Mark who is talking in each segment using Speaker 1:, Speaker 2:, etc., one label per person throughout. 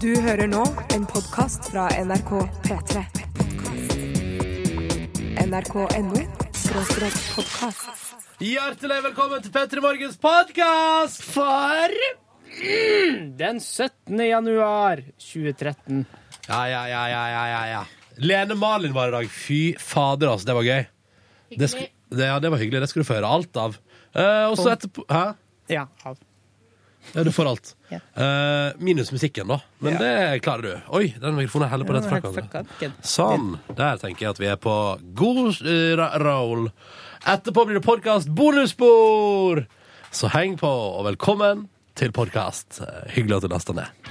Speaker 1: Du hører nå en podkast fra NRK P3. NRK.no podkast.
Speaker 2: Hjertelig velkommen til Petter Morgens podkast for
Speaker 3: Den 17. januar 2013.
Speaker 2: Ja, ja, ja, ja, ja, ja, ja. Lene Malin var i dag. Fy fader, altså. Det var gøy. Det sku, det, ja, det var hyggelig. Det skulle du få høre alt av. Eh, og så etterpå Hæ?
Speaker 3: Ja.
Speaker 2: Ja, du får alt.
Speaker 3: Ja.
Speaker 2: Eh, minus musikken, da. Men det klarer du. Oi, den mikrofonen heller på rett altså. fra hverandre. Sånn. Der tenker jeg at vi er på god eh, ra- roll. Etterpå blir det podkast bonusspor! Så heng på, og velkommen til podkast. Hyggelig at du lasta ned.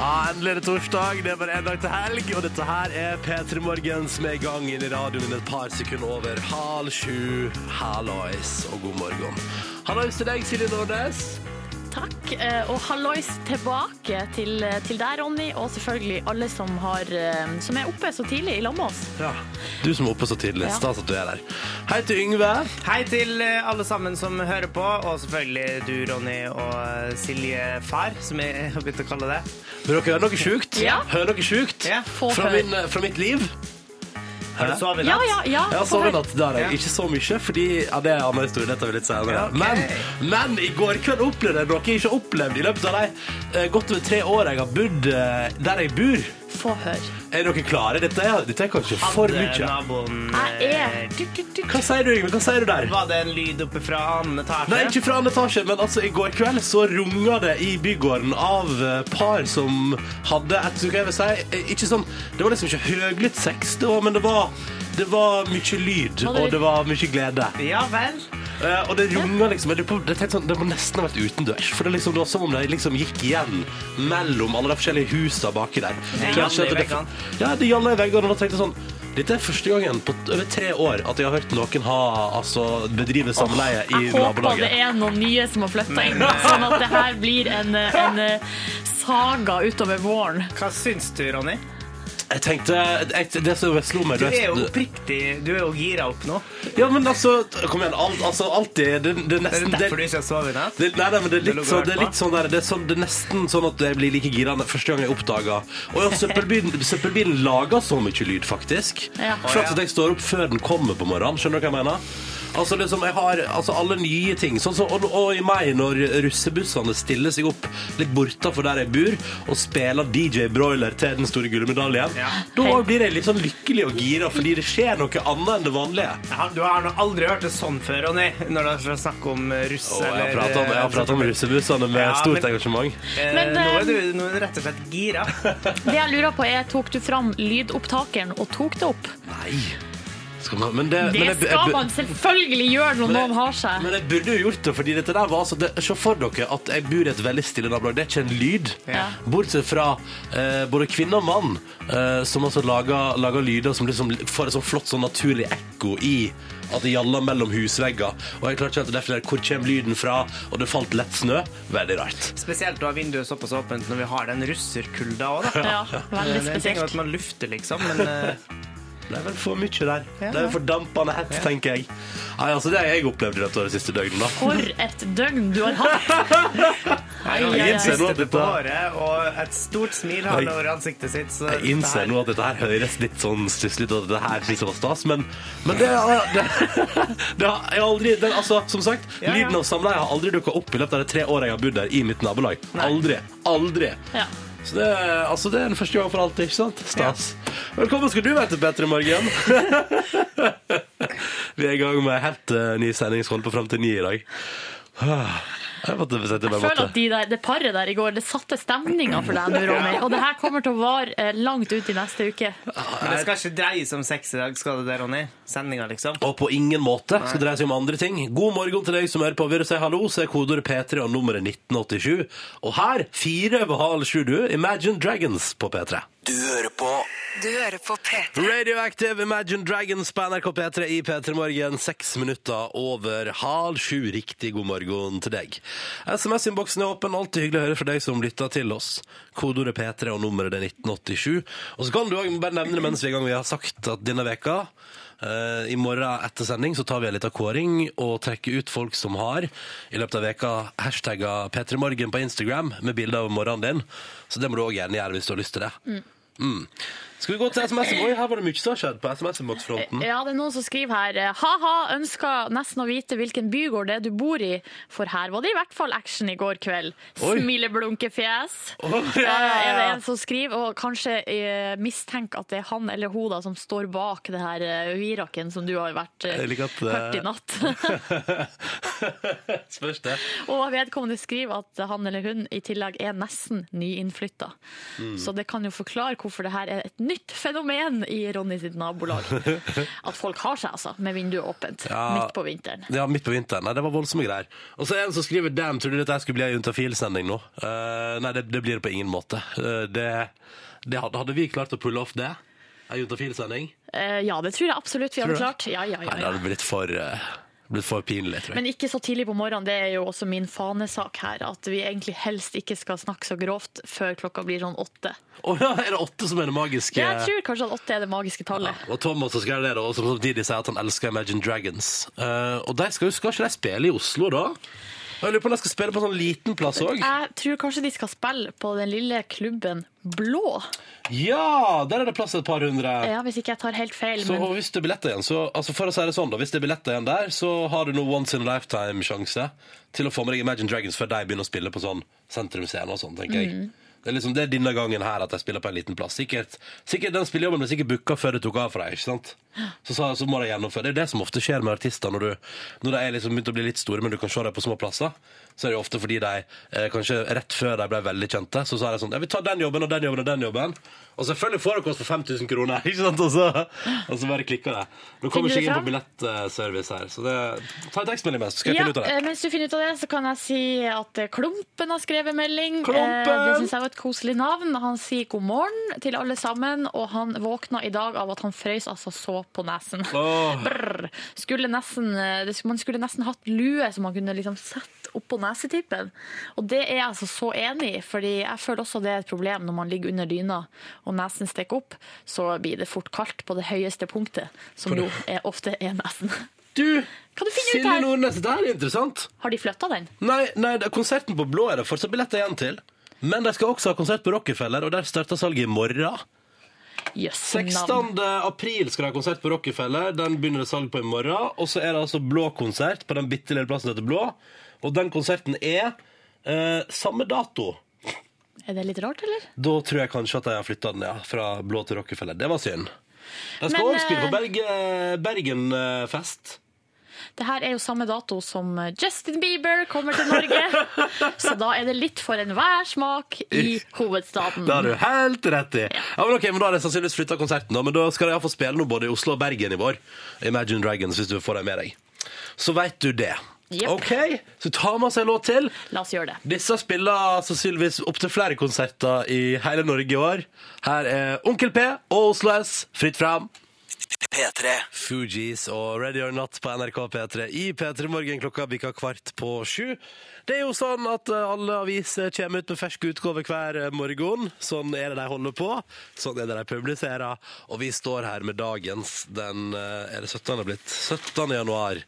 Speaker 2: Ja, endelig er det torsdag. Det er bare én dag til helg, og dette her er P3 Morgen som er i gang inn i radioen et par sekunder over halv sju. Hallois og god morgen. Hallois til deg, Silje Nordnes.
Speaker 4: Takk, eh, og hallois tilbake til, eh, til deg, Ronny, og selvfølgelig alle som, har, eh, som er oppe så tidlig i lag med oss.
Speaker 2: Ja. Du som er oppe så tidlig.
Speaker 4: Ja.
Speaker 2: Stas at du er der. Hei til Yngve.
Speaker 5: Hei til eh, alle sammen som hører på, og selvfølgelig du, Ronny, og eh, Silje Far, som jeg har begynt å kalle det.
Speaker 2: Vil dere høre noe sjukt?
Speaker 4: Ja.
Speaker 2: Hører dere sjukt?
Speaker 5: Ja,
Speaker 4: få
Speaker 2: fra,
Speaker 4: høre.
Speaker 2: min, fra mitt liv?
Speaker 5: Har du sovet i
Speaker 4: Ja,
Speaker 5: natt?
Speaker 4: ja, ja.
Speaker 2: Jeg har
Speaker 4: få
Speaker 2: sovet
Speaker 4: høre.
Speaker 2: natt der, jeg.
Speaker 5: Ja.
Speaker 2: Ikke så mye, fordi ja, det er en annen historie. Dette er vi litt senere.
Speaker 5: Ja, ok.
Speaker 2: men, men i går kveld opplevde jeg noe jeg ikke har opplevd i løpet av de eh, godt over tre år jeg har bodd eh, der jeg bor.
Speaker 4: Få høre.
Speaker 2: Er dere klare? Dette er, dette er kanskje
Speaker 5: Hadde
Speaker 2: for mye.
Speaker 5: naboen
Speaker 4: Jeg er-
Speaker 5: eh, dyk, dyk, dyk.
Speaker 2: Hva sier du, Yngve? Hva sier du der?
Speaker 5: Var det en lyd oppe fra annen etasje?
Speaker 2: Nei, ikke fra annen etasje, men altså, i går kveld så runga det i bygården av eh, par som hadde et hva jeg vil si, eh, ikke sånn, Det var liksom ikke høglytt sex, det var, men det var, det var mye
Speaker 4: Var
Speaker 2: lyd,
Speaker 4: det-
Speaker 2: og det var mye glede.
Speaker 5: Ja vel.
Speaker 2: Eh, og det runga liksom. Jeg lurer på, jeg tenkte sånn, det må nesten ha vært utendørs. For det, er liksom, det var som om det liksom gikk igjen mellom alle de forskjellige husa baki der.
Speaker 5: Det
Speaker 2: Kanskje
Speaker 5: gjaldt i
Speaker 2: at
Speaker 5: veggene.
Speaker 2: ja, det gjalla i veggene. Og da tenkte jeg sånn Dette er første gangen på t- over tre år at jeg har hørt noen ha, altså, bedrive samleie i
Speaker 4: Jeg håper det
Speaker 2: nabolaget.
Speaker 4: er noen nye som har flytta inn, sånn at det her blir en, eh, en eh, saga utover våren.
Speaker 5: Hva syns du, Ronny?
Speaker 2: Jeg tenkte, jeg, det som slo meg
Speaker 5: Du er jo
Speaker 2: løst
Speaker 5: oppriktig Du er jo gira opp nå.
Speaker 2: Ja, men altså, kom igjen, alt, altså, alltid det, det er
Speaker 5: Det er
Speaker 2: nesten
Speaker 5: derfor du
Speaker 2: det,
Speaker 5: ikke har sovet i natt.
Speaker 2: det, nei, nei, men det er
Speaker 5: Det
Speaker 2: litt,
Speaker 5: lå
Speaker 2: sånn-
Speaker 5: godt
Speaker 2: det er litt sånn der Det er, sånn, det er nesten sånn at jeg blir like gira første gang jeg oppdager Og ja, søppelbilen, søppelbilen lager så mye lyd, faktisk
Speaker 4: Ja.
Speaker 2: For at jeg står opp før den kommer på morgenen Skjønner du hva jeg mener? Altså, liksom, jeg har altså, alle nye ting sånn, som- og, og i meg når russebussene stiller seg opp Litt bortenfor der jeg bor Og spiller DJ Broiler til den store gullmedaljen
Speaker 5: Ja.
Speaker 2: Da blir jeg litt sånn lykkelig og gira Fordi det skjer noe annet enn det vanlige
Speaker 5: Jeg har- Du har nå aldri hørt det sånn før, Ronny, når det er snakk om eh, russ
Speaker 2: Og jeg har
Speaker 5: eller
Speaker 2: pratet om, jeg har pratet om russebussene med
Speaker 5: Ja,
Speaker 2: stort
Speaker 5: men-
Speaker 2: engasjement.
Speaker 5: Eh,
Speaker 4: Men,
Speaker 5: nå,
Speaker 4: eh,
Speaker 5: er du, nå er du rett og slett gira.
Speaker 4: Det jeg lurer på er, Tok du fram lydopptakeren og tok det opp?
Speaker 2: Nei. Skal man, men det,
Speaker 4: Det
Speaker 2: men jeg, jeg,
Speaker 4: skal man selvfølgelig gjøre når
Speaker 2: men jeg-
Speaker 4: noen har seg.
Speaker 2: Men jeg burde jo gjort det, fordi dette der var altså det, Se for dere at jeg bor i et veldig stille nabolag. Det er ikke en lyd.
Speaker 4: Ja.
Speaker 2: Bortsett fra eh, både kvinne og mann, eh, som altså lager, lager lyder som liksom får et sånn flott sånn naturlig ekko i at det gjaller mellom husvegger. Og jeg klarte ikke helt å definere hvor kommer lyden fra, og det falt lett snø. Veldig rart.
Speaker 5: Spesielt å ha vinduet såpass åpent når vi har den russerkulda òg, da.
Speaker 4: Ja, veldig
Speaker 5: Det er en ting at
Speaker 4: spesielt.
Speaker 5: man lufter, liksom, men eh,
Speaker 2: Det er vel for mye der. Det er for dampende hett, tenker jeg. Nei, altså Det har jeg opplevd i løpet av det siste døgnet. da.
Speaker 4: For et døgn du har hatt! Ai, ai,
Speaker 2: Jeg
Speaker 4: ai.
Speaker 2: innser nå at
Speaker 5: ristet på
Speaker 2: dette,
Speaker 5: håret, og et stort smil har han over ansiktet sitt. Så
Speaker 2: jeg innser nå at dette her høres litt sånn stusslig ut, og at dette her liksom var stas, men, men det, det, det har jeg aldri det, altså, Som sagt,
Speaker 5: Ja, ja.
Speaker 2: lyden av samleie har aldri dukka opp i løpet av de tre åra jeg har bodd der i mitt nabolag. Aldri. Aldri.
Speaker 4: Ja.
Speaker 2: Så det, er- altså, det er den første gang for alltid, ikke sant? Stas. Velkommen skal du være til Bedre morgen. Vi er i gang med en helt eh, ny sending som holder på fram til ni i dag. Ah, Jeg måtte sette meg
Speaker 4: Jeg føler at de der, det paret der i går, det satte stemninga for deg nå, Ronny. Og det her kommer til å vare eh, langt ut i neste uke.
Speaker 5: Men det skal ikke dreie seg om sex i dag, skal det det, Ronny? Sendinga, liksom.
Speaker 2: Og på ingen måte skal det dreie seg om andre ting. God morgen til deg som hører på. Vil du si hallo, så er kodeordet P3 og nummeret 1987. Og her, fire over halv sju, du, Imagine Dragons på P3.
Speaker 6: Du hører på
Speaker 7: Du hører på P3.
Speaker 2: Radioactive Imagine Dragons på NRK P3 i P3 Morgen. Seks minutter over halv sju. Riktig god morgen til deg. SMS-innboksen er åpen. Alltid hyggelig å høre fra deg som lytter til oss. Kodeordet P3 og nummeret er 1987. Og så kan du òg bare nevne det mens vi er i gang. Vi har sagt at denne veka eh, i morgen etter sending så tar vi en liten kåring og trekker ut folk som har i løpet av veka hashtagga P3morgen på Instagram med bilde av morgenen din. Så det må du òg gjerne gjøre hvis du har lyst til det. Mm. Skal vi gå til SMS? Oi, her var det mye som har skjedd på SMS-innboksfronten.
Speaker 4: Ja, det er noen som skriver her eh, Ha-ha, ønska nesten å vite hvilken bygård det er du bor i, for her var det i hvert fall action i går kveld.
Speaker 2: Oi.
Speaker 4: Smileblunkefjes.
Speaker 2: Å,
Speaker 4: Eh,
Speaker 2: ja,
Speaker 4: Er det en som skriver, og kanskje eh, mistenker at det er han eller hun da som står bak det her eh, viraken som du har vært eh,
Speaker 2: Jeg liker at,
Speaker 4: hørt
Speaker 2: eh,
Speaker 4: i natt. eh.
Speaker 2: Spørs det.
Speaker 4: og vedkommende skriver at han eller hun i tillegg er nesten nyinnflytta.
Speaker 2: Mm.
Speaker 4: Så det kan jo forklare hvorfor det her er et nytt fenomen i Ronny sitt nabolag. At folk har seg, altså, med vinduet åpent
Speaker 2: Ja.
Speaker 4: midt på vinteren.
Speaker 2: Ja, midt på vinteren. Nei, det var voldsomme greier. Og så er det en som skriver Damn, tror du dette skulle bli ei juntafil-sending nå? Eh, nei, det, det blir det på ingen måte. Eh, det, det hadde, hadde vi klart å pulle off det? Ei juntafil-sending?
Speaker 4: Eh, ja, det tror jeg absolutt vi hadde
Speaker 2: du
Speaker 4: klart. Ja, ja,
Speaker 2: Nei,
Speaker 4: ja,
Speaker 2: det
Speaker 4: ja.
Speaker 2: hadde blitt for, eh, blitt for pinlig, tror jeg.
Speaker 4: Men ikke så tidlig på morgenen, det er jo også min fanesak her. At vi egentlig helst ikke skal snakke så grovt før klokka blir sånn åtte.
Speaker 2: Å ja, er det åtte som er det magiske?
Speaker 4: Jeg tror kanskje at åtte er det magiske
Speaker 2: Ja,
Speaker 4: tallet.
Speaker 2: og Thomas som skrev det, da, og som samtidig sier at han elsker Imagine Dragons. Eh, og de skal, jo- skal ikke de spille i Oslo, da? Jeg lurer på om de skal spille på en sånn liten plass òg.
Speaker 4: Jeg tror kanskje de skal spille på den lille klubben Blå.
Speaker 2: Ja! Der er det plass til et par hundre.
Speaker 4: Ja, hvis ikke jeg tar helt feil.
Speaker 2: Så,
Speaker 4: men...
Speaker 2: og hvis det er billetter igjen, så, altså for å si det sånn da, hvis det er billetter igjen der, så har du noe once in a lifetime-sjanse til å få med deg Imagine Dragons før de begynner å spille på sånn sentrumsscene og sånn, tenker jeg. Det er liksom det er denne gangen her at de spiller på en liten plass. Sikkert, sikkert den spillejobben ble sikkert booka før det tok av for deg, ikke sant? Så, sa- så må de gjennomføre. Det er jo det som ofte skjer med artister når, du, når de er liksom begynt å bli litt store, men du kan se dem på små plasser. Så er det jo ofte fordi de, eh, kanskje rett før de ble veldig kjente, så sa de sånn, ja, vi tar den jobben og den jobben og den jobben. Og selvfølgelig får dere oss for 5000 kroner, ikke sant? Og så, og så bare klikker det. Nå kommer
Speaker 4: Finner du
Speaker 2: jeg ikke inn
Speaker 4: fram?
Speaker 2: på billettservice her, så det, ta en tekstmelding mest, så skal jeg
Speaker 4: Ja,
Speaker 2: finne ut av det.
Speaker 4: eh, Mens du finner ut av det, så kan jeg si at eh, Klumpen har skrevet melding.
Speaker 2: Klumpen!
Speaker 4: Eh, Det syns jeg var et koselig navn. Han sier god morgen til alle sammen, og han våkna i dag av at han frøys altså så på nesen.
Speaker 2: Åh.
Speaker 4: Brr. Skulle nesten, eh, det- man skulle nesten hatt lue som man kunne liksom sette oppå nesetippen. Og det er jeg altså så enig i, fordi jeg føler også det er et problem når man ligger under dyna og nesen stikker opp, så blir det fort kaldt på det høyeste punktet, som jo er, ofte er nesen.
Speaker 2: Du,
Speaker 4: Kan du finne ut
Speaker 2: Silje
Speaker 4: her?
Speaker 2: Nordnes, det her er interessant.
Speaker 4: Har de flytta den?
Speaker 2: Nei, nei det, konserten på Blå er det fortsatt billetter igjen til. Men de skal også ha konsert på Rockefeller, og der starter salget i morgen.
Speaker 4: Jøss, navn.
Speaker 2: 16. april skal de ha konsert på Rockefeller. Den begynner det salg på i morgen. Og så er det altså Blå konsert på den bitte lille plassen som heter Blå. Og den konserten er eh, samme dato.
Speaker 4: Er det litt rart, eller?
Speaker 2: Da tror jeg kanskje at de har flytta den ja, fra Blå til Rockefeller. Det var synd. De skal
Speaker 4: Men,
Speaker 2: òg spille på
Speaker 4: eh,
Speaker 2: Berg- Bergenfest.
Speaker 4: Det her er jo samme dato som eh, Justin Bieber kommer til Norge. så da er det litt for enhver smak i hovedstaden.
Speaker 2: Det har du helt rett i. Ja, men ok, men Da har de sannsynligvis flytta konserten, da, men da skal de iallfall spille noe både i Oslo og Bergen i vår. Imagine Dragons, hvis du får dem med deg. Så veit du det.
Speaker 4: Jepp.
Speaker 2: OK, så ta med seg en låt til.
Speaker 4: La oss gjøre det.
Speaker 2: Disse spiller sannsynligvis opptil flere konserter i hele Norge i år. Her er Onkel P og Oslo S, fritt fram.
Speaker 6: P3.
Speaker 2: Fugees og Ready or Not på NRK P3 i P3 Morgen. Klokka bikka kvart på sju. Det er jo sånn at eh, alle aviser kommer ut med fersk utgave hver eh, morgen. Sånn er det de holder på, sånn er det de publiserer. Og vi står her med dagens den eh, Er det 17. det er blitt? 17. januar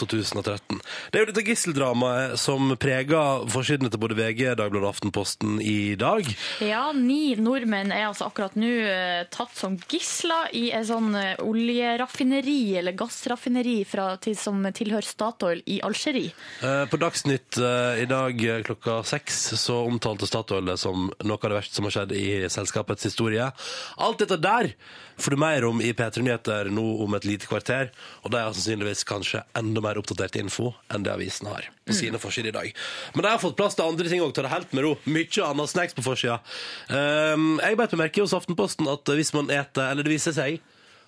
Speaker 2: 2013. Det er jo dette gisseldramaet som preger forsidene til både VG, Dagbladet og Aftenposten i dag.
Speaker 4: Ja, Ni nordmenn er altså akkurat nå eh, tatt som gisler i en sånn eh, oljeraffineri, eller gassraffineri, fra, til, som tilhører Statoil i Algerie.
Speaker 2: Eh, På Dagsnytt eh, i dag eh, klokka seks så omtalte Statoil det som noe av det verste som har skjedd i selskapets historie. Alt dette der får du mer om i P3 Nyheter nå om et lite kvarter. Og de har sannsynligvis kanskje enda mer oppdatert info enn det avisen har på sine forsider i dag. Men de har fått plass til andre ting òg, ta det helt med ro. Mye annet snacks på forsida. Ehm, Jeg beit meg merke i hos Aftenposten at hvis man eter, eller det viser seg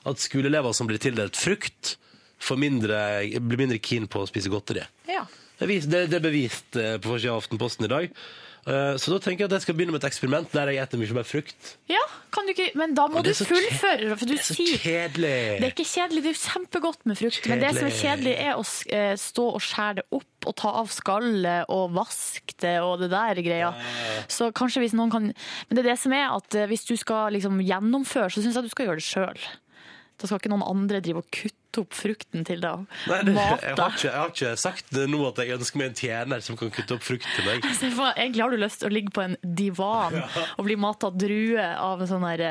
Speaker 2: at skoleelever som blir tildelt frukt, får mindre, blir mindre keen på å spise godteri.
Speaker 4: Ja.
Speaker 2: Det er vis- Det, det er bevist eh, på forsida av Aftenposten i dag. Eh, Så da tenker jeg at jeg skal begynne med et eksperiment der jeg eter mye mer frukt.
Speaker 4: Ja, kan du ikke, men da må
Speaker 2: Og
Speaker 4: du
Speaker 2: det er så kje-
Speaker 4: fullføre. For du
Speaker 2: Det er så
Speaker 4: sier Det
Speaker 2: kjedelig.
Speaker 4: er ikke kjedelig, det er jo kjempegodt med frukt. Men det som er kjedelig, er å s- eh, stå og skjære det opp og ta av skallet og vaske det og det der greia. Så kanskje hvis noen kan Men det er det som er at eh, hvis du skal liksom gjennomføre, så syns jeg du skal gjøre det sjøl. Da skal ikke noen andre drive og kutte opp frukten til deg
Speaker 2: Nei,
Speaker 4: og
Speaker 2: det, jeg,
Speaker 4: mate
Speaker 2: har
Speaker 4: deg.
Speaker 2: ikke, jeg har ikke sagt det nå at jeg ønsker meg en tjener som kan kutte opp frukt til meg.
Speaker 4: Så jeg får- Egentlig har du lyst til å ligge på en divan og bli mata druer av sånne her,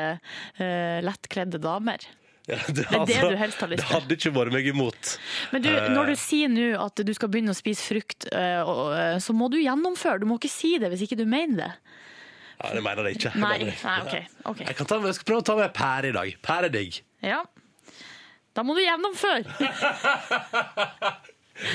Speaker 4: eh, lettkledde damer.
Speaker 2: Ja, det,
Speaker 4: er det du helst har lyst
Speaker 2: Det hadde ikke vært meg imot. Eh,
Speaker 4: Men du, når du sier nå at du skal begynne å spise frukt, eh, og- og, eh, så må du gjennomføre. Du må ikke si det hvis ikke du mener det.
Speaker 2: Ja, det mener jeg ikke. Det
Speaker 4: Nei,
Speaker 2: mener jeg ikke.
Speaker 4: nei ok. ok.
Speaker 2: Jeg, kan ta, jeg skal prøve å ta med pære i dag. Pære er digg.
Speaker 4: Ja. Da må du gjennomføre.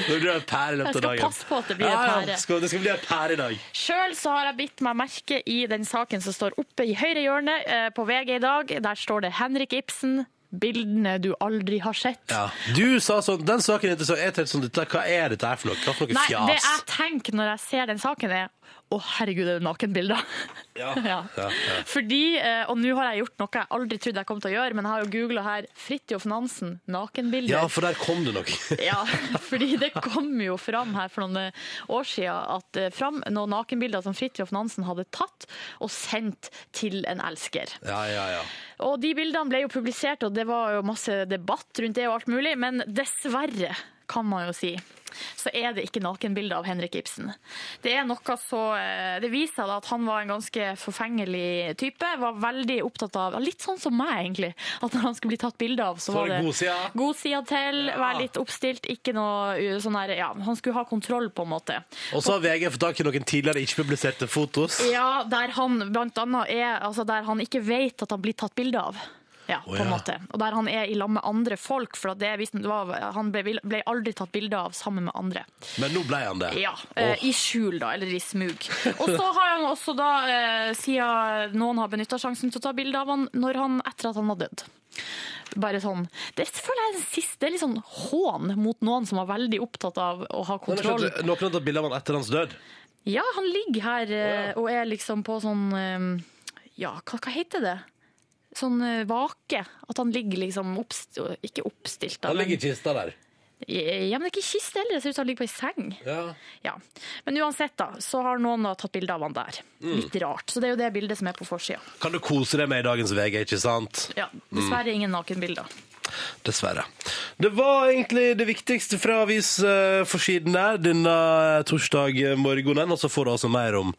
Speaker 2: Det blir en pære i
Speaker 4: Jeg
Speaker 2: løpet av
Speaker 4: skal
Speaker 2: dagen.
Speaker 4: passe på at det blir en
Speaker 2: Ja, ja,
Speaker 4: pære.
Speaker 2: skal, det skal bli en pære i dag.
Speaker 4: Sjøl så har jeg bitt meg merke i den saken som står oppe i høyre hjørne eh, på VG i dag. Der står det Henrik Ibsen. Bildene du aldri har sett.
Speaker 2: Du sa sånn Den saken er interessant. Jeg tenkte sånn dette- Hva er dette her for noe? Hva for noe
Speaker 4: Nei,
Speaker 2: fjas?
Speaker 4: det jeg tenker når jeg ser den saken, er å, herregud, det er nakenbilder.
Speaker 2: Ja.
Speaker 4: Ja.
Speaker 2: Ja, ja.
Speaker 4: Fordi, eh, og nå har jeg gjort noe jeg aldri trodde jeg kom til å gjøre, men jeg har jo googla her 'Fridtjof Nansen nakenbilder'.
Speaker 2: ja, for der kom det noe.
Speaker 4: Ja, fordi det kom jo fram her for noen eh, år siden at eh, fram noen nakenbilder som Fridtjof Nansen hadde tatt og sendt til en elsker.
Speaker 2: Ja, ja, ja.
Speaker 4: Og de bildene ble jo publisert, og det var jo masse debatt rundt det og alt mulig, men dessverre, kan man jo si, så er det ikke nakenbilder av Henrik Ibsen. Det er noe så eh, Det viser seg da at han var en ganske forfengelig type. Var veldig opptatt av Litt sånn som meg, egentlig. At når han skulle bli tatt bilde av, så,
Speaker 2: Så var det god sida.
Speaker 4: god sida til, være litt oppstilt, ikke noe uh, sånn her Ja, han skulle ha kontroll, på en måte.
Speaker 2: Og så har VG fått tak i noen tidligere ikke-publiserte fotos.
Speaker 4: Ja, der han blant annet er Altså der han ikke vet at han blir tatt bilde av. Ja, på en
Speaker 2: ja.
Speaker 4: måte. Og der han er i lag med andre folk, for at det, visste- det var, han ble, ble aldri tatt bilde av sammen med andre.
Speaker 2: Men nå ble han det.
Speaker 4: Ja, eh, I skjul, da, eller i smug. Og så har han også, da, eh, siden noen har benytta sjansen til å ta bilde av han når han, etter at han har dødd. Bare sånn, Det føler jeg er en siste, det er litt sånn hån mot noen som var veldig opptatt av å ha
Speaker 2: Men jeg
Speaker 4: kontroll.
Speaker 2: skjønte, Noen har tatt bilde av han etter hans død.
Speaker 4: Ja, han ligger her eh, og er liksom på sånn eh, Ja, hva, hva heter det? Sånn eh, vake. At han ligger liksom oppst Ikke oppstilt, da.
Speaker 2: Han ligger
Speaker 4: Men,
Speaker 2: i kista der.
Speaker 4: ja, men det er ikke i kiste heller, det ser ut som han ligger på ei seng.
Speaker 2: Ja.
Speaker 4: Ja. Men uansett, da, så har noen da tatt bilde av han der. Litt rart. Så det er jo det bildet som er på forsida.
Speaker 2: Kan du kose deg med i dagens VG, ikke sant?
Speaker 4: Ja, dessverre ingen nakenbilder.
Speaker 2: Dessverre. Det var egentlig det viktigste fra avisforsiden der denne torsdag morgenen. Og så får du altså mer om,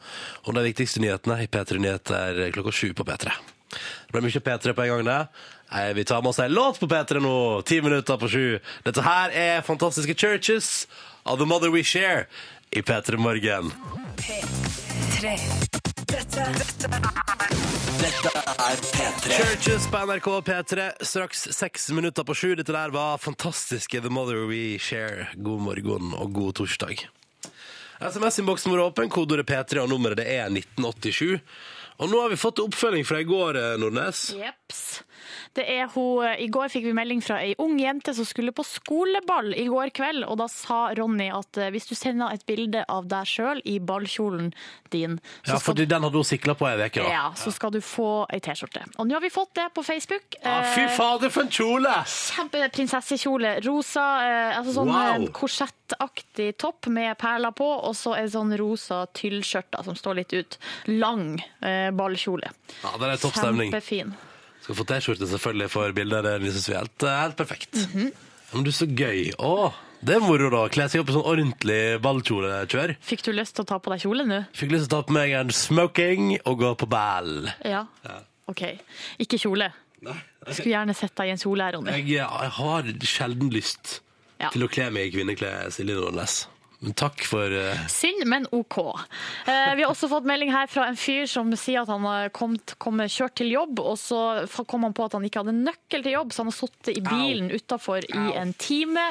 Speaker 2: om de viktigste nyhetene i P3 Nyheter klokka sju på P3. Det ble mye P3 på en gang, det. Nei, vi tar med oss en låt på P3 nå. Ti minutter på sju. Dette her er Fantastiske Churches av The Mother We Share i P3 Morgen.
Speaker 6: er P3.
Speaker 2: Churches på NRK P3, straks seks minutter på sju. Dette der var fantastiske The Mother We Share. God morgen og god torsdag. SMS-innboksen vår er åpen, kodeordet P3 og nummeret det er 1987. Og nå har vi fått oppfølging fra i går, eh, Nordnes.
Speaker 4: Jeps. Det er hun, eh, I går fikk vi melding fra ei ung jente som skulle på skoleball i går kveld. og Da sa Ronny at eh, hvis du sender et bilde av deg sjøl i ballkjolen din, så
Speaker 2: Ja,
Speaker 4: skal,
Speaker 2: fordi den hadde hun sikla på ei uke, da.
Speaker 4: ja, så skal du få ei T-skjorte. Og nå har vi fått det på Facebook.
Speaker 2: Ja, fy
Speaker 4: Eh,
Speaker 2: fader, for en kjole!
Speaker 4: Kjempe prinsessekjole. Rosa, eh, altså sånn
Speaker 2: Wow.
Speaker 4: wow. korsettaktig topp med perler på, og så en sånn rosa tyllskjørt da, som står litt ut. Lang eh, ballkjole.
Speaker 2: Ja, det er topp stemning.
Speaker 4: Kjempefin.
Speaker 2: Skal få T-skjorte selvfølgelig for bildet. Det synes vi er helt, helt perfekt.
Speaker 4: Mhm.
Speaker 2: Ja, Men du, så gøy. Å, det er moro, da. Kle seg opp i sånn ordentlig ballkjolekjør.
Speaker 4: Fikk du lyst til å ta på deg kjole nå?
Speaker 2: Fikk lyst til å ta på meg en smoking og gå på ball.
Speaker 4: Ja. OK. Ikke kjole. Skulle gjerne sett deg i en kjole her, Ronny.
Speaker 2: Jeg, jeg har sjelden lyst
Speaker 4: Ja.
Speaker 2: til å kle meg i kvinneklær, Silje Nordnes. Men takk for eh,
Speaker 4: Synd, men OK. Eh, vi har også fått melding her fra en fyr som sier at han har kommet- kom, kjørt til jobb, og så fa- kom han på at han ikke hadde nøkkel til jobb, så han har sittet i bilen utafor i en time.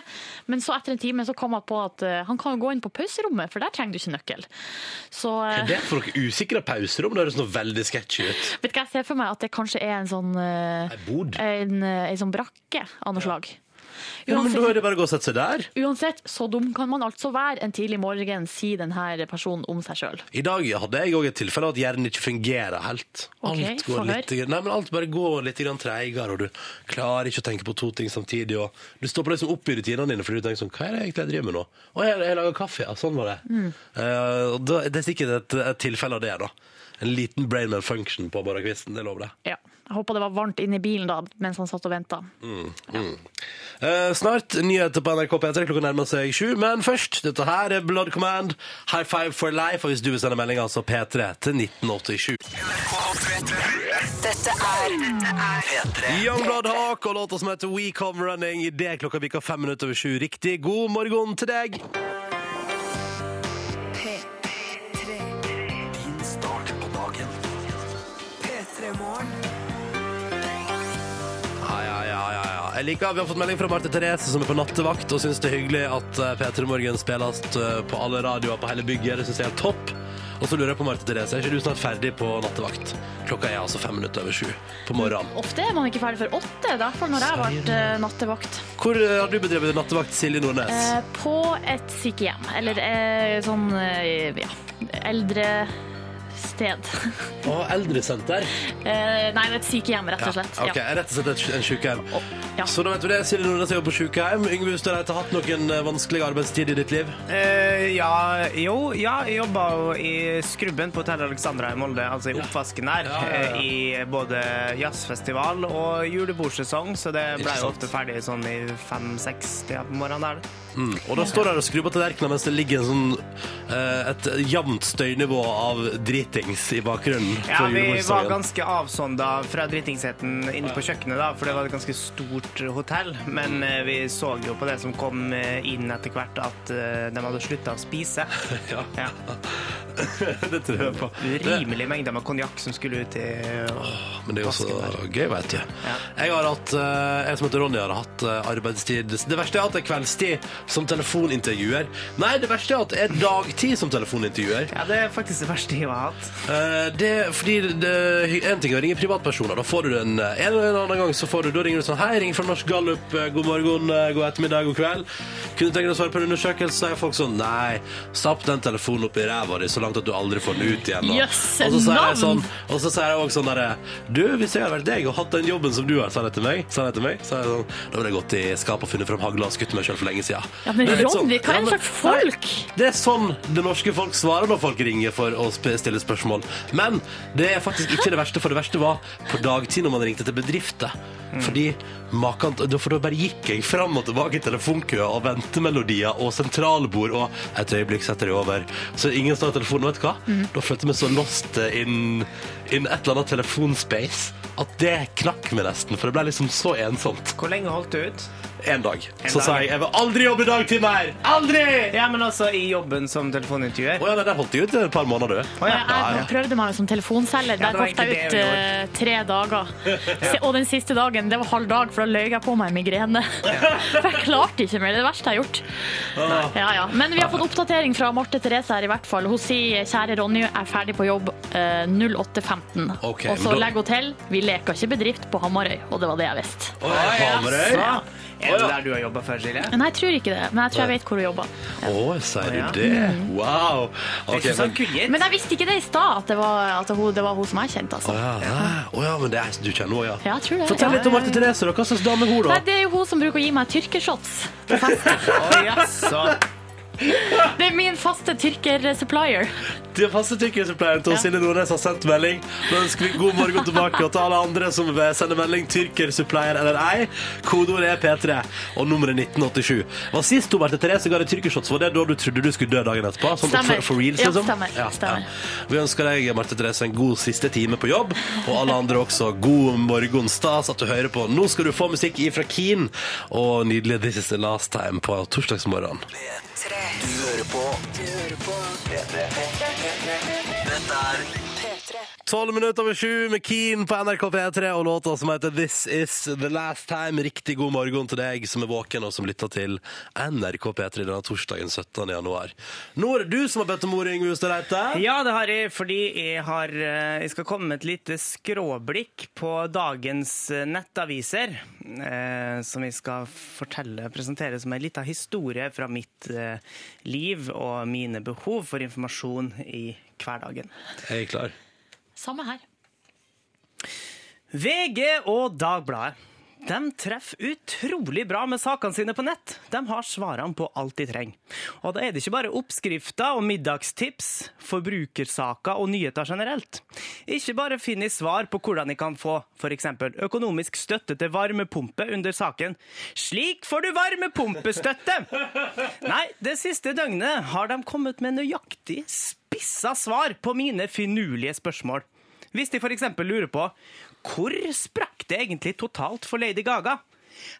Speaker 4: Men så etter en time så kom han på at eh, han kan jo gå inn på pauserommet, for der trenger du ikke nøkkel. Så eh,
Speaker 2: Er det for noe usikre pauserom? Det høres noe veldig sketchy ut.
Speaker 4: vet du hva jeg ser for meg? At det kanskje er en sånn eh,
Speaker 2: Ei bod.
Speaker 4: en, eh, en sånn brakke av noe slag.
Speaker 2: Ja, men da
Speaker 4: Uansett,
Speaker 2: er det bare å gå og sette seg der.
Speaker 4: uansett, så dum kan man altså være en tidlig morgen, sier denne personen om seg sjøl.
Speaker 2: I dag hadde jeg òg et tilfelle at hjernen ikke fungerer helt.
Speaker 4: Ok,
Speaker 2: alt, går
Speaker 4: få
Speaker 2: litt, nei, men alt bare går litt grann treigere, og du klarer ikke å tenke på to ting samtidig. Og du stopper liksom opp i rutinene dine fordi du tenker sånn Hva er det egentlig jeg driver med nå? Å, jeg, jeg lager kaffe, ja. Sånn var det. Eh, og da, det er sikkert et, et tilfelle av det, da. En liten brain malfunction på morgenkvisten. Det lover det.
Speaker 4: Ja. Jeg håper det var varmt inne i bilen da, mens han satt og venta.
Speaker 2: Eh, snart nyheter på NRK P3. Klokka nærmer seg sju. Men først, dette her er Blood Command. High five for life. Og hvis du vil sende melding, altså P3 til 1987.
Speaker 7: Dette er
Speaker 6: P3
Speaker 2: Young Blood Hawk og låta som heter We Come Running. I det klokka bikker fem minutter over sju. Riktig god morgen til deg.
Speaker 6: Din start på dagen
Speaker 2: Ja, ja, ja, ja, ja. Jeg liker, Vi har fått melding fra Marte Therese, som er på nattevakt, og syns det er hyggelig at eh, P3 Morgen spilles eh, på alle radioer på hele bygget. Det syns jeg er topp. Og så lurer jeg på, Marte Therese, er ikke du snart ferdig på nattevakt? Klokka er altså fem minutter over sju på morgenen.
Speaker 4: Ofte er man ikke ferdig før åtte, i hvert fall når jeg har vært eh, nattevakt.
Speaker 2: Hvor eh, har du bedrevet nattevakt, Silje Nordnes?
Speaker 4: Eh, På et sykehjem, eller eh, sånn eh, ja, eldrested.
Speaker 2: Å, eldresenter.
Speaker 4: Eh, Nei, det er et sykehjem, rett og slett.
Speaker 2: Ja, ok, Rett og slett et sj- en sykehjem.
Speaker 4: ja.
Speaker 2: Så da vet du det, Silje Nordnes er jo på sykehjem. Yngve Hustad, har du hatt noen eh, vanskelige arbeidstider i ditt liv?
Speaker 5: Eh, ja, jo, ja, jeg jobba jo i Skrubben på Hotel Alexandra i Molde, altså i oppvasken der,
Speaker 2: Ja, ja, ja.
Speaker 5: eh, i både jazzfestival og julebordsesong, så det
Speaker 2: Ikke
Speaker 5: ble jo
Speaker 2: sant.
Speaker 5: ofte ferdig sånn i fem-seks-tida på morgenen der. det.
Speaker 2: Mm. Og da står der og skrur på tallerkenen mens det ligger en sånn, eh, et jevnt støynivå av dritings i bakgrunnen.
Speaker 5: Ja,
Speaker 2: for
Speaker 5: vi var
Speaker 2: julebordsangen.
Speaker 5: ganske avsonda fra dritingsheten inne på kjøkkenet, da, for det var et ganske stort hotell.
Speaker 2: Mm.
Speaker 5: Men eh, vi så jo på det som kom eh, inn etter hvert, at eh, de hadde slutta å spise.
Speaker 2: Ja.
Speaker 5: Ja.
Speaker 2: det tror jeg på. Det,
Speaker 5: Rimelig mengde med konjakk som skulle ut i eh,
Speaker 2: men det er jo så
Speaker 5: Vasken
Speaker 2: gøy, vet du. Jeg har hatt, eh, jeg som heter Ronny, har hatt eh, arbeidstid Det verste jeg har hatt, er kveldstid som telefonintervjuer. Nei, det verste jeg har hatt, er dagtid som telefonintervjuer.
Speaker 5: Ja, det er faktisk det verste jeg har hatt.
Speaker 2: Eh, det, fordi det, det- En ting er å ringe privatpersoner. Da får du den eh, en eller annen gang. så får du, Da ringer du sånn Hei, jeg ringer fra Norsk Gallup. eh, God morgen, eh, god ettermiddag, god kveld. Kunne du tenke deg å svare på en undersøkelse? Så er folk sånn Nei, stapp den telefonen opp i ræva di så langt at du aldri får den ut igjen. Og,
Speaker 4: Jøss,
Speaker 2: og så sier jeg
Speaker 4: navn!
Speaker 2: sånn og så sier jeg også sånn derre Du, hvis jeg hadde vært deg og hatt den jobben som du har, sa han til meg, sa han til meg så er jeg sånn, Da ville jeg gått i skapet og funnet fram hagla og skutt meg sjøl for lenge siden.
Speaker 4: Ja, men
Speaker 2: Det litt sånn-
Speaker 4: Ronny, hva er en
Speaker 2: Eh, men-
Speaker 4: slags folk?
Speaker 2: Nei, det er sånn det norske folk svarer når folk ringer for å sp- stille spørsmål. Men det er faktisk ikke det verste, for det verste var på dagtid når man ringte til bedrifter.
Speaker 5: Mm.
Speaker 2: Fordi makan, da- for da bare gikk jeg fram og tilbake i telefonkøa og ventemelodier og sentralbord og et øyeblikk setter jeg over. Så ingen starter telefonen, vet du hva?
Speaker 5: Mm.
Speaker 2: Da følte jeg meg så lost inn, inn et eller annet telefonspace at det knakk meg nesten, for det ble liksom så ensomt.
Speaker 5: Hvor lenge holdt du ut?
Speaker 2: En dag. så
Speaker 5: dag.
Speaker 2: sa jeg jeg vil aldri jobbe dagtid mer! Aldri!
Speaker 5: Ja, men altså i jobben som telefonintervjuer.
Speaker 2: Å ja, nei, der holdt jeg ut i et par måneder, du.
Speaker 5: Å, ja.
Speaker 4: Jeg jeg prøvde meg som
Speaker 5: Ja,
Speaker 4: telefonselger. Der
Speaker 5: det var
Speaker 4: holdt jeg
Speaker 5: egentlig
Speaker 4: ut
Speaker 5: det vi
Speaker 4: eh, tre dager. Se- Og den siste dagen, det var halv dag, for da løy jeg på meg en migrene. For jeg klarte ikke mer. Det er det verste jeg har gjort.
Speaker 2: Ah.
Speaker 4: Ja, ja. Men vi har fått oppdatering fra Marte Therese her, i hvert fall. Hun sier 'Kjære Ronny, jeg er ferdig på jobb eh, 08.15'.
Speaker 2: Ok,
Speaker 4: Og så
Speaker 2: men da-
Speaker 4: legger hun til 'Vi leker ikke bedrift på Hamarøy'. Og det var det jeg visste.
Speaker 2: Å, ja,
Speaker 3: altså.
Speaker 2: Hamarøy.
Speaker 5: Ja. Er det
Speaker 2: Å, ja.
Speaker 5: der du har jobba før, Silje?
Speaker 4: Men jeg tror ikke det. Men jeg tror jeg vet hvor hun jobber.
Speaker 2: Å, sier
Speaker 5: Å, ja.
Speaker 2: du det? Wow.
Speaker 5: Det er
Speaker 2: Ok,
Speaker 5: ikke sånn
Speaker 2: men...
Speaker 5: kullgitt.
Speaker 4: Men jeg visste ikke det i stad, at, det var- at hun- det var hun som jeg kjente, altså.
Speaker 2: Å ja, nei. Å, ja, men det er, du kjenner henne, ja.
Speaker 4: Ja, jeg tror det.
Speaker 2: Fortell
Speaker 4: Ja.
Speaker 2: litt om Marte Therese. da. Hva slags dame er hun, da?
Speaker 4: Nei, det er jo hun som bruker å gi meg tyrkershots.
Speaker 5: Å, jaså.
Speaker 4: Det er min faste tyrker-supplier.
Speaker 2: De faste tyrkersupplieren til Silje Nordnes har sendt melding. Da ønsker vi god morgen tilbake. Og til alle andre som vil sende melding, tyrkersupplier eller ei, kodeordet er P3 og nummeret er 1987. Var sist hun var til Therese ga deg tyrkershots, var det da du trodde du skulle dø dagen etterpå? Sånn
Speaker 4: Stemmer.
Speaker 2: for, for reals,
Speaker 4: Ja,
Speaker 2: liksom?
Speaker 4: stemmer. Stemmer.
Speaker 2: Vi ønsker deg, Marte Therese, en god siste time på jobb, og alle andre også. God morgen, stas at du hører på. Nå skal du få musikk ifra Keen og nydelig This Is The Last Time på torsdagsmorgenen.
Speaker 7: P3.
Speaker 6: Du hører på
Speaker 7: Du hører på
Speaker 6: P3 Dette er
Speaker 2: Tolv minutter over sju med Keen på NRK P3 og låta som heter This Is The Last Time. Riktig god morgen til deg som er våken og som lytter til NRK P3 denne torsdagen 17. januar. Nå er det du som har bedt om ordet, Yngve Hustad Reite.
Speaker 3: Ja, det har jeg, fordi jeg, har, eh, jeg skal komme med et lite skråblikk på dagens eh, nettaviser. Eh, som jeg skal fortelle, presentere som en liten historie fra mitt eh, liv og mine behov for informasjon i hverdagen.
Speaker 2: Jeg er klar.
Speaker 4: Samme her.
Speaker 3: VG og Dagbladet. De treffer utrolig bra med sakene sine på nett. De har svarene på alt de trenger. Og da er det ikke bare oppskrifter og middagstips, forbrukersaker og nyheter generelt. Ikke bare finner jeg svar på hvordan jeg kan få f.eks. økonomisk støtte til varmepumpe under saken 'Slik får du varmepumpestøtte'! Nei, det siste døgnet har de kommet med nøyaktig spissa svar på mine finurlige spørsmål. Hvis de f.eks. lurer på hvor sprakk det egentlig totalt for Lady Gaga?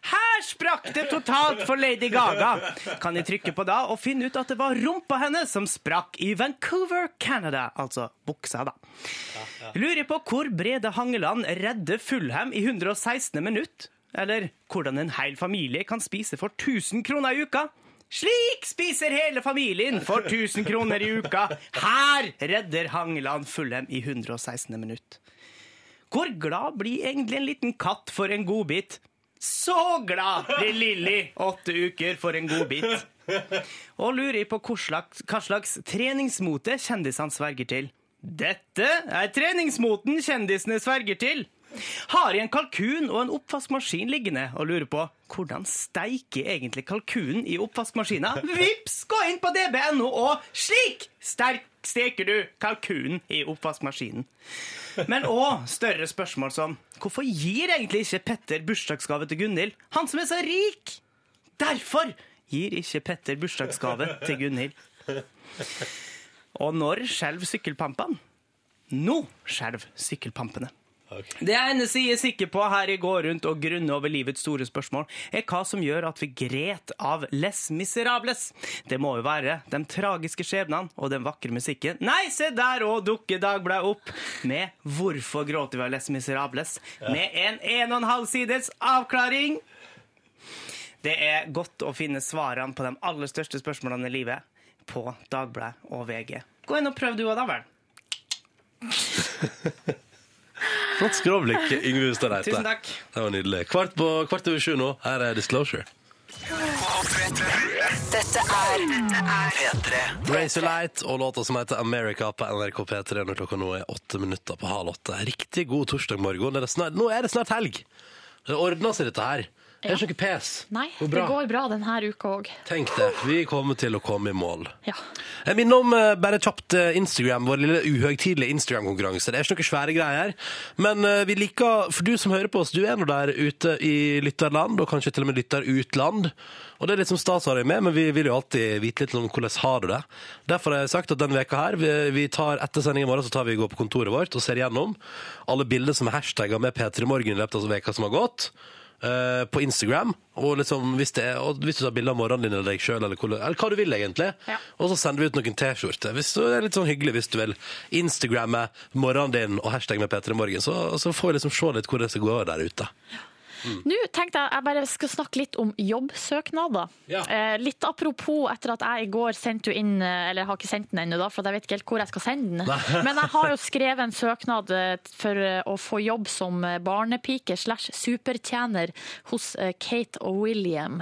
Speaker 3: Her sprakk det totalt for Lady Gaga! Kan de trykke på da og finne ut at det var rumpa hennes som sprakk i Vancouver, Canada. Altså buksa, da. Lurer på hvor Brede Hangeland redder Fulham i 116. minutt? Eller hvordan en hel familie kan spise for 1000 kroner i uka? Slik spiser hele familien for 1000 kroner i uka! Her redder Hangeland Fulham i 116. minutt. Hvor glad blir egentlig en liten katt for en godbit? Så glad blir Lilly åtte uker for en godbit. Og lurer på hvor slags, hva slags treningsmote kjendisene sverger til. Dette er treningsmoten kjendisene sverger til. Har i en kalkun og en oppvaskmaskin liggende og lurer på hvordan steiker egentlig kalkunen i oppvaskmaskina? Vips, gå inn på db.no og slik sterk steker du kalkunen i oppvaskmaskinen. Men òg større spørsmål som hvorfor gir egentlig ikke Petter bursdagsgave til Gunhild, han som er så rik? Derfor gir ikke Petter bursdagsgave til Gunhild. Og når skjelver sykkelpampene? Nå skjelver sykkelpampene. Det eneste jeg er sikker på her jeg går rundt og grunner over livets store spørsmål, er hva som gjør at vi gret av Les Miserables. Det må jo være de tragiske skjebnene og den vakre musikken. Nei, se der òg dukker Dagbladet opp med 'Hvorfor gråter vi av Les Miserables?' med en en og en halv sides avklaring. Det er godt å finne svarene på de aller største spørsmålene i livet på Dagbladet og VG. Gå inn og prøv du òg, da vel.
Speaker 2: Flott skråblikk, Yngve Hustad Reite.
Speaker 3: Tusen takk.
Speaker 2: Det var nydelig. Kvart, på, kvart over sju nå. Her er Disclosure.
Speaker 8: Dette er
Speaker 9: P3
Speaker 2: Razorlight og låta som heter America på NRK P3 når klokka nå er åtte minutter på halv åtte. Riktig god torsdag morgen. Det er snart, nå er det snart helg. Det ordner seg, dette her. Det er ikke noe pes.
Speaker 4: Nei,
Speaker 2: Går
Speaker 4: det
Speaker 2: bra.
Speaker 4: går bra denne uka òg.
Speaker 2: Tenk det. Vi kommer til å komme i mål.
Speaker 4: Ja.
Speaker 2: Jeg minner om eh, bare kjapt eh, Instagram, vår lille uhøytidelige Instagram-konkurranse. Det er ikke noen svære greier, men eh, vi liker For du som hører på oss, du er nå der ute i lytterland, og kanskje til og med lytterutland. Og det er litt som stas å ha deg med, men vi vil jo alltid vite litt om hvordan har du det. Derfor har jeg sagt at denne veka her, vi, vi tar etter sending i morgen, så tar vi og går på kontoret vårt og ser gjennom alle bilder som er hashtagga med P3 Morgen i løpet av veka som har gått eh, på Instagram. Og liksom, hvis, det er, og hvis du tar bilde av morgenen din eller deg sjøl, eller, hvordan- eller hva du vil, egentlig.
Speaker 4: Ja.
Speaker 2: Og så sender vi ut noen T-skjorter. Hvis du- Det er litt sånn hyggelig hvis du vil Instagramme morgenen din og hashtag med P3 Morgen, så, så får vi liksom se litt hvordan det går der ute. Mm.
Speaker 4: Nå tenkte jeg jeg bare skal snakke litt om jobbsøknader.
Speaker 2: Ja.
Speaker 4: Eh, litt apropos etter at jeg i går sendte jo inn, eh, eller jeg har ikke sendt den ennå, da, for jeg vet ikke helt hvor jeg skal sende den. Men jeg har jo skrevet en søknad eh, for eh, å få jobb som eh, barnepike slash supertjener hos eh, Kate og William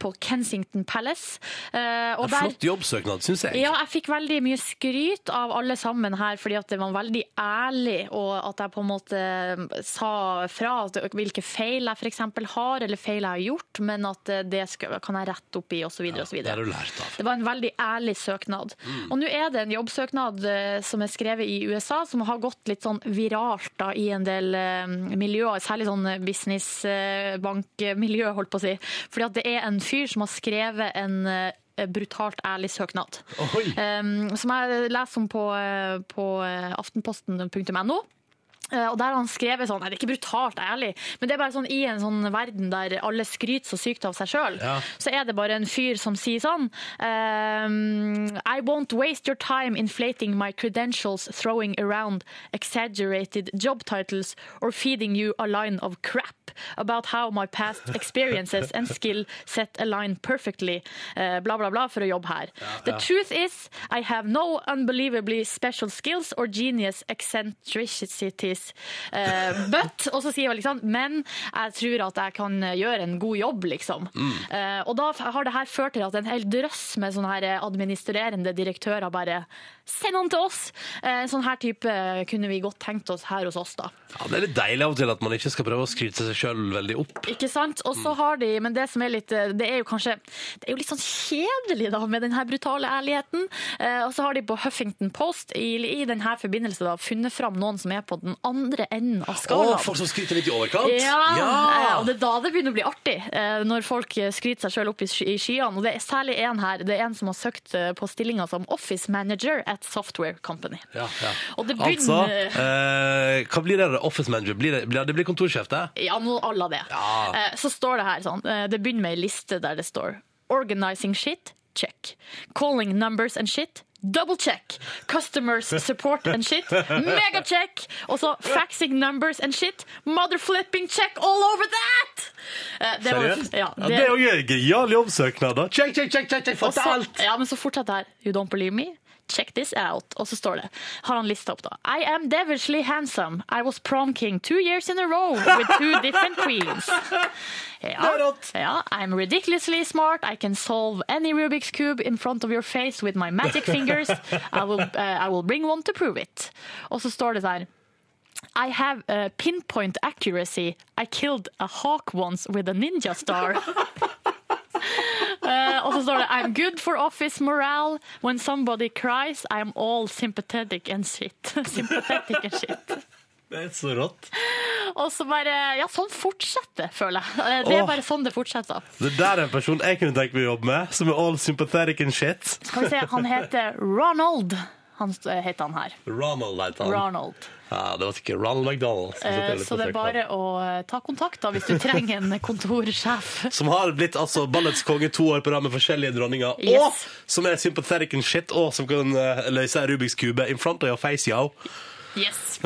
Speaker 4: på Kensington Palace. Eh, og
Speaker 2: En
Speaker 4: der-
Speaker 2: Mm. flott jobbsøknad, syns jeg.
Speaker 4: Ja, jeg fikk veldig mye skryt av alle sammen her, fordi at det var veldig ærlig, og at jeg på en måte eh, sa fra at hvilke feil jeg f.eks. har, eller feil jeg har gjort, men at eh, det skal, kan jeg rette opp i, osv.
Speaker 2: det har du lært av. Mm.
Speaker 4: Det var en veldig ærlig søknad. Og nå er det en jobbsøknad eh, som er skrevet i USA, som har gått litt sånn viralt da, i en del eh, miljøer, særlig sånn businessbankmiljø, holdt på å si. Fordi at det er en fyr som har skrevet en eh, brutalt ærlig søknad.
Speaker 2: Oi.
Speaker 4: Um, som jeg leser om på, eh, på eh, aftenposten.no. Eh, Og der har han skrevet sånn, nei det er ikke brutalt ærlig, men det er bare sånn i en sånn verden der alle skryter så sykt av seg sjøl,
Speaker 2: Ja.
Speaker 4: så er det bare en fyr som sier sånn ehm, I won't waste your time inflating my credentials, throwing around exaggerated job titles or feeding you a line of crap about how my past experiences and skill set align perfectly, eh, bla bla bla, for å jobbe her. The truth is I have no unbelievably special skills or genius eccentricities. Eh, but, og så sier jeg liksom, men jeg tror at jeg kan gjøre en god jobb, liksom.
Speaker 10: Mm.
Speaker 4: Eh, og da har det her ført til at en hel drøss med sånne her eh, administrerende direktører bare send han til oss! Eh, sånn her type kunne vi godt tenkt oss her hos oss, da.
Speaker 2: Ja, det er litt deilig av og til at man ikke skal prøve å skryte seg sjøl veldig opp.
Speaker 4: Ikke sant? Og
Speaker 2: Mm.
Speaker 4: så har de, men det som er litt eh, Det er jo kanskje Det er jo litt sånn kjedelig, da, med den her brutale ærligheten. Eh, og så har de på Huffington Post i, i den her forbindelse da funnet fram noen som er på den andre enden av
Speaker 2: Å,
Speaker 4: skalaen.
Speaker 2: folk som skryter litt i overkant!
Speaker 4: Ja, eh, og det er da det begynner å bli artig, eh, når folk eh, skryter seg sjøl opp i sky- i skyene. Og det er særlig en her, det er en som har søkt eh, på stillinga som office manager at software company.
Speaker 2: Ja, ja.
Speaker 4: Og det
Speaker 2: Altså,
Speaker 4: begynner
Speaker 2: eh, hva blir det? da? Office manager? Blir det, blir det blir kontorsjef, det?
Speaker 4: Ja, noe à la det.
Speaker 2: Ja.
Speaker 4: Eh, Så står det her sånn, eh, det begynner med ei liste der det står Organizing shit, check. Calling numbers and shit, double check. Customers support and shit, mega check. Og så faxing numbers and shit, motherflipping check all over that! Eh, Det var, Ja, det,
Speaker 2: er jo en genial jobbsøknad, da. Check, check, check, check, check,
Speaker 4: og så-
Speaker 2: fortalt!
Speaker 4: Ja, men så fortsetter det her. You don't believe me? Check this out. Og så står det, har han lista opp da. I am devilishly handsome. I was prom king two years in a row with two different queens. Ja. ja. I'm ridiculously smart. I can solve any Rubik's cube in front of your face with my magic fingers. I will, eh, I will bring one to prove it. Og så står det der. I have eh, pinpoint accuracy. I killed a hawk once with a ninja star. Eh, og så står det I'm good for office morale. When somebody cries, I'm all sympathetic and shit. sympathetic and shit.
Speaker 2: Det er så rått.
Speaker 4: Og så bare Ja, sånn fortsetter, føler jeg. Eh, Det
Speaker 2: Åh.
Speaker 4: er bare sånn det fortsetter.
Speaker 2: Det der er en person jeg kunne tenke meg å jobbe med, som er all sympathetic and shit.
Speaker 4: Skal vi se, han heter Ronald. Han st- heter han her.
Speaker 2: Ronald heter han.
Speaker 4: Ronald.
Speaker 2: Ja, det var ikke Ronald McDonald. som
Speaker 4: Eh,
Speaker 2: sitter litt
Speaker 4: Så
Speaker 2: på
Speaker 4: det er bare
Speaker 2: søknaden.
Speaker 4: å eh, ta kontakt da, hvis du trenger en kontorsjef.
Speaker 2: Som har blitt altså ballets konge to år på rad med forskjellige dronninger, og
Speaker 4: Yes.
Speaker 2: som er sympathetic and shit, og som kan eh, løse en Rubiks kube in front of your face, yo.
Speaker 4: Yes.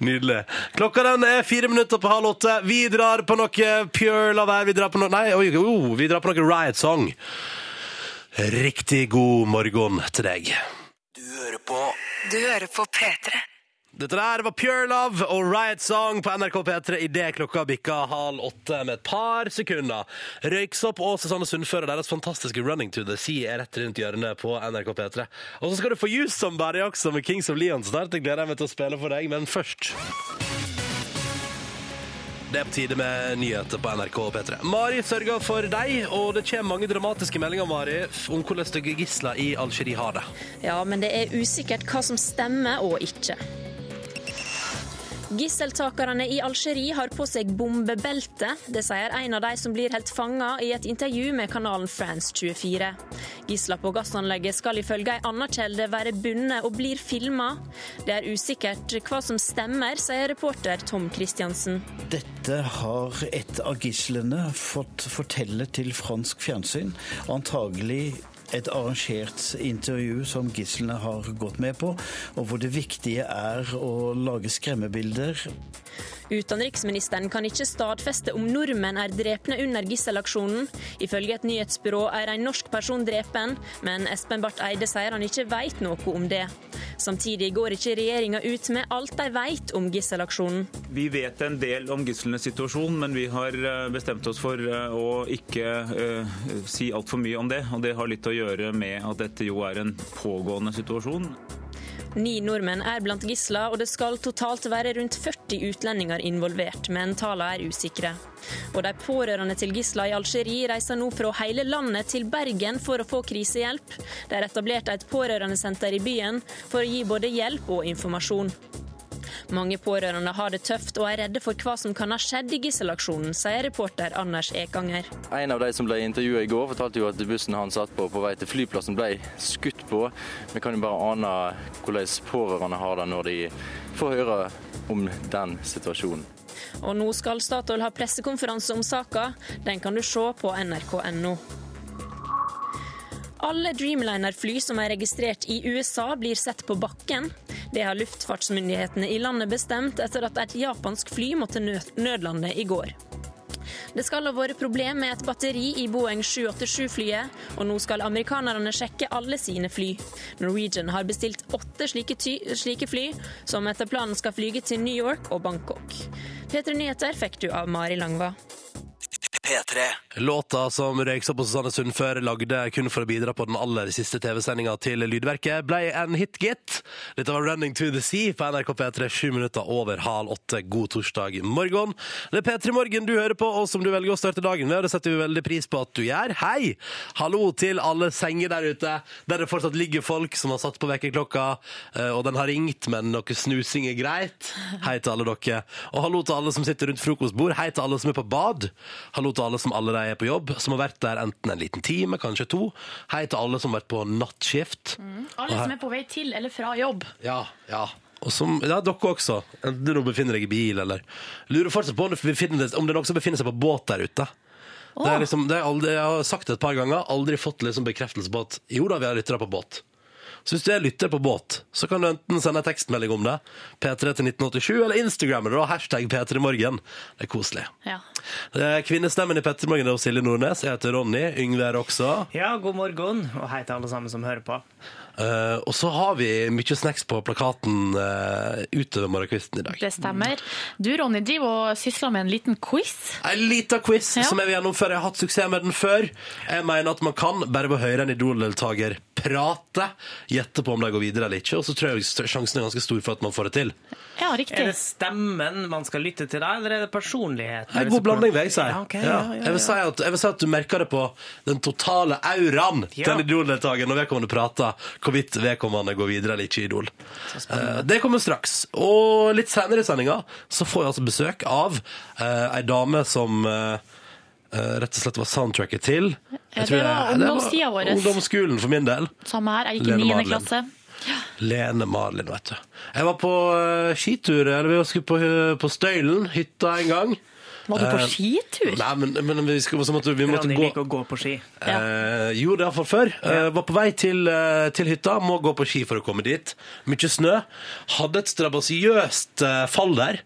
Speaker 2: Nydelig. Klokka den er fire minutter på halv åtte. Vi drar på noe Pure La Være. Vi drar på noe Nei, oi, oh, vi drar på noe Riot Song. Riktig god morgen til deg.
Speaker 6: Du hører på
Speaker 1: Du hører på P3.
Speaker 2: Dette der var Pure Love og Riot Song på NRK P3 idet klokka bikka halv åtte med et par sekunder. Røyksopp og Susanne Sundfør og deres fantastiske Running to the Sea er rett rundt hjørnet på NRK P3. Og så skal du få Use Somebody også med Kings of Leon snart. Jeg gleder meg til å spille for deg, men først det er på tide med nyheter på NRK P3. Mari sørger for deg, og det kommer mange dramatiske meldinger Mari, om hvordan stygge gisler i Algerie har det.
Speaker 7: Ja, men det er usikkert hva som stemmer og ikke. Gisseltakerne i Algerie har på seg bombebelte. Det sier en av de som blir holdt fanga i et intervju med kanalen France 24. Gisla på gassanlegget skal ifølge en annen kjelde være bundet og blir filma. Det er usikkert hva som stemmer, sier reporter Tom Christiansen.
Speaker 11: Dette har et av gislene fått fortelle til fransk fjernsyn. Antagelig et arrangert intervju som gislene har gått med på, og hvor det viktige er å lage skremmebilder.
Speaker 7: Utenriksministeren kan ikke stadfeste om nordmenn er drepne under gisselaksjonen. Ifølge et nyhetsbyrå er en norsk person drepen, men Espen Barth Eide sier han ikke vet noe om det. Samtidig går ikke regjeringa ut med alt de vet om gisselaksjonen.
Speaker 12: Vi vet en del om gislenes situasjon, men vi har eh, bestemt oss for eh, å ikke eh, si altfor mye om det. Og det har litt å gjøre med at dette jo er en pågående situasjon.
Speaker 7: Ni nordmenn er blant gisler, og det skal totalt være rundt 40 utlendinger involvert, men tallene er usikre. Og de pårørende til gisler i Algerie reiser nå fra hele landet til Bergen for å få krisehjelp. Det er etablert et pårørendesenter i byen for å gi både hjelp og informasjon. Mange pårørende har det tøft og er redde for hva som kan ha skjedd i gisselaksjonen, sier reporter Anders Ekanger.
Speaker 13: En av de som ble intervjua i går, fortalte jo at bussen han satt på på vei til flyplassen ble skutt på. Vi kan jo bare ane hvordan pårørende har det når de får høre om den situasjonen.
Speaker 7: Og nå skal Statoil ha pressekonferanse om saka. Den kan du se på nrk.no. Alle Dreamliner-fly som er registrert i USA, blir sett på bakken. Det har luftfartsmyndighetene i landet bestemt etter at et japansk fly måtte nød- nødlande i går. Det skal ha vært problem med et batteri i Boeing 787-flyet, og nå skal amerikanerne sjekke alle sine fly. Norwegian har bestilt åtte slike, ty slike fly, som etter planen skal flyge til New York og Bangkok. P3 Nyheter fikk du av Mari Langva.
Speaker 6: P3.
Speaker 2: Låta som Røyksopp og Susanne Sundfør lagde kun for å bidra på den aller siste TV-sendinga til Lydverket, ble en hit, gitt. Dette var 'Running to the Sea' på NRK P3, sju minutter over halv åtte. God torsdag morgen. Det er P3 Morgen du hører på, og som du velger å starte dagen med, og det setter vi veldig pris på at du gjør. Hei! Hallo til alle senger der ute, der det fortsatt ligger folk som har satt på vekkerklokka, eh, og den har ringt, men noe snusing er greit. Hei til alle dere. Og hallo til alle som sitter rundt frokostbord. Hei til alle som er på bad. Hallo til alle som allerede er på jobb, som har vært der enten en liten time, kanskje to. Hei til alle som har vært på nattskift.
Speaker 4: Mm. Alle som er på vei til eller fra jobb.
Speaker 2: Ja, ja. Og som, ja, dere også. Enten du nå befinner deg i bil, eller Lurer fortsatt på om det, befinner, om det er noen som befinner seg på båt der ute. Det er liksom, det er aldri, jeg har sagt det et par ganger, aldri fått liksom bekreftelse på at jo da, vi har lyttere på båt. Så hvis du er lytter på båt, så kan du enten sende en tekstmelding om det, P3 til 1987, eller Instagram, eller da, hashtag P3morgen. Det er koselig.
Speaker 4: Ja.
Speaker 2: Eh, Kvinnestemmen i P3 Morgen er hos Silje Nordnes. Jeg heter Ronny. Yngve er også.
Speaker 5: Ja, god morgen, og hei til alle sammen som hører på.
Speaker 2: Eh, og så har vi mye snacks på plakaten eh, utover morgenkvisten i dag.
Speaker 4: Det stemmer. Du, Ronny, driver og sysler med en liten quiz.
Speaker 2: En liten quiz
Speaker 4: Ja.
Speaker 2: som jeg vil gjennomføre. Jeg har hatt suksess med den før. Jeg mener at man kan, bare ved å høre en Idol-deltaker prate, gjette på om de går videre eller ikke, og så tror jeg st- sjansen er ganske stor for at man får det til.
Speaker 4: Ja,
Speaker 5: Er
Speaker 4: riktig.
Speaker 5: det stemmen man skal lytte til, da, eller er det personligheten?
Speaker 2: En god blanding, vil jeg si.
Speaker 5: Ja, ok, ja,
Speaker 2: Ja.
Speaker 5: ja, ja.
Speaker 2: Jeg, vil si at, jeg vil si at du merker det på den totale auraen til
Speaker 5: Ja.
Speaker 2: en Idol-deltaker når vedkommende prater, hvorvidt vedkommende går videre eller ikke i Idol. Eh, det kommer straks. Og litt senere i sendinga så får jeg altså besøk av eh, ei dame som eh, eh, rett og slett var soundtracket til
Speaker 4: Ja, det
Speaker 2: jeg tror
Speaker 4: var
Speaker 2: jeg-
Speaker 4: ungdomstida vår.
Speaker 2: Ungdomsskolen for min del.
Speaker 4: Samme her. Jeg gikk i
Speaker 2: Lene
Speaker 4: niende
Speaker 2: Marlin.
Speaker 4: klasse.
Speaker 2: Lene Marlin, vet du. Jeg var på eh, skitur, eller vi skulle på, eh, på Støylen, hytta en gang.
Speaker 4: Var du
Speaker 2: Eh,
Speaker 4: på skitur?
Speaker 2: Nei, men, men vi, skulle, så måtte, vi måtte
Speaker 5: Ronny
Speaker 2: gå
Speaker 5: liker å gå på ski.
Speaker 4: Ja.
Speaker 2: Eh, jo, det har fått før. Eh, var på vei til, eh, til hytta, må gå på ski for å komme dit. Mykje snø. Hadde et strabasiøst eh, fall der.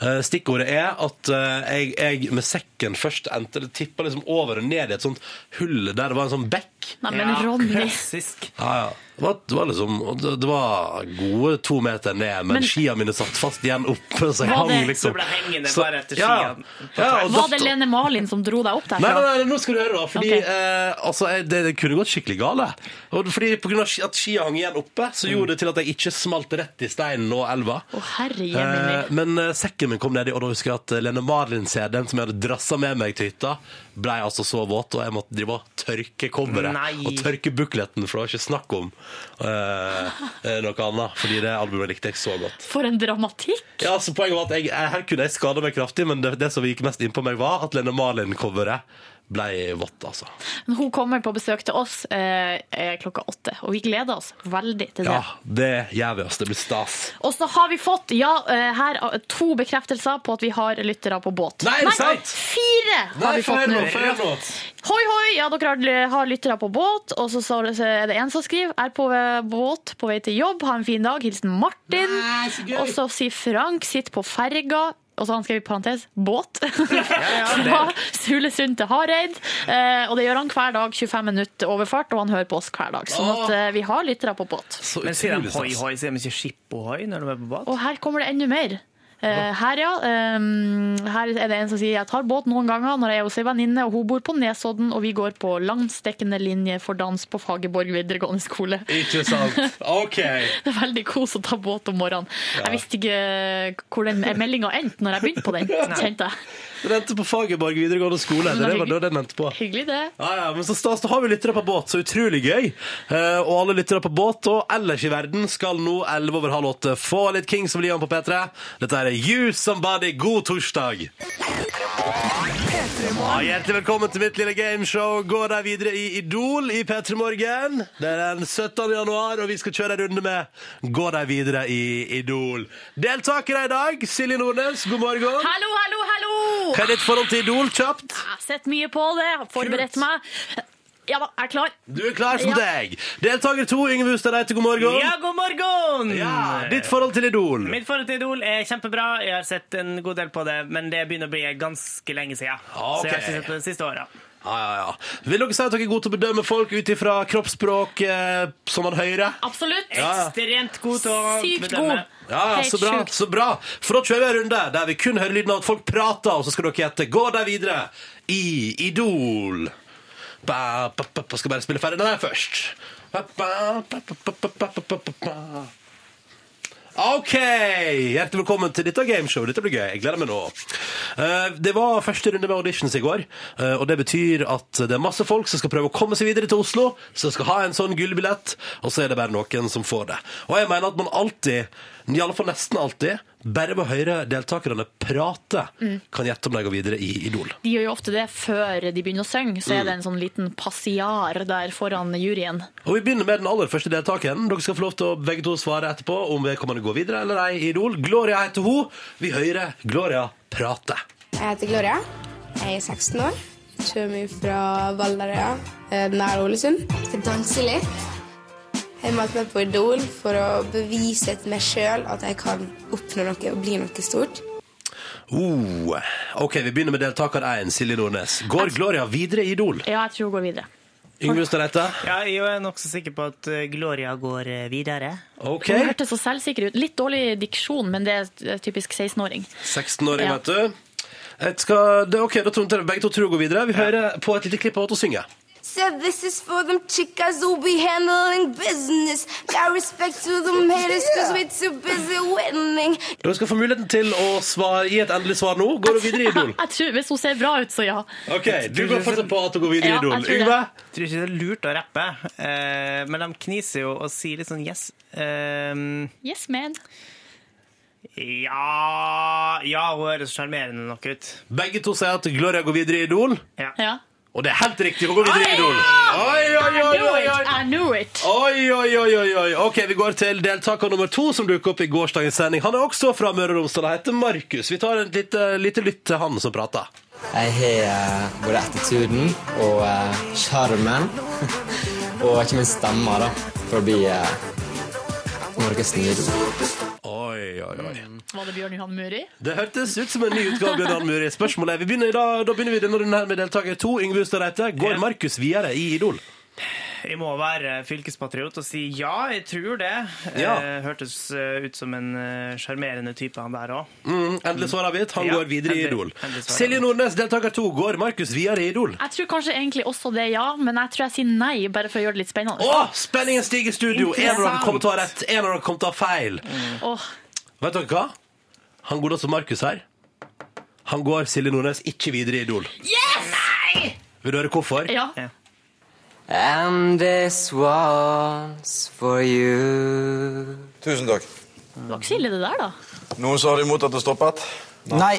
Speaker 2: Eh, stikkordet er at eh, jeg, jeg med sekken først endte det tippa liksom over og ned i et sånt hull der det var en sånn bekk.
Speaker 4: Nei, men
Speaker 5: Ja,
Speaker 4: Ronny.
Speaker 5: Klassisk.
Speaker 2: Ja, ja. Det var, det var liksom og det, det var gode to meter ned, men,
Speaker 4: Men-
Speaker 2: skia mine satt fast igjen oppe, så jeg
Speaker 4: Var det-
Speaker 2: hang liksom
Speaker 5: Så ble hengende
Speaker 2: Så-
Speaker 5: bare etter
Speaker 2: ja.
Speaker 5: skiene.
Speaker 2: Ja, og
Speaker 4: Var det
Speaker 2: datt-
Speaker 4: Lene Malin som dro deg opp
Speaker 2: Nei, nei,
Speaker 4: derfra?
Speaker 2: nei, nå skal du høre, da. Fordi
Speaker 4: Ok.
Speaker 2: eh, altså, jeg- det, det kunne gått skikkelig gale. Og fordi på grunn av ski- at skia hang igjen oppe,
Speaker 5: Mm.
Speaker 2: så gjorde det til at jeg ikke smalt rett i steinen og elva.
Speaker 4: Å, herre
Speaker 2: Eh,
Speaker 4: jemini.
Speaker 2: men eh, sekken min kom nedi, og da husker jeg at eh, Lene Marlin-CD-en som jeg hadde drassa med meg til hytta, blei altså så våt, og jeg måtte drive og tørke coveret
Speaker 5: Nei.
Speaker 2: og tørke bukletten, for det var ikke snakk om eh, eh, noe annet. Fordi det albumet likte jeg så godt.
Speaker 4: For en dramatikk!
Speaker 2: Ja, så Poenget var at jeg, jeg, her kunne jeg skada meg kraftig, men det, det som gikk mest inn på meg, var at Lene Marlin-coveret ble vått, altså.
Speaker 4: Men Hun kommer på besøk til oss eh, eh, klokka åtte, og vi gleder oss veldig til det.
Speaker 2: Ja, det gjør vi oss. Det blir stas.
Speaker 4: Og så har vi fått ja, eh, her eh, to bekreftelser på at vi har lyttere på båt.
Speaker 2: Nei, er det sant?
Speaker 4: fire har vi fått nå. Hoi, hoi, ja, dere har, eh, har lyttere på båt, og så, står det- så er det en som skriver er på eh, båt på vei til jobb, ha en fin dag, hilsen Martin. og så sier Frank, sitt på ferga. Og så har han skrevet i parentes båt fra Sulesund til Hareid. Eh, og det gjør han hver dag, 25 minutter overfart, og han hører på oss hver dag. Sånn at eh, vi har lyttere på båt.
Speaker 2: Så
Speaker 5: Men sier de hoi
Speaker 2: utrolig stas.
Speaker 5: hoi, sier de ikke skippohoi når de er på båt?
Speaker 4: Og her kommer det enda mer. Eh, her, ja. ehm, her er det en som sier jeg tar båt noen ganger når jeg er hos ei venninne, og hun bor på Nesodden, og vi går på langstekkende linje for dans på Fagerborg videregående skole.
Speaker 2: Ikke sant? OK.
Speaker 4: Det er veldig kos å ta båt om morgenen. Jeg visste ikke hvor den meldinga endte når jeg begynte på den, kjente jeg.
Speaker 2: Rente på Fagerborg videregående skole. Det,
Speaker 4: Men det er
Speaker 2: var det den endte på.
Speaker 4: Hyggelig, det.
Speaker 2: Ja, ja, men så stas, da har vi lyttere på båt, så utrolig gøy. Eh, og alle lyttere på båt og ellers i verden skal nå 11 over halv åtte få litt Kings of Leon på P3. Dette er You Somebody. God torsdag! Ja, hjertelig velkommen til mitt lille gameshow. Går der videre i Idol i P3 Morgen. Det er den 17. januar, og vi skal kjøre en runde med Gå der videre i Idol. Deltakere i dag, Silje Nordnes, god morgen.
Speaker 4: Hallo, hallo, hallo!
Speaker 2: Hva er ditt forhold til Idol, kjapt?
Speaker 4: Jeg har sett mye på det, jeg har forberedt meg. Ja da, jeg er klar.
Speaker 2: Du er klar som
Speaker 4: Ja.
Speaker 2: deg. Deltaker to, Yngve Hustad Reite, god morgen.
Speaker 5: Ja, god morgen!
Speaker 2: Ja, ditt forhold til Idol.
Speaker 5: Mitt forhold til Idol er kjempebra. Jeg har sett en god del på det, men det begynner å bli ganske lenge siden. Så jeg har ikke
Speaker 2: Ok.
Speaker 5: sett på det siste året.
Speaker 2: Ja, ja, ja. Vil dere si at dere er gode til å bedømme folk ut ifra kroppsspråk eh, som man hører?
Speaker 4: Absolutt.
Speaker 2: Ja.
Speaker 5: Ekstremt god til å
Speaker 4: Sykt
Speaker 5: bedømme.
Speaker 4: god.
Speaker 2: Ja, ja,
Speaker 4: Helt
Speaker 2: så bra,
Speaker 4: sjukt.
Speaker 2: så bra. For da kjører vi en runde der vi kun hører lyden av at folk prater, og så skal dere gjette. Gå der videre i Idol. Ba, ba, ba, ba, skal bare spille ferdig den her først. Ba, ba, ba, ba, ba, ba, ba, ba, ba, ba. OK! Hjertelig velkommen til dette gameshow. Dette blir gøy. Jeg gleder meg nå. Eh, Det var første runde med auditions i går, eh, og det betyr at det er masse folk som skal prøve å komme seg videre til Oslo, som skal ha en sånn gullbillett, og så er det bare noen som får det. Og jeg mener at man alltid, i alle fall nesten alltid, bare ved å høre deltakerne prate, kan gjette om de går videre i Idol.
Speaker 4: De gjør jo ofte det før de begynner å synge.
Speaker 2: Mm.
Speaker 4: Så er det en sånn liten passiar der foran juryen.
Speaker 2: Og Vi begynner med den aller første deltakeren. Dere skal få lov til å begge to svare etterpå om vedkommende går videre eller ei i Idol. Gloria heter hun. Vi hører Gloria prate.
Speaker 14: Jeg heter Gloria. Jeg er 16 år. Kommer fra Valderøya, eh, nær Ålesund. Skal danse litt. Jeg meldte meg på Idol for å bevise til meg sjøl at jeg kan oppnå noe og bli noe stort.
Speaker 2: Oh. OK, vi begynner med deltaker 1, Silje Nordnes. Går Gloria videre i Idol?
Speaker 4: Ja, jeg tror hun går videre.
Speaker 2: Yngve Ustadreite?
Speaker 5: Ja, jeg er nokså sikker på at eh, Gloria går eh, videre.
Speaker 2: OK.
Speaker 4: Hun hørtes så selvsikker ut. Litt dårlig diksjon, men det er typisk 16-åring.
Speaker 2: 16-åring,
Speaker 4: Ja.
Speaker 2: vet du. Jeg Skal, det, er ok, da tror jeg begge to tror hun går videre. Vi hører på et lite klipp av henne synge.
Speaker 14: So this is for them chicas who be handling business. Got respect to them haters cause we're too busy winning.
Speaker 2: Dere skal få muligheten til å svare, gi et endelig svar nå. Går hun videre i Idol?
Speaker 4: Jeg tror, Hvis hun ser bra ut, så ja.
Speaker 2: OK, du går fortsatt på at hun går videre i
Speaker 4: Ja,
Speaker 2: Idol.
Speaker 4: jeg tror det.
Speaker 2: Yngve?
Speaker 5: Jeg tror ikke det er lurt å rappe, eh, men de kniser jo og sier litt sånn yes. eh,
Speaker 4: Yes, man.
Speaker 5: Ja Ja, hun høres sjarmerende nok ut.
Speaker 2: Begge to sier at Gloria går videre i Idol.
Speaker 4: Ja.
Speaker 2: Og det er helt riktig, hun går videre i Idol. Oi,
Speaker 4: I
Speaker 2: oi, oi,
Speaker 4: knew
Speaker 2: oi,
Speaker 4: it!
Speaker 2: oi.
Speaker 4: I knew it!
Speaker 2: Oi, oi, oi, oi, oi. Ok, vi går til deltaker nummer to som dukket opp i gårsdagens sending. Han er også fra Møre og Romsdal. Han heter Markus. Vi tar en lite, lite lytt til han som prater.
Speaker 8: Jeg har eh, både attituden og eh, sjarmen og ikke minst stemma da, for å bli eh, Norges nye idol.
Speaker 2: Oi, oi, oi.
Speaker 4: Var det Bjørn Johan Muri?
Speaker 2: Det hørtes ut som en ny utgave av Bjørn Arne Muri. Spørsmålet er, vi begynner i dag, da begynner vi denne runden her med deltaker to, Yngve Ustad Reite. Går Markus videre i Idol?
Speaker 5: Jeg må være fylkespatriot og si ja, jeg tror det.
Speaker 2: Ja.
Speaker 5: Eh, Hørtes eh, ut som en eh, sjarmerende type, han der òg.
Speaker 2: Mm, endelig svar avgitt. Han
Speaker 5: Ja,
Speaker 2: går videre i
Speaker 5: endelig-
Speaker 2: Idol.
Speaker 5: endelig svar
Speaker 2: Silje Nordnes, deltaker to. Går Markus videre i Idol?
Speaker 4: Jeg tror kanskje egentlig også det, ja. Men jeg tror jeg sier nei, bare for å gjøre det litt spennende.
Speaker 2: Å, spenningen stiger i studio! En av dere kommer til å ha rett, en av dere kommer til å ha feil.
Speaker 5: Mm.
Speaker 4: Åh,
Speaker 2: Vet dere hva? Han går da som Markus her. Han går Silje Nordnes ikke videre i Idol. Vil du høre hvorfor?
Speaker 4: Ja.
Speaker 8: And this one's for you.
Speaker 15: Tusen takk.
Speaker 4: Det var ikke så ille, det der, da.
Speaker 15: Noen som har imot at det stoppet?
Speaker 8: Nei.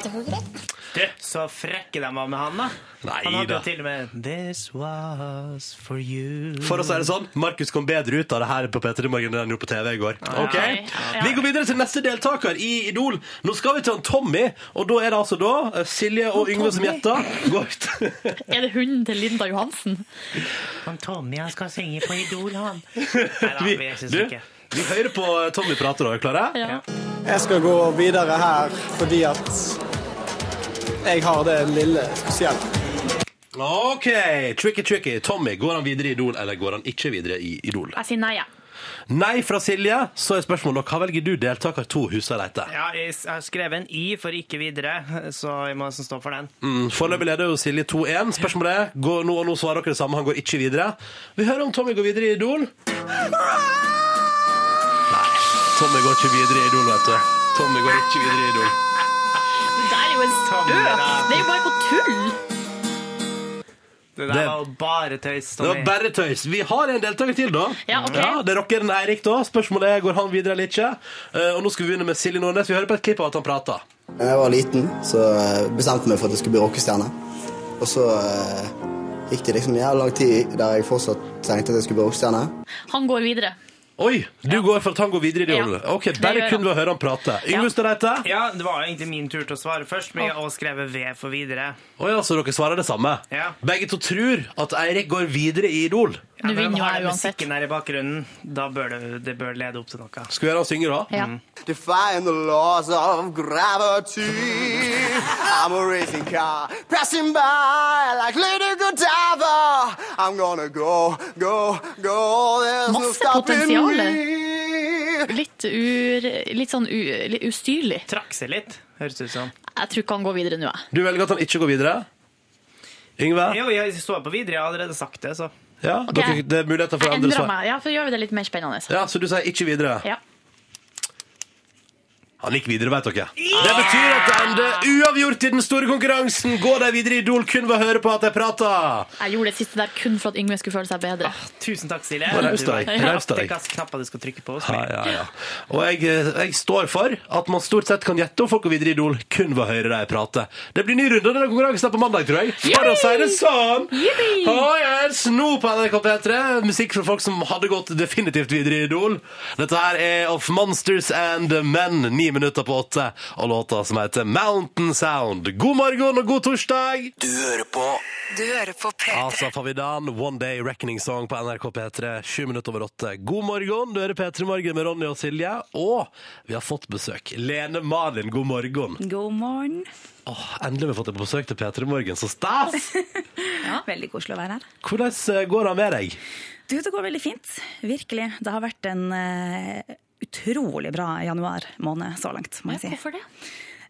Speaker 5: Du, så frekke de var med han, da.
Speaker 2: Nei
Speaker 5: han hadde
Speaker 2: da.
Speaker 5: jo til og med This was for you.
Speaker 2: For å si det sånn, Markus kom bedre ut av det her på P3 Morgen enn han gjorde på TV i går. Ok?
Speaker 4: Nei, ja.
Speaker 2: Vi går videre til neste deltaker i Idol. Nå skal vi til han Tommy, og da er det altså da eh, Silje og Yngve som gjetter. Går til-
Speaker 4: Er det hunden til Linda Johansen?
Speaker 5: Han Tommy han skal synge på Idol, han. Nei da,
Speaker 2: Vi-
Speaker 5: vi er ikke
Speaker 2: du?
Speaker 5: sikre.
Speaker 2: Vi hører på eh, Tommy prate, da. Er dere klare?
Speaker 4: Ja.
Speaker 16: Jeg skal gå videre her fordi at jeg har det lille spesielle.
Speaker 2: OK. Tricky, tricky. Tommy, går han videre i Idol, eller går han ikke videre i Idol?
Speaker 4: Jeg sier nei, jeg.
Speaker 2: Nei fra Silje, så er spørsmålet hva velger du deltaker to Husareite?
Speaker 5: Ja, jeg s- jeg har skrevet en I for ikke videre, så jeg må nesten stå for den.
Speaker 2: Mm, Foreløpig leder jo Silje 2-1. Spørsmålet er går, nå, og nå svarer dere det samme, han går ikke videre. Vi hører om Tommy går videre i Idol. Nei, Tommy går ikke videre i Idol, vet du. Tommy går ikke videre i Idol.
Speaker 4: Det der er jo en spøk! Det er jo bare på tull!
Speaker 5: Det der
Speaker 2: Det-
Speaker 5: var jo bare tøys.
Speaker 2: Det var
Speaker 5: Tommy.
Speaker 2: bare tøys. Vi har en deltaker til, da.
Speaker 5: Ja, ok.
Speaker 2: det er rockeren Eirik, da. Spørsmålet er går han videre eller ikke. Eh, og nå skal vi begynne med Silje Nordnes. Vi hører på et klipp av at han prater.
Speaker 17: Da jeg var liten, så eh, bestemte jeg meg for at jeg skulle bli rockestjerne. Og så eh, gikk det liksom jævlig lang tid der jeg fortsatt tenkte at jeg skulle bli rockestjerne.
Speaker 4: Han går videre.
Speaker 2: Oi, du går for at han går videre i det
Speaker 4: Ja.
Speaker 2: ordet. Ok,
Speaker 4: Det gjør
Speaker 2: Bare
Speaker 4: han.
Speaker 2: kun ved å høre han prate. Yngve Stareite.
Speaker 5: Ja, det var jo egentlig min tur til å svare først, men jeg har også skrevet V for videre.
Speaker 2: Å ja, så altså, dere svarer det samme?
Speaker 5: Ja.
Speaker 2: Begge to tror at Eirik går videre i Idol.
Speaker 5: Ja, når de
Speaker 4: vinner jo
Speaker 5: har
Speaker 4: jeg
Speaker 5: den
Speaker 4: uansett.
Speaker 5: Musikken her i bakgrunnen, da bør det, det bør lede opp til noe.
Speaker 2: Skal vi gjøre han synge, da?
Speaker 3: Mm.
Speaker 18: Defying the laws of gravity. I'm a racing car passing by like Lady Godiva. I'm gonna go, go, go. There's no
Speaker 4: Masse
Speaker 18: stopping
Speaker 4: potensial.
Speaker 18: me.
Speaker 4: Litt, ur, litt sånn u, litt ustyrlig.
Speaker 5: Trakk seg litt, høres ut som.
Speaker 4: Jeg tror ikke han går videre nå, jeg.
Speaker 2: Du velger at han ikke går videre? Yngve?
Speaker 5: Jo, jeg står på videre, jeg har allerede sagt det, så.
Speaker 2: Ja,
Speaker 4: Ok.
Speaker 2: dere, det er muligheter for
Speaker 4: Jeg
Speaker 2: andre
Speaker 4: endrer
Speaker 2: svar.
Speaker 4: meg. Ja, for gjør vi det litt mer spennende.
Speaker 2: Ja, Så du sier ikke videre?
Speaker 4: Ja.
Speaker 2: Han gikk videre, vet dere. Det betyr at det ender uavgjort i den store konkurransen. Går de videre i Idol kun ved å høre på at de prater?
Speaker 4: Jeg gjorde det siste der kun for at Yngve skulle føle seg bedre.
Speaker 5: Ah, Tusen takk, Silje.
Speaker 2: Bare raus deg, raus deg.
Speaker 5: Hvilke knapper du skal trykke på.
Speaker 2: Ja, ja, ja. Og jeg, eh, jeg står for at man stort sett kan gjette om folk går videre i Idol kun ved å høre dem prate. Det blir ny runde av denne konkurransen på mandag, tror jeg. For å si det sånn! Og jeg er sno på NRK P3. Musikk fra folk som hadde gått definitivt videre i Idol. Dette her er Of Monsters and Men, ni minutter på åtte, og låta som heter Mountain Sound. God morgen og god torsdag!
Speaker 6: Du hører på
Speaker 1: Du hører på P3.
Speaker 2: Asa Favidan, One Day Reckoning Song på NRK P3, sju minutter over åtte. God morgen, du hører P3 Morgen med Ronny og Silje. Og vi har fått besøk. Lene Malin, god morgen.
Speaker 19: God morgen.
Speaker 2: Åh, endelig har vi fått deg på besøk til P3 Morgen, så stas!
Speaker 19: Veldig koselig å være her.
Speaker 2: Hvordan eh, går det med deg?
Speaker 19: Du, det går veldig fint. Virkelig. Det har vært en eh, utrolig bra januar måned så langt, må jeg si.
Speaker 4: Hvorfor det?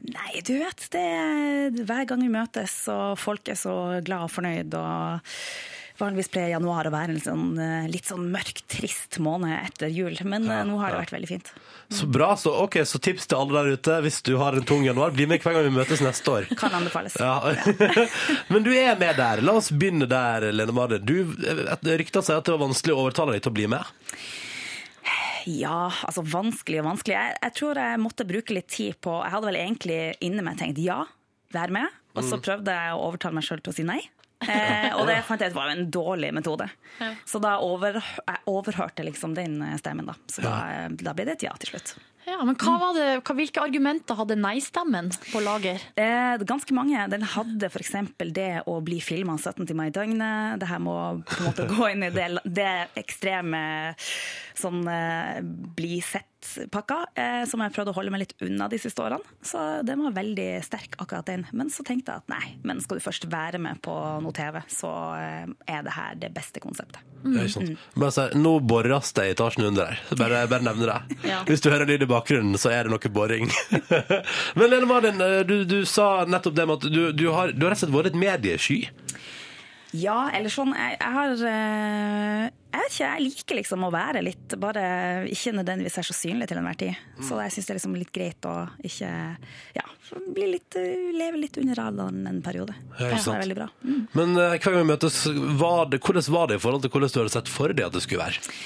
Speaker 19: Nei, du vet, det er- hver gang vi møtes og folk er så glad og fornøyd og Vanligvis pleier januar å være en sånn, eh, litt sånn mørk, trist måned etter jul, men eh, nå har det
Speaker 2: ja.
Speaker 19: vært veldig fint.
Speaker 2: Så bra, så ok, så tips til alle der ute hvis du har en tung januar. Bli med hver gang vi møtes neste år.
Speaker 19: Kan anbefales.
Speaker 2: Ja. Men du er med der. La oss begynne der, Lene Malin. Du, eh, Rykta sier at det var vanskelig å overtale deg til å bli med.
Speaker 19: Ja, altså vanskelig og vanskelig. Jeg, jeg tror jeg måtte bruke litt tid på Jeg hadde vel egentlig inni meg tenkt ja, vær med. Og så
Speaker 4: Mm.
Speaker 19: prøvde jeg å overtale meg sjøl til å si nei. Eh, og det fant jeg ut var jo en dårlig metode.
Speaker 4: Ja.
Speaker 19: Så da over, jeg overhørte liksom den eh, stemmen, da. Så da, eh, da ble det et ja til slutt.
Speaker 4: Ja, men hva var det, hva, hvilke argumenter hadde nei-stemmen på lager?
Speaker 19: Eh, ganske mange. Den hadde f.eks. det å bli filma 17 timer i døgnet. Det her må på en måte gå inn i det, det ekstreme sånn eh, bli sett-pakka, eh, som jeg prøvde å holde meg litt unna de siste årene. Så den var veldig sterk, akkurat den. Men så tenkte jeg at nei, men skal du først være med på noe TV, så eh, er det her det beste konseptet.
Speaker 2: Ja, ikke sant. Men altså, nå borres det i etasjen under her. Bare, bare nevner det.
Speaker 19: Ja.
Speaker 2: Hvis du hører lyd i bakgrunnen, så er det noe boring. Men Lene Malin, eh, du, du sa nettopp det med at du, du, har, du har rett og slett vært litt mediesky.
Speaker 19: Ja, eller sånn Jeg, jeg har eh, Jeg vet ikke, jeg liker liksom å være litt Bare ikke nødvendigvis er så synlig til enhver tid.
Speaker 2: Mm.
Speaker 19: Så jeg syns det er liksom litt greit å ikke Ja, bli litt, eh, leve litt under radaren en periode.
Speaker 2: Ja, ikke
Speaker 19: det
Speaker 2: sant.
Speaker 19: er veldig bra. Mm.
Speaker 2: Men eh, hver gang vi møtes, var det, hvordan var det i forhold til hvordan du hadde sett for deg at det skulle være?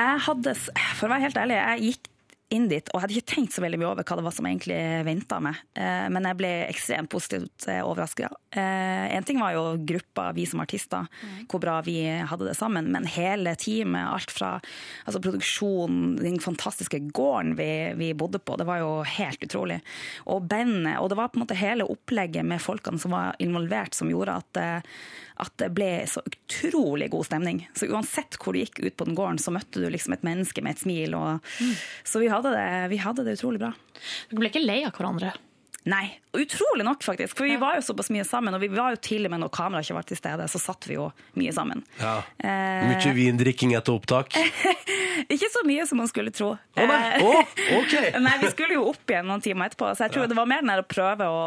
Speaker 19: Jeg hadde, s- for å være helt ærlig, jeg gikk inn dit, og jeg hadde ikke tenkt så veldig mye over hva det var som egentlig venta meg. Eh, Men jeg ble ekstremt positivt overraska. En ting var jo gruppa, vi som artister, hvor bra vi hadde det sammen. Men hele teamet, alt fra altså produksjonen, den fantastiske gården vi, vi bodde på, det var jo helt utrolig. Og bandet, og det var på en måte hele opplegget med folkene som var involvert, som gjorde at, eh, at det ble så utrolig god stemning. Så uansett hvor du gikk ut på den gården, så møtte du liksom et menneske med et smil. Og, Så vi hadde, det, vi hadde det utrolig bra.
Speaker 4: Dere ble ikke lei av hverandre?
Speaker 19: Nei. Utrolig nok, faktisk. For vi var jo såpass mye sammen. Og vi var jo til og med når kameraet ikke var til stede, så satt vi jo mye sammen.
Speaker 2: Ja.
Speaker 19: Eh,
Speaker 2: Mye vindrikking etter opptak.
Speaker 19: Ikke så mye som man skulle tro.
Speaker 2: nei.
Speaker 19: Eh,
Speaker 2: Å, ok.
Speaker 19: nei, vi skulle jo opp igjen noen timer etterpå, så jeg tror det var mer den der å prøve å,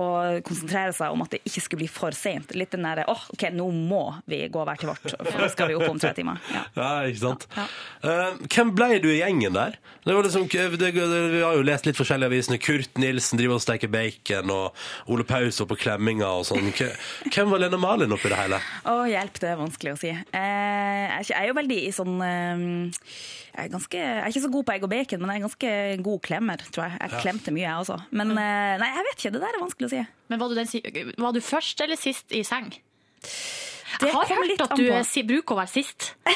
Speaker 19: å konsentrere seg om at det ikke skulle bli for sent. Litt den derre åh, ok, nå må vi gå hver til vårt, for nå skal vi opp om tre timer. Ja.
Speaker 2: ikke sant. Eh, hvem ble du i gjengen der? Det var liksom, det, det, vi har jo lest litt forskjellige avisene. Kurt Nilsen driver og steker bacon, og Ole Paus oppe på klemminga og sånn. Hve- Hvem var Lene Malin oppi det hele?
Speaker 19: Å, hjelp, det er vanskelig å si. Eh, jeg er ikke- jeg er jo veldig i sånn eh, jeg er, ganske, jeg er ikke så god på egg og bacon, men jeg er ganske god klemmer, tror jeg. Jeg
Speaker 4: Ja.
Speaker 19: klemte mye, jeg også. Men
Speaker 2: Mm.
Speaker 19: eh, nei, jeg vet ikke. Det der er vanskelig å si.
Speaker 4: Men var du, den, si- var du først eller sist i seng? Jeg har
Speaker 19: kommer litt
Speaker 4: hørt at
Speaker 19: an
Speaker 4: du
Speaker 19: på.
Speaker 4: eh, si- bruker å være sist.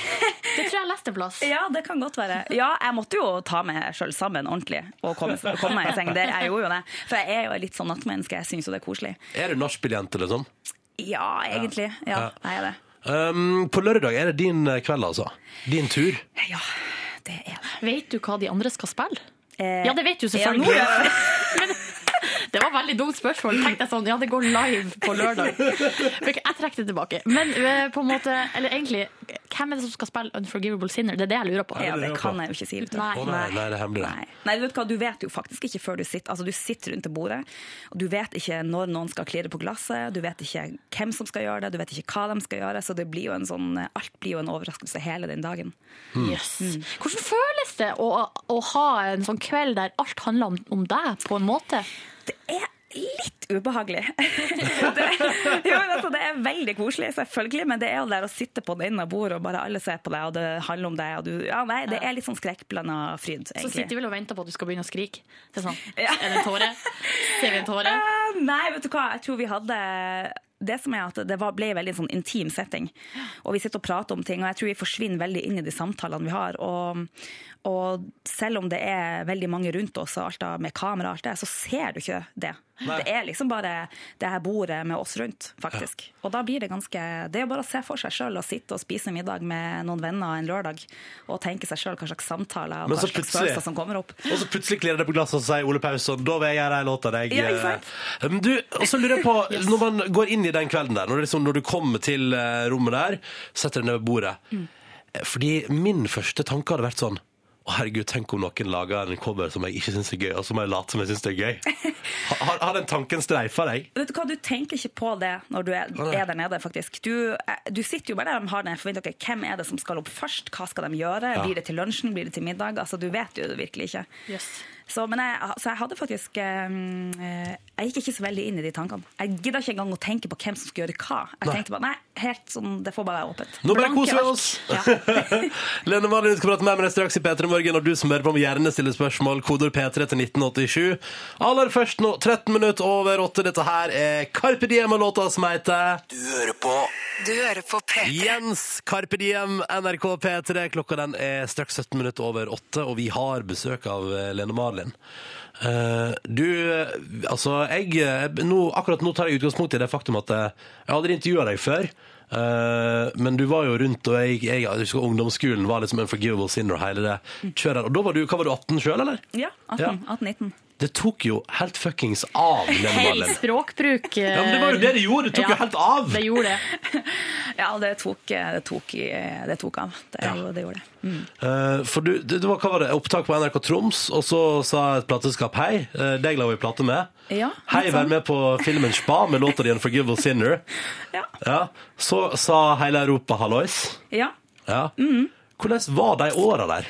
Speaker 4: Det tror jeg jeg leste en plass.
Speaker 19: Ja, det kan godt være. Ja, jeg måtte jo ta meg sjøl sammen ordentlig og komme, komme meg i seng. Det, jeg gjorde jo det. For jeg er jo litt sånn nattmenneske. Jeg syns jo det er koselig.
Speaker 2: Er du nachspiel-jente, liksom?
Speaker 19: Ja, egentlig. Ja,
Speaker 2: Ja.
Speaker 19: jeg er det.
Speaker 2: Um, på lørdag er det din eh, kveld, altså. Din tur.
Speaker 4: Vet du hva de andre skal spille? ja, det vet du
Speaker 19: Eh, ja, nå
Speaker 4: selvfølgelig.
Speaker 19: gjør jeg
Speaker 4: Men det var veldig dumt spørsmål. Tenkte jeg sånn, ja, det går live på lørdag. Men Jeg trekker det tilbake. Men eh, på en måte, eller egentlig, hvem er det som skal spille Unforgivable Sinner? Det er det jeg lurer på.
Speaker 19: Ja, det kan jeg jo ikke si. vet du.
Speaker 4: Nei.
Speaker 2: altså? Å nei, nei, det er hemmelig. det.
Speaker 19: Nei, du vet hva, du vet jo faktisk ikke før du sitter Altså, du sitter rundt det bordet, og du vet ikke når noen skal klirre på glasset, du vet ikke hvem som skal gjøre det, du vet ikke hva de skal gjøre, så det blir jo en sånn Alt blir jo en overraskelse hele den dagen. Hmm. Mm.
Speaker 4: Yes. Hvordan føles det å, å ha en sånn kveld der alt handler om, om deg, på en måte?
Speaker 19: Litt ubehagelig. det, jo, men altså, det er veldig koselig, selvfølgelig, men det er jo der å sitte på det ene bordet, og bare alle ser på deg, og det handler om deg, og du Ja, nei, det er litt sånn skrekkblanda fryd,
Speaker 4: Så
Speaker 19: egentlig.
Speaker 4: sitter vi vel og venter på at du skal begynne å skrike. Det er sånn, Er det en tåre? Ser vi en tåre?
Speaker 19: Eh, nei, vet du hva, jeg tror vi hadde det som er at det var, ble veldig en sånn intim setting. Og vi sitter og prater om ting, og jeg tror vi forsvinner veldig inn i de samtalene vi har. Og, og selv om det er veldig mange rundt oss, og alt da, med kamera og alt det, så ser du ikke det.
Speaker 4: Nei.
Speaker 19: Det er liksom bare det her bordet med oss rundt, faktisk. Og da blir det ganske Det er jo bare å se for seg sjøl og sitte og spise middag med noen venner en lørdag, og tenke seg sjøl hva slags samtaler og
Speaker 2: Men
Speaker 19: hva
Speaker 2: så
Speaker 19: slags
Speaker 2: plutselig-
Speaker 19: følelser som kommer opp.
Speaker 2: Og så plutselig klirrer det på glasset, og så sier Ole Pausson Da vil jeg gjøre ei låt av deg.
Speaker 19: Ja, ikke sant?
Speaker 2: Eh, men Du, og så lurer jeg på, når man går inn i den kvelden der, når, det liksom, når du kommer til eh, rommet der, setter deg ned ved bordet
Speaker 19: Mm.
Speaker 2: Eh, Fordi min første tanke hadde vært sånn å herregud, tenk om noen lager en cover som jeg ikke syns er gøy, og så må jeg late som jeg syns det er gøy. Har, har- har den tanken streifa deg?
Speaker 19: Vet du hva, du tenker ikke på det når du er,
Speaker 2: Nei.
Speaker 19: er der nede, faktisk. Du, eh, du sitter jo bare der de har den forventningen. ok, Hvem er det som skal opp først? Hva skal de gjøre?
Speaker 4: Ja.
Speaker 19: Blir det til lunsjen? Blir det til middag? Altså, du vet jo det virkelig ikke. Så, men jeg, så jeg hadde faktisk eh, eh, Jeg gikk ikke så veldig inn i de tankene. Jeg gidda ikke engang å tenke på hvem som skulle gjøre hva. Jeg
Speaker 2: Nei.
Speaker 19: tenkte bare, nei, helt sånn, det får bare være åpent.
Speaker 2: Nå bare
Speaker 19: Blanke
Speaker 2: koser vi
Speaker 19: ark.
Speaker 2: oss! Lene Marlin skal prate med meg straks i P3 Morgen, og du som hører på må gjerne stille spørsmål. Kodord P3 til 1987. Aller først nå, 13 minutter over 8. Dette her er Carpe Diem og låta som heter
Speaker 6: Du hører på
Speaker 10: Du hører på P3.
Speaker 2: Jens Carpe Diem, NRK P3. Klokka den er straks 17 minutter over 8, og vi har besøk av eh, Lene Marlin. Eh, du, eh, altså jeg eh, nå, Akkurat nå tar jeg utgangspunkt i det faktum at eh, jeg aldri intervjua deg før. eh, men du var jo rundt, og jeg, jeg, jeg husker ungdomsskolen var liksom unforgivable sinner og hele det kjøret. Og da var du, hva var du, 18 sjøl, eller?
Speaker 19: Ja, 18,
Speaker 2: Ja.
Speaker 19: 18-19.
Speaker 2: Det tok jo helt fuckings av, Lene
Speaker 4: Hei,
Speaker 2: Marlin.
Speaker 4: språkbruk. eh,
Speaker 2: Ja, men det var jo det det gjorde, det
Speaker 19: eh,
Speaker 2: tok jo helt av.
Speaker 4: Det gjorde det.
Speaker 19: Ja, det tok, eh, det tok, i- det tok av. Det, gjorde- det gjorde det. Mm.
Speaker 2: Eh, for du, det, det var, hva var det? Opptak på NRK Troms, og så sa et plateselskap hei. eh, deg la vi plate med.
Speaker 19: Ja,
Speaker 2: Hei,
Speaker 19: litt
Speaker 2: vær
Speaker 19: sånn.
Speaker 2: med på filmen Spa med låta di 'Unforgivable Sinner'.
Speaker 19: Ja.
Speaker 2: Så sa hele Europa hallois.
Speaker 19: Ja.
Speaker 2: Ja.
Speaker 19: Mhm.
Speaker 2: Hvordan var de åra der?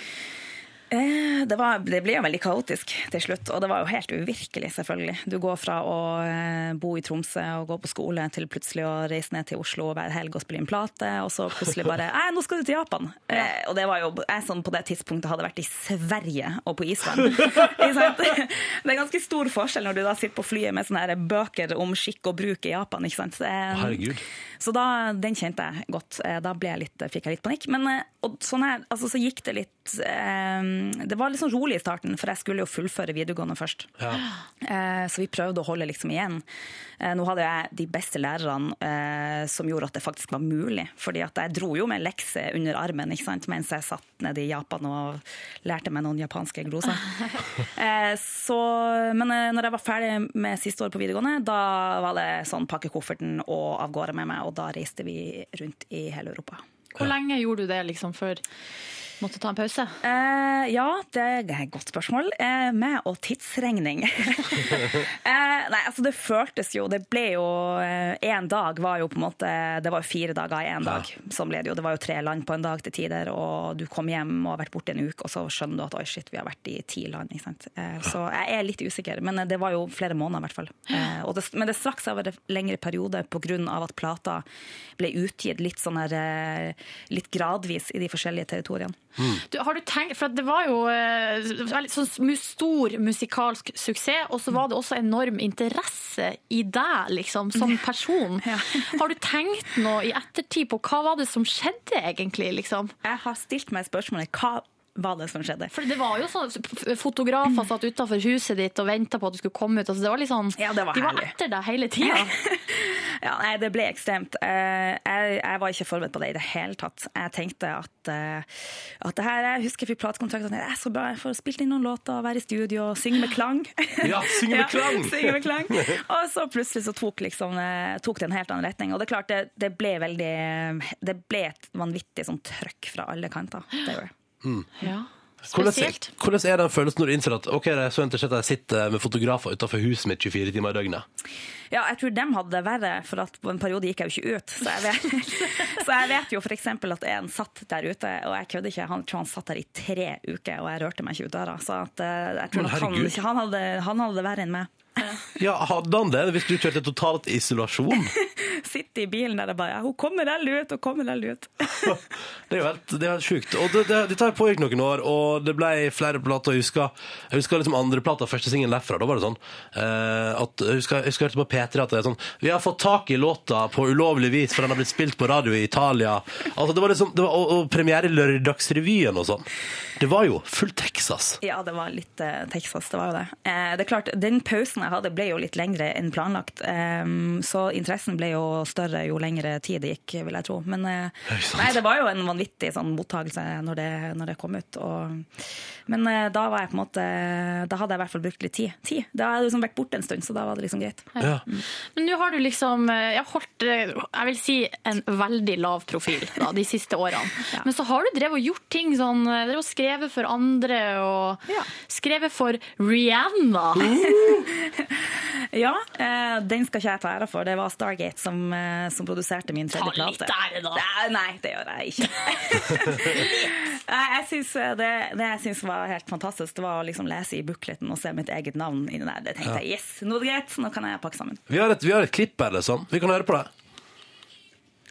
Speaker 19: Eh, Det, var, det ble jo veldig kaotisk til slutt, og det var jo helt uvirkelig, selvfølgelig. Du går fra å eh, bo i Tromsø og gå på skole, til plutselig å reise ned til Oslo hver helg og spille inn plate, og så plutselig bare Nei, nå skal du til Japan! Eh, og det var jo jeg som på det tidspunktet hadde vært i Sverige og på Island. Ikke sant? det er ganske stor forskjell når du da sitter på flyet med sånne her bøker om skikk og bruk i Japan, ikke sant. Det,
Speaker 2: Herregud.
Speaker 19: så da, den kjente jeg godt. Eh, Da ble jeg litt, fikk jeg litt panikk. Men eh, og sånn her, altså, så gikk det litt eh, eh, det var litt sånn rolig i starten, for jeg skulle jo fullføre videregående først. Eh, Så vi prøvde å holde liksom igjen. Eh, Nå hadde jeg de beste lærerne eh, som gjorde at det faktisk var mulig. Fordi at jeg dro jo med lekser under armen ikke sant? mens jeg satt nede i Japan og lærte meg noen japanske gloser. Eh, Så, men eh, når jeg var ferdig med siste år på videregående, da var det sånn pakke kofferten og av gårde med meg, og da reiste vi rundt i hele Europa.
Speaker 4: Hvor lenge gjorde du det liksom før måtte ta en pause?
Speaker 19: Eh, ja, det er et godt spørsmål. Eh, med og tidsregning. Eh, nei, altså det føltes jo Det ble jo Én dag var jo på en måte Det var jo fire dager i én dag. Sånn ble det jo. Det var jo tre land på en dag til tider, og du kom hjem og har vært borte en uke, og så skjønner du at oi, shit, vi har vært i ti land. Ikke sant? Eh, så jeg er litt usikker, men eh, det var jo flere måneder i hvert fall. Eh, og det, men det strakk seg over en lengre periode pga. at plata ble utgitt litt, sånn her, eh, litt gradvis i de forskjellige territoriene.
Speaker 4: Du, har du tenkt, for at det var jo eh, veldig sånn mu- stor musikalsk suksess, og så var det også enorm interesse i deg, liksom, som person. Har du tenkt noe i ettertid på hva var det som skjedde, egentlig? liksom?
Speaker 19: Jeg har stilt meg spørsmålet hva var det som skjedde?
Speaker 4: For det var jo sånn f- fotografer satt utenfor huset ditt og venta på at du skulle komme ut. Altså, det var litt sånn,
Speaker 19: det var
Speaker 4: de var
Speaker 19: herlig.
Speaker 4: etter deg hele tida.
Speaker 19: Ja, nei, det ble ekstremt. Eh, Jeg, jeg var ikke forberedt på det i det hele tatt. Jeg tenkte at, eh, at det her, jeg husker jeg fikk platekontrakt og tenkte, det er så bra, jeg får spilt inn noen låter og være i studio og synge med klang.
Speaker 2: Ja, synge med klang!
Speaker 19: synge med klang. Og så plutselig så tok, liksom, eh, tok det en helt annen retning. Og det er klart, det, det ble veldig, det ble et vanvittig sånn trøkk fra alle kanter. Det gjorde det.
Speaker 2: Mm.
Speaker 4: Ja.
Speaker 2: Hvordan,
Speaker 4: Spesielt.
Speaker 2: hvordan er den følelsen når du innser at Ok, det er så interessant at jeg sitter med fotografer utenfor huset mitt 24 timer i døgnet?
Speaker 19: Ja, jeg tror dem hadde det verre, for at på en periode gikk jeg jo ikke ut. Så jeg vet, så jeg vet jo f.eks. at en satt der ute, og jeg kødder ikke, han tror han satt der i tre uker, og jeg rørte meg ikke ut døra. Så at, eh, jeg tror
Speaker 2: Men
Speaker 19: nok han,
Speaker 2: herregud.
Speaker 19: ikke- han, hadde, han hadde det verre enn meg.
Speaker 2: Ja, hadde han det hvis du kjørte totalt isolasjon?
Speaker 19: Sitte i bilen der og bare ja, 'Hun kommer vel ut, hun kommer vel ut'.
Speaker 2: Det er jo helt, det er helt sjukt. Og det, det, dette her pågikk noen år, og det ble flere plater. Jeg husker, jeg husker liksom andre plater, første singelen derfra. Da var det sånn eh, at Jeg husker jeg husker jeg hørte på P3 at det er sånn Vi har fått tak i låta på ulovlig vis, for den har blitt spilt på radio i Italia. Altså, det var liksom, det var, og, og premiere i Lørdagsrevyen og sånn. Det var jo fullt Texas.
Speaker 19: Ja, det var litt eh, Texas, det var jo det. Eh, det er klart, Den pausen jeg hadde ble jo litt lengre enn planlagt, eh, så interessen ble jo større jo lengre tid det gikk, vil jeg tro. Men eh, nei, det var jo en vanvittig sånn mottakelse når det, når det kom ut. Og, men eh, da var jeg på en måte Da hadde jeg i hvert fall brukt litt tid. tid. Da hadde jeg liksom vært borte en stund, så da var det liksom greit.
Speaker 2: Ja.
Speaker 4: Men nå har du liksom eh, jeg har holdt eh, jeg vil si, en veldig lav profil da, de siste årene. Men så har du drevet og gjort ting sånn eh, drevet og skrevet for andre og skrevet for Rihanna. Uh.
Speaker 19: Ja, eh, den skal ikke jeg ta æra for. Det var Stargate som, eh, som produserte min tredje
Speaker 4: Ta litt
Speaker 19: plate.
Speaker 4: ære, da.
Speaker 19: Nei, Eh, nei, det gjør jeg ikke. Nei, jeg synes eh, det, det jeg syns var helt fantastisk, det var å liksom lese i bookleten og se mitt eget navn inni der. Det tenkte jeg, yes, nå er det greit, nå kan jeg pakke sammen.
Speaker 2: Vi har et, vi har et klipp her, liksom. Vi kan høre på det.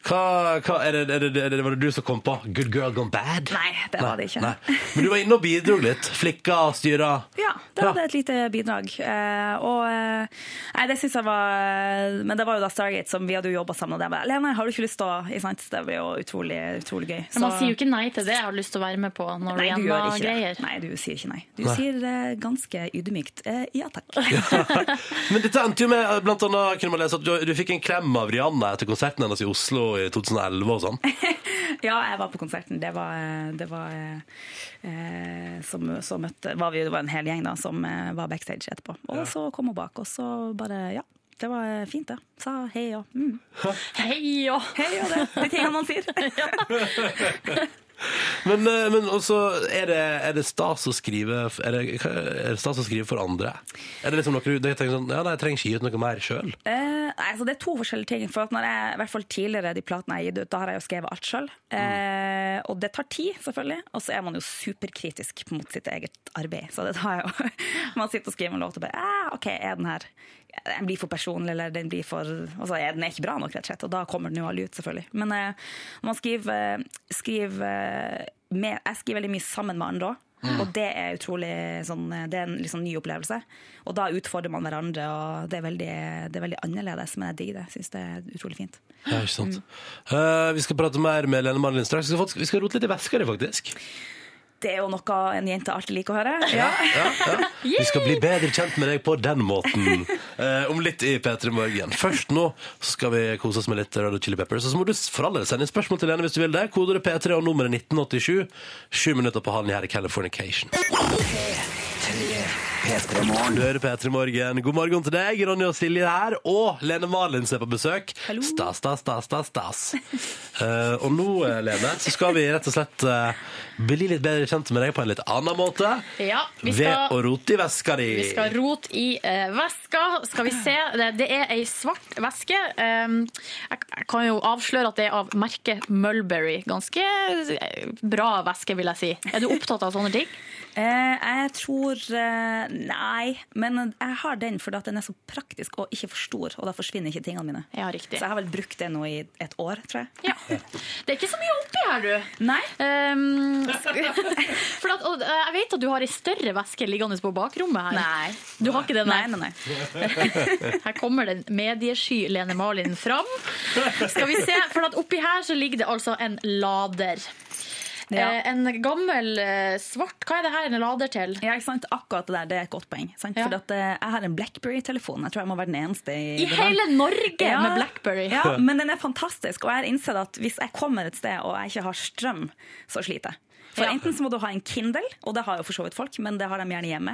Speaker 2: Hva, hva er det, er det, er det, Var det du som kom på 'Good girl gone bad'?
Speaker 19: Nei, det var det ikke.
Speaker 2: Nei. Men du var inne og bidro litt. Flikka og styra.
Speaker 19: Ja, det hadde et lite bidrag. Eh, og eh, Nei, det syns jeg var Men det var jo da Stargate som vi hadde jo jobba sammen, og det bare Lene, har du ikke lyst til å ikke sant? Det ble jo utrolig, utrolig gøy.
Speaker 4: Men man
Speaker 19: Så-
Speaker 4: sier jo ikke nei til det. Jeg har lyst til å være med på når
Speaker 19: Nei, du gjør ikke det.
Speaker 4: Rihanna-greier.
Speaker 19: Nei, du sier ikke nei. Du
Speaker 2: Nei.
Speaker 19: sier eh, ganske ydmykt eh, ja takk.
Speaker 2: Men dette endte jo med eh, blant annet, kunne man lese at du, du fikk en klem av Rihanna etter konserten hennes i Oslo i 2011 og sånn.
Speaker 19: ja, jeg var på konserten. Det var, eh, det var eh, eh, som, så møtte, var vi, det var en hel gjeng da, som eh, var backstage etterpå. Og så kom hun bak, og så bare ja. Det var eh, fint, det. Sa hei og mm.
Speaker 4: Hei og
Speaker 19: Hei og det. De tingene man sier.
Speaker 2: Men, eh, men også er det, er det stas å skrive er det, hva- er det stas å skrive for andre? Er det liksom noe du du tenker sånn Ja, nei, jeg trenger ikke gi ut noe mer sjøl.
Speaker 19: Eh, nei, altså det er to forskjellige ting. For at når jeg, i hvert fall tidligere de platene jeg har gitt ut, da har jeg jo skrevet alt sjøl. Eh, og det tar tid, selvfølgelig. Og så er man jo superkritisk mot sitt eget arbeid. Så det tar jo Man sitter og skriver en låt og bare eh, OK, er den her Den blir for personlig, eller den blir for Altså, er den er ikke bra nok, rett og slett. Og da kommer den jo aldri ut, selvfølgelig. Men eh, man skriver, skriver med, Jeg skriver veldig mye sammen med andre òg.
Speaker 7: Mm.
Speaker 19: Og det er utrolig sånn, Det er en liksom ny opplevelse. Og da utfordrer man hverandre, og det er veldig, det er veldig annerledes. Men jeg digger det. Jeg syns det er utrolig fint.
Speaker 2: Ja, ikke sant. Eh, vi skal prate mer med Lene Marlin straks. Vi skal, faktisk- vi skal rote litt i veska di, faktisk.
Speaker 19: Det er jo noe en jente alltid liker å høre.
Speaker 2: Ja, ja. Vi skal bli bedre kjent med deg på den måten. Eh, om litt i P3 Morgen. Først nå så skal vi kose oss med litt Red Hot Chili Peppers. Og så må du for all del sende inn spørsmål til Lene hvis du vil det. Kodeordet P3 og nummeret 1987. Sju minutter på halv ni her i Californication. Du hører P3 Morgen. God morgen til deg, Ronny og Silje her. Og Lene Malin er på besøk. Stas, stas, stas, stas, stas. Eh, og nå, eh, Lene, så skal vi rett og slett eh, bli litt bedre kjent med deg på en litt annen måte.
Speaker 4: Ja, vi
Speaker 2: Ved å
Speaker 4: skal,
Speaker 2: rote i veska di.
Speaker 4: vi skal rote i eh, veska. Skal vi se. Det, det er ei svart veske. Um, jeg, jeg kan jo avsløre at det er av merket Mulberry. Ganske eh, bra veske, vil jeg si. Er du opptatt av sånn? sånne ting?
Speaker 19: Eh, jeg tror eh, Nei, men jeg har den fordi at den er så praktisk og ikke for stor. Og da forsvinner ikke tingene mine.
Speaker 4: Ja, riktig.
Speaker 19: Så jeg har vel brukt det nå i et år, tror jeg.
Speaker 4: Det er ikke så mye oppi her, du. Ehm,
Speaker 19: Nei.
Speaker 4: for at, og, eh, jeg vet at du har ei større veske liggende på bakrommet her.
Speaker 19: Nei.
Speaker 4: Du har ikke det, nei?
Speaker 19: Nei, nei,
Speaker 4: Her kommer den mediesky Lene Malin fram. Skal vi se, for at oppi her så ligger det altså en lader.
Speaker 19: Ja.
Speaker 4: Eh, En gammel eh, svart Hva er det her en lader til?
Speaker 19: Ja, ikke sant? Akkurat det der, det er et godt poeng. Sant? Fordi at, eh, jeg har en BlackBerry-telefon. Jeg tror jeg må være den eneste i, det
Speaker 4: I
Speaker 19: land.
Speaker 4: hele Norge med Blackberry.
Speaker 19: Ja, men den er fantastisk. Og jeg har innsett at hvis jeg kommer et sted og jeg ikke har strøm, så sliter jeg. For enten så må du ha en Kindle, og det har jo for så vidt folk, men det har de gjerne hjemme.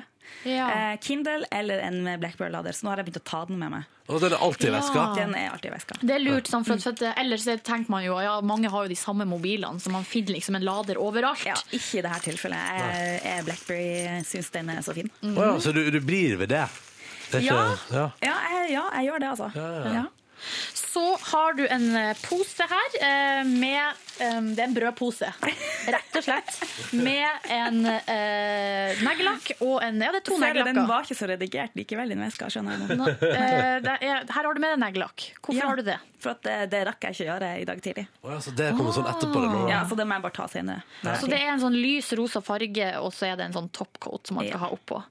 Speaker 19: Eh, Kindle eller en med BlackBerry-lader. Så nå har jeg begynt å ta den med meg.
Speaker 2: Og den er alltid i veska.
Speaker 19: Den er alltid i veska.
Speaker 4: Det er lurt, sånn, for, at- for at, ellers tenker man jo ja, mange har jo de samme mobilene, så man finner liksom en lader overalt. Ja,
Speaker 19: ikke i dette tilfellet. Jeg, jeg Blackberry syns den er så fin.
Speaker 4: Mhm.
Speaker 2: Å ja, så du, du blir ved det? det er
Speaker 19: Ja.
Speaker 2: Ikke, ja.
Speaker 19: Ja, jeg, ja, jeg gjør det, altså.
Speaker 2: ja.
Speaker 19: Ja.
Speaker 4: Så har du en eh, pose her eh, med eh, Det er en brødpose, rett og slett. Med en eh, neglelakk og en Ja, det er to
Speaker 19: Ser du, Den
Speaker 4: neglelakker.
Speaker 19: var ikke så redigert likevel, den veska. skjønner jeg nå.
Speaker 4: Nå, eh, det er- Her har du med deg neglelakk. Hvorfor
Speaker 19: Ja,
Speaker 4: har du det?
Speaker 19: For at det, det rakk jeg ikke gjøre i dag tidlig.
Speaker 2: Å ja, så det kommer sånn etterpå? Det nå.
Speaker 19: Ja, Så det må jeg bare ta senere.
Speaker 4: Så det er en sånn lys rosa farge, og så er det en sånn topcoat som man skal ha oppå.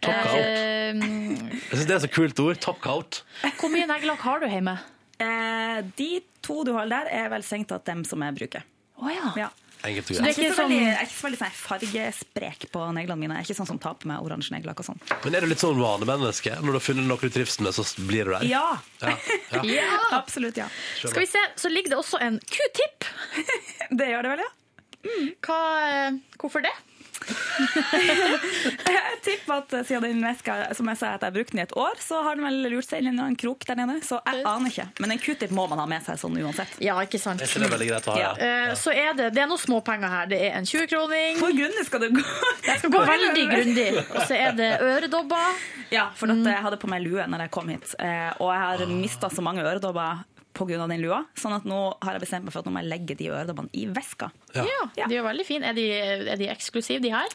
Speaker 2: Topcoat.
Speaker 4: Eh,
Speaker 2: Jeg synes det er så kult ord. Topcoat.
Speaker 4: hvor mye neglelakk har du hjemme?
Speaker 19: Eh, de to du holder der, er vel strengt tatt dem som jeg bruker.
Speaker 4: Oh, ja.
Speaker 2: Enkelt og
Speaker 19: Jeg er
Speaker 2: greit.
Speaker 19: ikke så veldig, jeg er ikke så veldig sånn fargesprek på neglene mine. Jeg er ikke sånn som tar på meg oransje neglelakk og sånn.
Speaker 2: Men er du litt sånn vanemenneske? Når du har funnet noe du trives med, så blir du der?
Speaker 19: Ja.
Speaker 2: ja. ja.
Speaker 19: Absolutt, ja.
Speaker 2: Skjønner.
Speaker 4: Skal vi se, så ligger det også en q-tip.
Speaker 19: det gjør det vel, ja.
Speaker 4: Hva, eh, hvorfor det?
Speaker 19: Jeg tipper at eh, siden den veska som jeg sa at jeg brukte den i et år, så har den vel lurt seg inn i en eller annen krok der nede. Så jeg aner ikke. Men en q-tip må man ha med seg sånn uansett.
Speaker 4: Ja, ikke sant.
Speaker 2: Er ikke det veldig greit å ha? Ja.
Speaker 4: Eh, Så er det, det er noen småpenger her. Det er en 20-kroning.
Speaker 19: Hvor grundig skal du gå?
Speaker 4: Jeg skal gå veldig grundig. Og så er det øredobber. Mm.
Speaker 19: Ja, for at jeg hadde på meg lue når jeg kom hit, eh, og jeg har mista så mange øredobber pga. den lua, sånn at nå har jeg bestemt meg for at nå må jeg legge de øredobbene i veska.
Speaker 4: Ja, de er veldig fine. Er de, er de eksklusive, de her?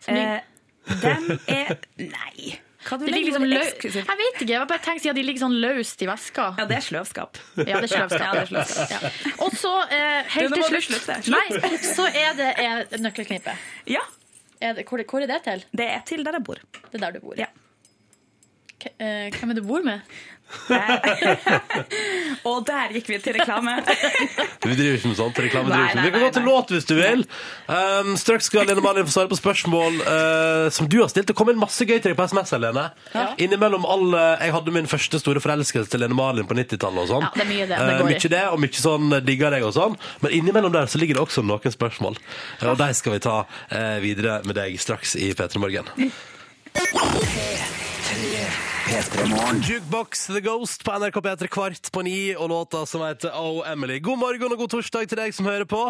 Speaker 4: Som
Speaker 19: Eh,
Speaker 4: ligger-
Speaker 19: dem er Nei. Hva du
Speaker 4: de ligger
Speaker 19: legger
Speaker 4: liksom
Speaker 19: i
Speaker 4: lø...
Speaker 19: eksklusivt?
Speaker 4: Jeg vet ikke, jeg bare tenker siden de ligger sånn løst i veska.
Speaker 19: Ja, det er sløvskap.
Speaker 4: Ja, det er sløvskap.
Speaker 19: Ja, det er sløvskap.
Speaker 4: Og så, eh,
Speaker 19: Du,
Speaker 4: helt
Speaker 19: nå må
Speaker 4: til
Speaker 19: du
Speaker 4: slutt,
Speaker 19: slutte. Slutt.
Speaker 4: Nei, så er det et nøkkelknippe.
Speaker 19: Ja.
Speaker 4: Er det, hvor, hvor er det til?
Speaker 19: Det er til der jeg bor.
Speaker 4: Det er der du bor. K- eh, Hvem er det du bor med?
Speaker 19: Og der gikk vi til reklame.
Speaker 2: Vi driver ikke med sånt. Reklame
Speaker 19: Nei,
Speaker 2: driver ikke.
Speaker 19: nei,
Speaker 2: Vi kan gå til låt hvis du vil. Um, straks skal Lene Malin få svare på spørsmål eh, som du har stilt. Det kom inn masse gøy til deg på SMS, Lene.
Speaker 4: Ja.
Speaker 2: Innimellom alle Jeg hadde min første store forelskelse til Lene Malin på 90-tallet og sånn.
Speaker 4: Ja, det er mye det, det
Speaker 2: Eh,
Speaker 4: går i.
Speaker 2: mye det, og mye sånn eh, digger deg og sånn. Men innimellom der så ligger det også noen spørsmål. Eh, og de skal vi ta eh, videre med deg straks i P3 Morgen. Jukebox The Ghost på NRK P3 kvart på ni og låta som heter Oh Emily. God morgen og god torsdag til deg som hører på.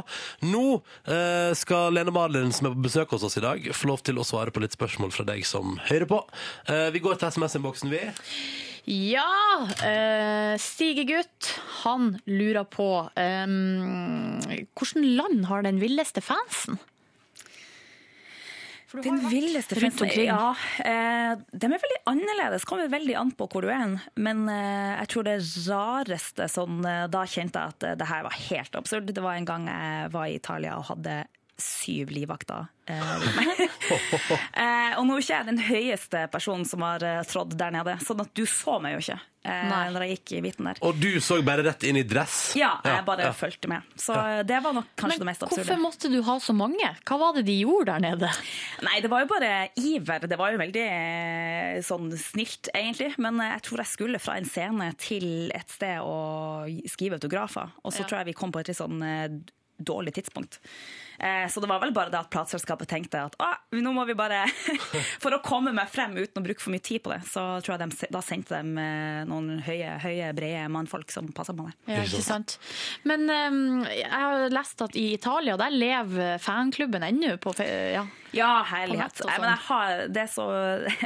Speaker 2: Nå eh, skal Lene Marlin, som er på besøk hos oss i dag, få lov til å svare på litt spørsmål fra deg som hører på. Eh, vi går til SMS-innboksen, vi.
Speaker 4: Ja! Eh, Stigegutt, han lurer på eh, Hvilket land har den villeste fansen?
Speaker 19: Den villeste
Speaker 4: rundt
Speaker 19: festen
Speaker 4: omkring.
Speaker 19: Ja, eh, de er veldig annerledes. Kommer veldig an på hvor du er. hen. Men eh, jeg tror det rareste sånn eh, Da kjente jeg at eh, det her var helt absurd. Det var en gang jeg var i Italia og hadde syv livvakter. eh, rundt meg. Eh, og nå er ikke jeg den høyeste personen som har eh, trådd der nede, sånn at du så meg jo ikke eh, når jeg gikk i hviten der.
Speaker 2: Og du så bare rett inn i dress?
Speaker 19: Ja, jeg bare
Speaker 2: ja.
Speaker 19: fulgte med. Så eh, det var nok kanskje det mest absurde.
Speaker 4: Hvorfor måtte du ha så mange? Hva var det de gjorde der nede?
Speaker 19: Nei, det var jo bare iver. Det var jo veldig eh, sånn snilt, egentlig. Men eh, jeg tror jeg skulle fra en scene til et sted og skrive autografer. Og så
Speaker 4: Ja.
Speaker 19: tror jeg vi kom på et litt sånn eh, dårlig tidspunkt. Eh, Så det var vel bare det at plateselskapet tenkte at ah, nå må vi bare For å komme meg frem uten å bruke for mye tid på det, så tror jeg de, da sendte de eh, noen høye, høye brede mannfolk som passa på meg.
Speaker 4: Ja, ikke sant. Men eh, jeg har lest at i Italia, der lever fanklubben ennå på fe ja.
Speaker 19: Ja,
Speaker 4: På
Speaker 19: herlighet.
Speaker 4: nett og
Speaker 19: Nei, men jeg
Speaker 4: sånn.
Speaker 19: har, det, er så,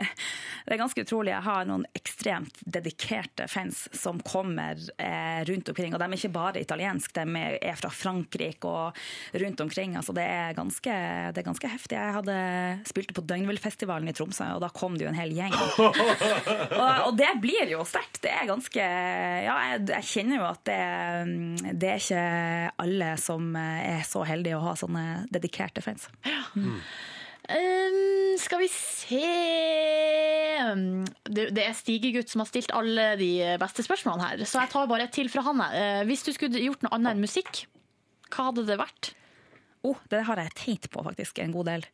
Speaker 19: det er ganske utrolig. Jeg har noen ekstremt dedikerte fans som kommer eh, rundt omkring. Og de er ikke bare italienske, de er- er fra Frankrike og rundt omkring. Altså, det, er ganske, det er ganske heftig. Jeg hadde spilte på Døgnvillfestivalen i Tromsø, og da kom det jo en hel gjeng. og, og det blir jo sterkt. Det er ganske Ja, jeg, jeg kjenner jo at det, er- det er ikke alle som er så heldige å ha sånne dedikerte fans.
Speaker 4: Um, skal vi se Um, det, det er Stigegutt som har stilt alle de beste spørsmålene her, så jeg tar bare et til fra han. jeg. Eh, hvis du skulle gjort noe annet enn musikk, hva hadde det vært?
Speaker 19: Oh, det har jeg tenkt på faktisk en god del.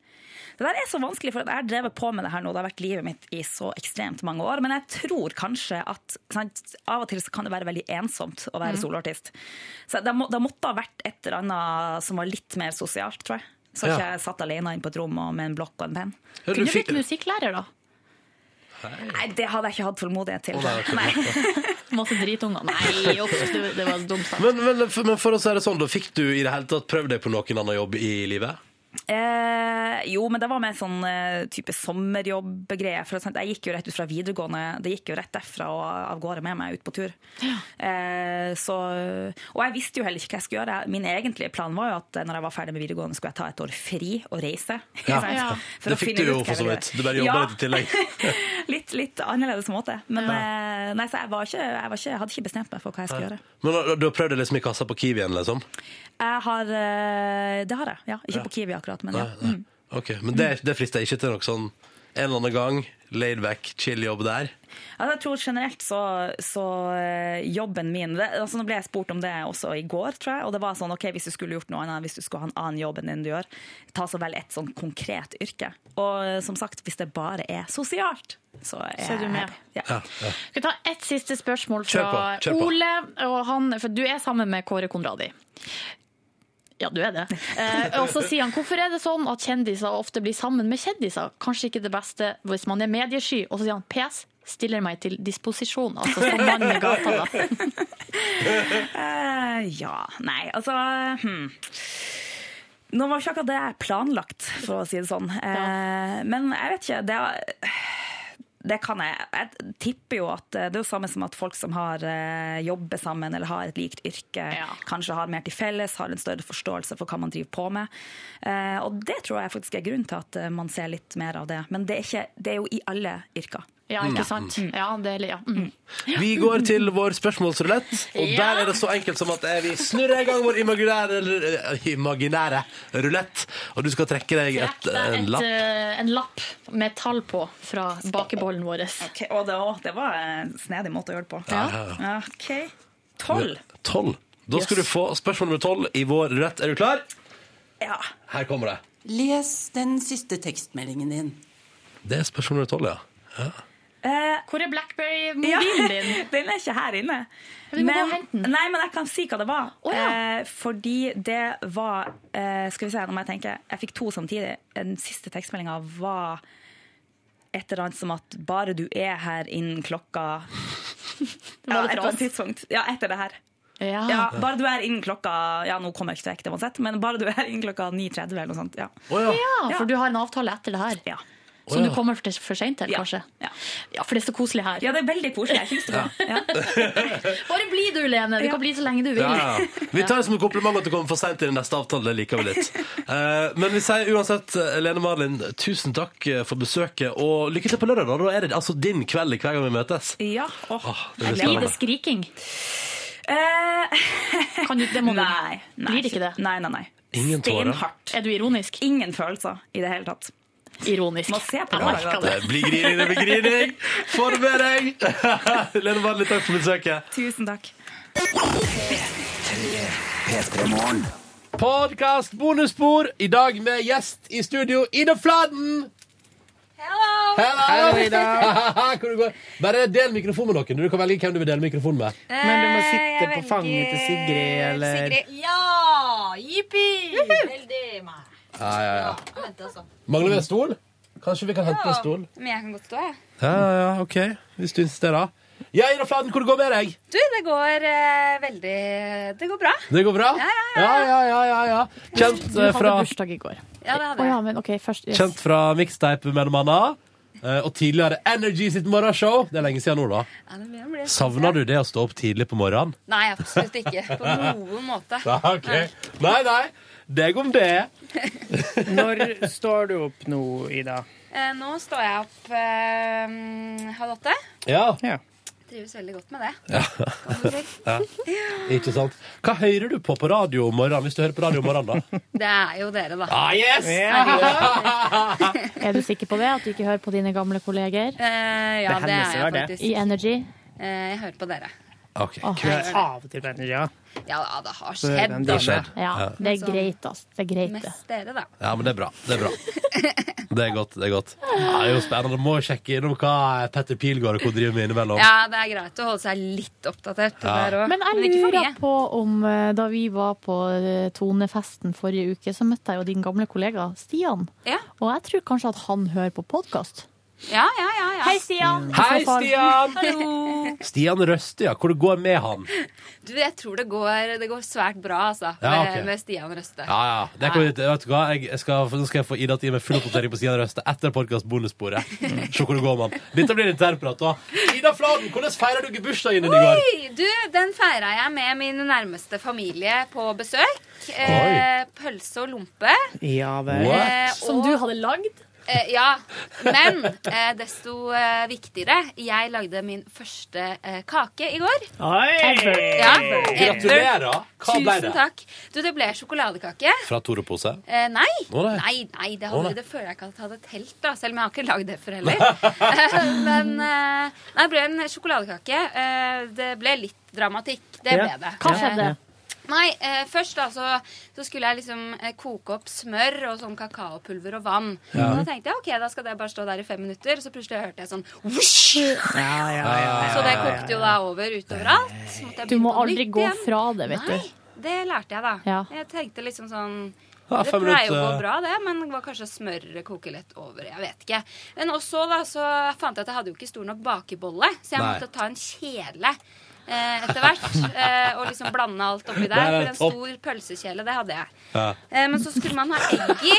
Speaker 19: Det der er så vanskelig, for at jeg har drevet på med det her nå. Det har vært livet mitt i så ekstremt mange år. Men jeg tror kanskje at sant, av og til så kan det være veldig ensomt å
Speaker 2: Mhm.
Speaker 19: være
Speaker 4: Mm.
Speaker 19: soloartist. Så det, må, det måtte ha vært et eller annet som var litt mer sosialt, tror jeg. Så
Speaker 4: Ja.
Speaker 19: ikke jeg satt alene inne på et rom og med en blokk og en penn.
Speaker 4: Kunne du blitt musikklærer, da?
Speaker 19: Nei, det hadde jeg ikke hatt tålmodighet til.
Speaker 2: Å, nei, ok.
Speaker 4: Masse dritunger. Nei, uff, det, det var
Speaker 19: Sånn
Speaker 4: dumt. sagt.
Speaker 2: Men, men, for, men for å si det sånn, da fikk du i det hele tatt prøvd deg på noen annen jobb i livet?
Speaker 19: Eh, jo, men det var mer sånn eh, type sommerjobb-greier. For eksempel, jeg gikk jo rett ut fra videregående. Det gikk jo rett derfra og av gårde med meg ut på tur. Eh, så, og jeg visste jo heller ikke hva jeg skulle gjøre. Min egentlige plan var jo at eh, når jeg var ferdig med videregående, skulle jeg ta et år fri og reise.
Speaker 2: Ja.
Speaker 19: Sant?
Speaker 2: Ja.
Speaker 19: For
Speaker 2: Det
Speaker 19: å
Speaker 2: fikk
Speaker 19: finne
Speaker 2: du
Speaker 19: ut
Speaker 2: jo
Speaker 19: hva
Speaker 2: for
Speaker 19: jeg
Speaker 2: så
Speaker 19: ville
Speaker 2: vidt.
Speaker 19: gjøre.
Speaker 2: Du bare jobba litt i tillegg.
Speaker 19: litt, litt annerledes måte. Men eh, nei, så jeg, var ikke, jeg, var ikke, jeg hadde ikke bestemt meg for hva jeg skulle gjøre.
Speaker 2: Men da- du har prøvd deg liksom i kassa på Kiwien, liksom?
Speaker 19: Jeg har, eh, det har jeg, ja. Ikke
Speaker 2: Ja.
Speaker 19: på Kiwi akkurat, men
Speaker 2: Nei,
Speaker 19: ja. Mm.
Speaker 2: nei. Ok, Men det, det frister ikke til noe sånn en eller annen gang, laid back, chill jobb der?
Speaker 19: Altså, jeg tror generelt så, så eh, jobben min det, altså, Nå ble jeg spurt om det også i går, tror jeg. Og det var sånn OK, hvis du skulle gjort noe annet, hvis du skulle ha en annen jobb enn den du gjør, ta så vel et sånn konkret yrke. Og eh, som sagt, hvis det bare er sosialt, så er,
Speaker 4: Så er du
Speaker 19: jeg
Speaker 4: med.
Speaker 19: happy. Ja.
Speaker 4: Skal vi ta ett siste spørsmål
Speaker 19: Kjør på,
Speaker 4: fra
Speaker 19: kjør på.
Speaker 4: Ole? Og han, for du er sammen med Kåre Konradi. Ja, du er det. Eh, og så sier han hvorfor er det sånn at kjendiser ofte blir sammen med kjendiser? Kanskje ikke det beste hvis man er mediesky. Og så sier han PS stiller meg til disposisjon. Altså som mann i gata, da.
Speaker 19: Eh, ja, nei, altså hmm. Nå var ikke akkurat det planlagt, for å si det sånn. Eh, men jeg vet ikke. Det, det kan jeg. Jeg tipper jo at eh, det er jo samme som at folk som har eh, jobber sammen eller har et likt yrke, kanskje har mer til felles, har en større forståelse for hva man driver på med. Eh, og det tror jeg faktisk er grunnen til at eh, man ser litt mer av det. Men det er, ikke, det er jo i alle yrker.
Speaker 4: Ja, ikke sant? Ja, det er ja. Mm.
Speaker 2: Vi går til vår spørsmålsrulett, og
Speaker 4: Ja.
Speaker 2: der er det så enkelt som at eh, vi snurrer i gang vår imaginære, eh, imaginære rulett, og du skal trekke deg et,
Speaker 4: Det er
Speaker 2: en
Speaker 4: et,
Speaker 2: lapp.
Speaker 4: eh, en lapp med tall på fra bakebollen vår.
Speaker 19: Ok, og det, å, det var en snedig måte å gjøre det på.
Speaker 2: Ja, ja,
Speaker 19: Ok. Tolv.
Speaker 2: Tolv. Da skal
Speaker 19: Yes.
Speaker 2: du få spørsmål nummer tolv i vår rulett. Er du klar?
Speaker 19: Ja.
Speaker 2: Her kommer det.
Speaker 10: Les den siste tekstmeldingen din.
Speaker 2: Det er spørsmål nummer tolv, ja. ja.
Speaker 4: Hvor er Blackberry-mobilen din?
Speaker 19: Eh, den er ikke her inne.
Speaker 4: Vi må gå og hente
Speaker 19: nei, men jeg kan si hva det var. eh, fordi det var eh, Skal vi se, nå må jeg tenke. Jeg fikk to samtidig. Den siste tekstmeldinga var et eller annet som at 'bare du er her innen klokka'
Speaker 4: Var det
Speaker 19: ja, et
Speaker 4: fra
Speaker 19: eller
Speaker 4: oss?
Speaker 19: annet tidspunkt. Ja, etter det her.
Speaker 4: Ja.
Speaker 19: Ja, bare du er innen klokka Ja, nå kommer jeg ikke til å rekke det uansett, men bare du er innen klokka 9.30 eller noe sånt. Ja.
Speaker 4: Ja, for du har en avtale etter det her.
Speaker 19: Å,
Speaker 4: Som
Speaker 19: ja.
Speaker 4: du kommer for, for seint til, kanskje? Ja. for det er så koselig her.
Speaker 19: Ja, det er veldig koselig. Jeg syns det.
Speaker 4: Bare bli du, Lene. Du kan bli så lenge du vil.
Speaker 2: Ja, ja. Vi tar det som en kompliment at du kommer for seint til den neste avtalen. Det liker vi litt. Eh, men vi sier uansett, eh, Lene Marlin, tusen takk eh, for besøket, og lykke til på lørdag. Da Da er det altså din kveld hver gang vi møtes.
Speaker 19: Ja, åh.
Speaker 2: Åh,
Speaker 4: Blir
Speaker 2: det blir
Speaker 4: det
Speaker 2: spennende.
Speaker 4: skriking?
Speaker 19: Eh,
Speaker 4: Kan du, det må du
Speaker 19: nei, nei,
Speaker 4: Blir det ikke det?
Speaker 19: Nei, nei, nei.
Speaker 2: Ingen tårer.
Speaker 19: Steinhardt.
Speaker 4: Er du ironisk?
Speaker 19: Ingen følelser i det hele tatt.
Speaker 4: Ironisk.
Speaker 19: Må se på
Speaker 2: Ja, det blir grining, det blir grining! Få det med deg! Lene Vanlig, takk for besøket.
Speaker 19: Tusen takk.
Speaker 2: Podkast bonusspor, i dag med gjest i studio, Ida Fladen. Hello!
Speaker 3: Hello, Ida.
Speaker 2: Hvor du går. Bare del mikrofon med noen. Du kan velge hvem du vil dele mikrofon med.
Speaker 3: Men du må
Speaker 10: Eh,
Speaker 3: sitte på fanget til Sigrid, eller
Speaker 20: Ja! Jippi! Veldig meg.
Speaker 2: Ja, ja, ja.
Speaker 20: Vent, altså.
Speaker 2: Mangler vi en stol? Kanskje vi kan hente en stol?
Speaker 20: Men jeg kan godt stå, jeg.
Speaker 2: Ja, ja, ja, OK. Hvis du insisterer. Ja, Ida Fladen, hvor det går med deg?
Speaker 20: Du, det går eh, veldig Det går bra.
Speaker 2: Det går bra?
Speaker 20: Ja,
Speaker 2: ja, ja. ja, ja, ja. Kjent eh, fra
Speaker 4: bursdag i går.
Speaker 20: Ja, det hadde
Speaker 4: jeg. ja, men ok, først yes.
Speaker 2: Kjent fra mixtape, mellom annet. eh, Og tidligere Energy sitt morgenshow. Det er lenge siden nå, da.
Speaker 20: Ja, det begynner å bli-
Speaker 2: Savner du det å stå opp tidlig på morgenen?
Speaker 20: Nei, absolutt ikke. På noen måte.
Speaker 2: Ja, ok. Nei, nei. Deg om det.
Speaker 3: Når står du opp nå, Ida?
Speaker 20: Eh, Nå står jeg opp eh, halv åtte.
Speaker 2: Ja.
Speaker 20: Trives veldig godt med det.
Speaker 2: Ja. ja. Ikke sant. Hva hører du på på radio om morgenen, hvis du hører på radio om morgenen, da?
Speaker 20: Det er jo dere, da.
Speaker 2: Ah, yes!
Speaker 4: Er du sikker på det? At du ikke hører på dine gamle kolleger?
Speaker 20: Eh, ja, Det det er jeg hennes, det er det. faktisk. Eh,
Speaker 4: I Energy?
Speaker 20: jeg hører på dere.
Speaker 2: Ok,
Speaker 4: Åh,
Speaker 3: Kveld
Speaker 4: herregud.
Speaker 3: av og til, venner, ja.
Speaker 20: Ja, ja, det har
Speaker 3: Så er
Speaker 20: skjedd.
Speaker 3: den
Speaker 2: Det har
Speaker 3: denne.
Speaker 2: skjedd.
Speaker 4: Ja,
Speaker 2: Ja.
Speaker 4: det er
Speaker 20: Men så-
Speaker 4: greit, ass. Det er greit, det.
Speaker 20: Mest dere, da.
Speaker 2: Ja, men det er bra. Det er bra. Det er godt. Det er godt. Ja, det er jo spennende. Må sjekke innom hva Petter Pilgaard og co. driver med innimellom.
Speaker 20: Ja, det er greit å holde seg litt oppdatert.
Speaker 2: Ja.
Speaker 20: Der også.
Speaker 4: Men jeg
Speaker 20: ikke for
Speaker 4: lurer
Speaker 20: mye.
Speaker 4: på om eh, da vi var på eh, Tonefesten forrige uke, så møtte jeg jo din gamle kollega Stian. Og jeg tror kanskje at han hører på podkast.
Speaker 20: Ja, ja, ja, ja.
Speaker 4: Hei, Stian!
Speaker 2: Hei, Stian!
Speaker 20: Hallo!
Speaker 2: Stian Røste, ja. Hvor det går med han?
Speaker 20: Du, jeg tror det går, det går svært bra, altså,
Speaker 2: Ja,
Speaker 20: med,
Speaker 2: ok.
Speaker 20: med Stian Røste.
Speaker 2: Ja, ja. Det kan vi, vet du hva? Jeg, jeg skal, nå skal jeg få Ida til å gi meg full oppdatering på Stian Røste etter podkast bonussporet.
Speaker 20: Mm.
Speaker 2: Se hvor det går med han. Dette blir internprat. da. Ida Fladen, hvordan feirer du bursdagen din i går?
Speaker 20: Oi, du, den feira jeg med min nærmeste familie på besøk. Eh, pølse og lompe.
Speaker 3: Ja vel.
Speaker 20: Som du hadde lagd? Eh, ja. Men eh, desto eh, viktigere, jeg lagde min første eh, kake i går.
Speaker 3: Oi!
Speaker 20: Ever. Ja, ever.
Speaker 2: Gratulerer. Hva ble det?
Speaker 20: Tusen takk. Du, det ble sjokoladekake.
Speaker 2: Fra Tore-pose?
Speaker 20: Eh, nei.
Speaker 2: Å, nei.
Speaker 20: nei, nei, det,
Speaker 2: Å,
Speaker 20: hadde,
Speaker 2: nei.
Speaker 20: det føler jeg ikke at jeg hadde telt, da, selv om jeg har ikke lagd det for heller. Eh, Men eh, nei, det ble en sjokoladekake. Eh, Det ble litt dramatikk. Det
Speaker 4: Ja.
Speaker 20: ble det.
Speaker 4: Hva skjedde?
Speaker 20: Eh, Nei, eh, først da så, så skulle jeg liksom eh, koke opp smør og sånn kakaopulver og vann.
Speaker 2: Ja.
Speaker 20: Og da tenkte jeg ok, da skal det bare stå der i fem minutter. Så plutselig hørte jeg sånn whoosh!
Speaker 2: Ah.
Speaker 20: Så det kokte jo da over utoveralt. Så måtte jeg
Speaker 4: Du må
Speaker 20: begynne på
Speaker 4: aldri
Speaker 20: nytt
Speaker 4: gå
Speaker 20: igjen.
Speaker 4: fra det, vet du.
Speaker 20: Nei, det lærte jeg da.
Speaker 4: Ja.
Speaker 20: Jeg tenkte liksom sånn
Speaker 4: Ja,
Speaker 20: Det
Speaker 4: fem
Speaker 20: pleier jo å gå
Speaker 2: eh,
Speaker 4: minutter.
Speaker 20: bra, det, men det var kanskje smøret koker litt over. Jeg vet ikke. Men også da så fant jeg at jeg hadde jo ikke stor nok bakebolle, så jeg
Speaker 2: Nei.
Speaker 20: måtte ta en kjele. Eh, etter hvert. Eh, og liksom blande alt oppi der.
Speaker 2: Nei, nei,
Speaker 20: For en
Speaker 2: topp.
Speaker 20: stor pølsekjele, det hadde jeg.
Speaker 2: Ja.
Speaker 20: Eh, men så skulle man ha egg i,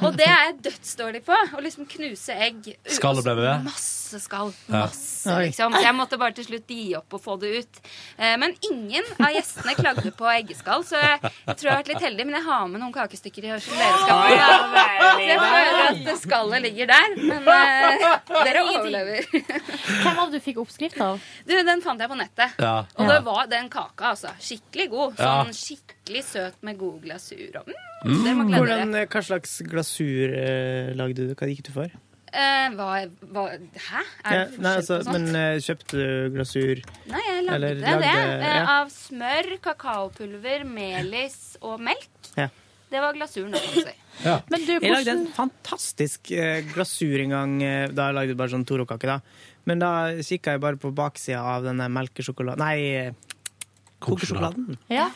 Speaker 20: og det er jeg dødsdårlig på. Å liksom knuse egg.
Speaker 2: Skallet ble med?
Speaker 20: Masse skall.
Speaker 2: Ja.
Speaker 20: Masse, liksom. Så jeg måtte bare til slutt gi opp og få det ut. Eh, Men ingen av gjestene klagde på eggeskall, så jeg jeg tror jeg har vært litt heldig. Men jeg har med noen kakestykker i år som dere skal få. Så jeg føler at skallet ligger der. Men eh, dere overlever.
Speaker 4: Hvem var det du fikk oppskrift av?
Speaker 20: Du, den fant jeg på nettet.
Speaker 2: Ja.
Speaker 20: Og det var den kaka, altså. Skikkelig god.
Speaker 3: Ja.
Speaker 20: Sånn skikkelig søt med god glasur og mm,
Speaker 3: Mm.
Speaker 20: Dere må glede dere.
Speaker 3: Hvordan, eh, hva slags glasur eh, lagde du? Hva gikk du for?
Speaker 20: Eh, hva, hva Hæ? Er det
Speaker 3: Ja,
Speaker 20: forskjell
Speaker 3: nei, altså,
Speaker 20: på sånt?
Speaker 3: men eh, kjøpte du glasur
Speaker 20: Nei, jeg lagde
Speaker 3: Eller
Speaker 20: det.
Speaker 3: lagde-
Speaker 20: eh,
Speaker 3: ja.
Speaker 20: Av smør, kakaopulver, melis og melk.
Speaker 3: Ja.
Speaker 20: Det var altså. glasuren. da, kan du si.
Speaker 3: Ja.
Speaker 4: Men du,
Speaker 3: Jeg lagde en
Speaker 4: hvordan-
Speaker 3: fantastisk eh, glasur en gang. eh, Da jeg lagde jeg bare sånn Toro-kake, da. Men da kikka jeg bare på baksida av denne melkesjokoladen Nei, eh, kokesjokoladen.
Speaker 4: Ja.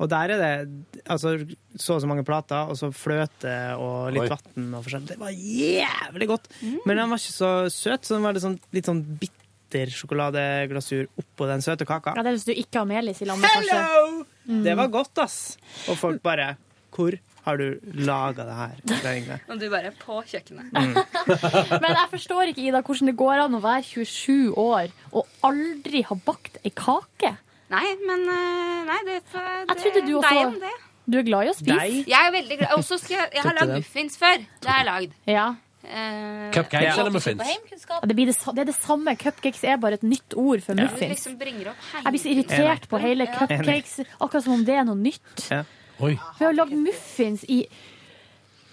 Speaker 3: Og der er det altså, så og så mange plater, og så fløte og litt vann og forskjell. Det var jævlig godt!
Speaker 4: Mm.
Speaker 3: Men den var ikke så søt, så den var litt sånn, litt sånn bitter sjokoladeglasur oppå den søte kaka.
Speaker 4: Ja, det er hvis du ikke har melis i lammet, kanskje. Mm.
Speaker 3: Det var godt, ass! Og folk bare Hvor har du laga det her? Mm. Det er egentlig-
Speaker 20: Og du bare på kjøkkenet.
Speaker 4: Men jeg forstår ikke, Ida, hvordan det går an å være 27 år og aldri ha bakt ei kake.
Speaker 20: Nei, men eh, Nei, det, det Jeg
Speaker 4: trodde du også
Speaker 20: deg
Speaker 4: var-
Speaker 20: om det.
Speaker 4: Du er glad i å spise.
Speaker 20: Jeg er veldig glad. Og så skal jeg Jeg har
Speaker 4: Tok du
Speaker 20: lagd
Speaker 4: den?
Speaker 20: muffins før. Det har jeg lagd. Eh,
Speaker 2: Cupcakes Ja. eller muffins?
Speaker 4: Ja, Det, blir det, sa- det er det samme. Cupcakes er bare et nytt ord for
Speaker 20: Ja.
Speaker 4: muffins.
Speaker 20: Liksom bringer opp hele
Speaker 4: Jeg blir så irritert på hele
Speaker 20: Ja.
Speaker 4: cupcakes, akkurat som om det er noe nytt.
Speaker 3: Ja.
Speaker 2: Oi.
Speaker 4: Vi har lagd muffins i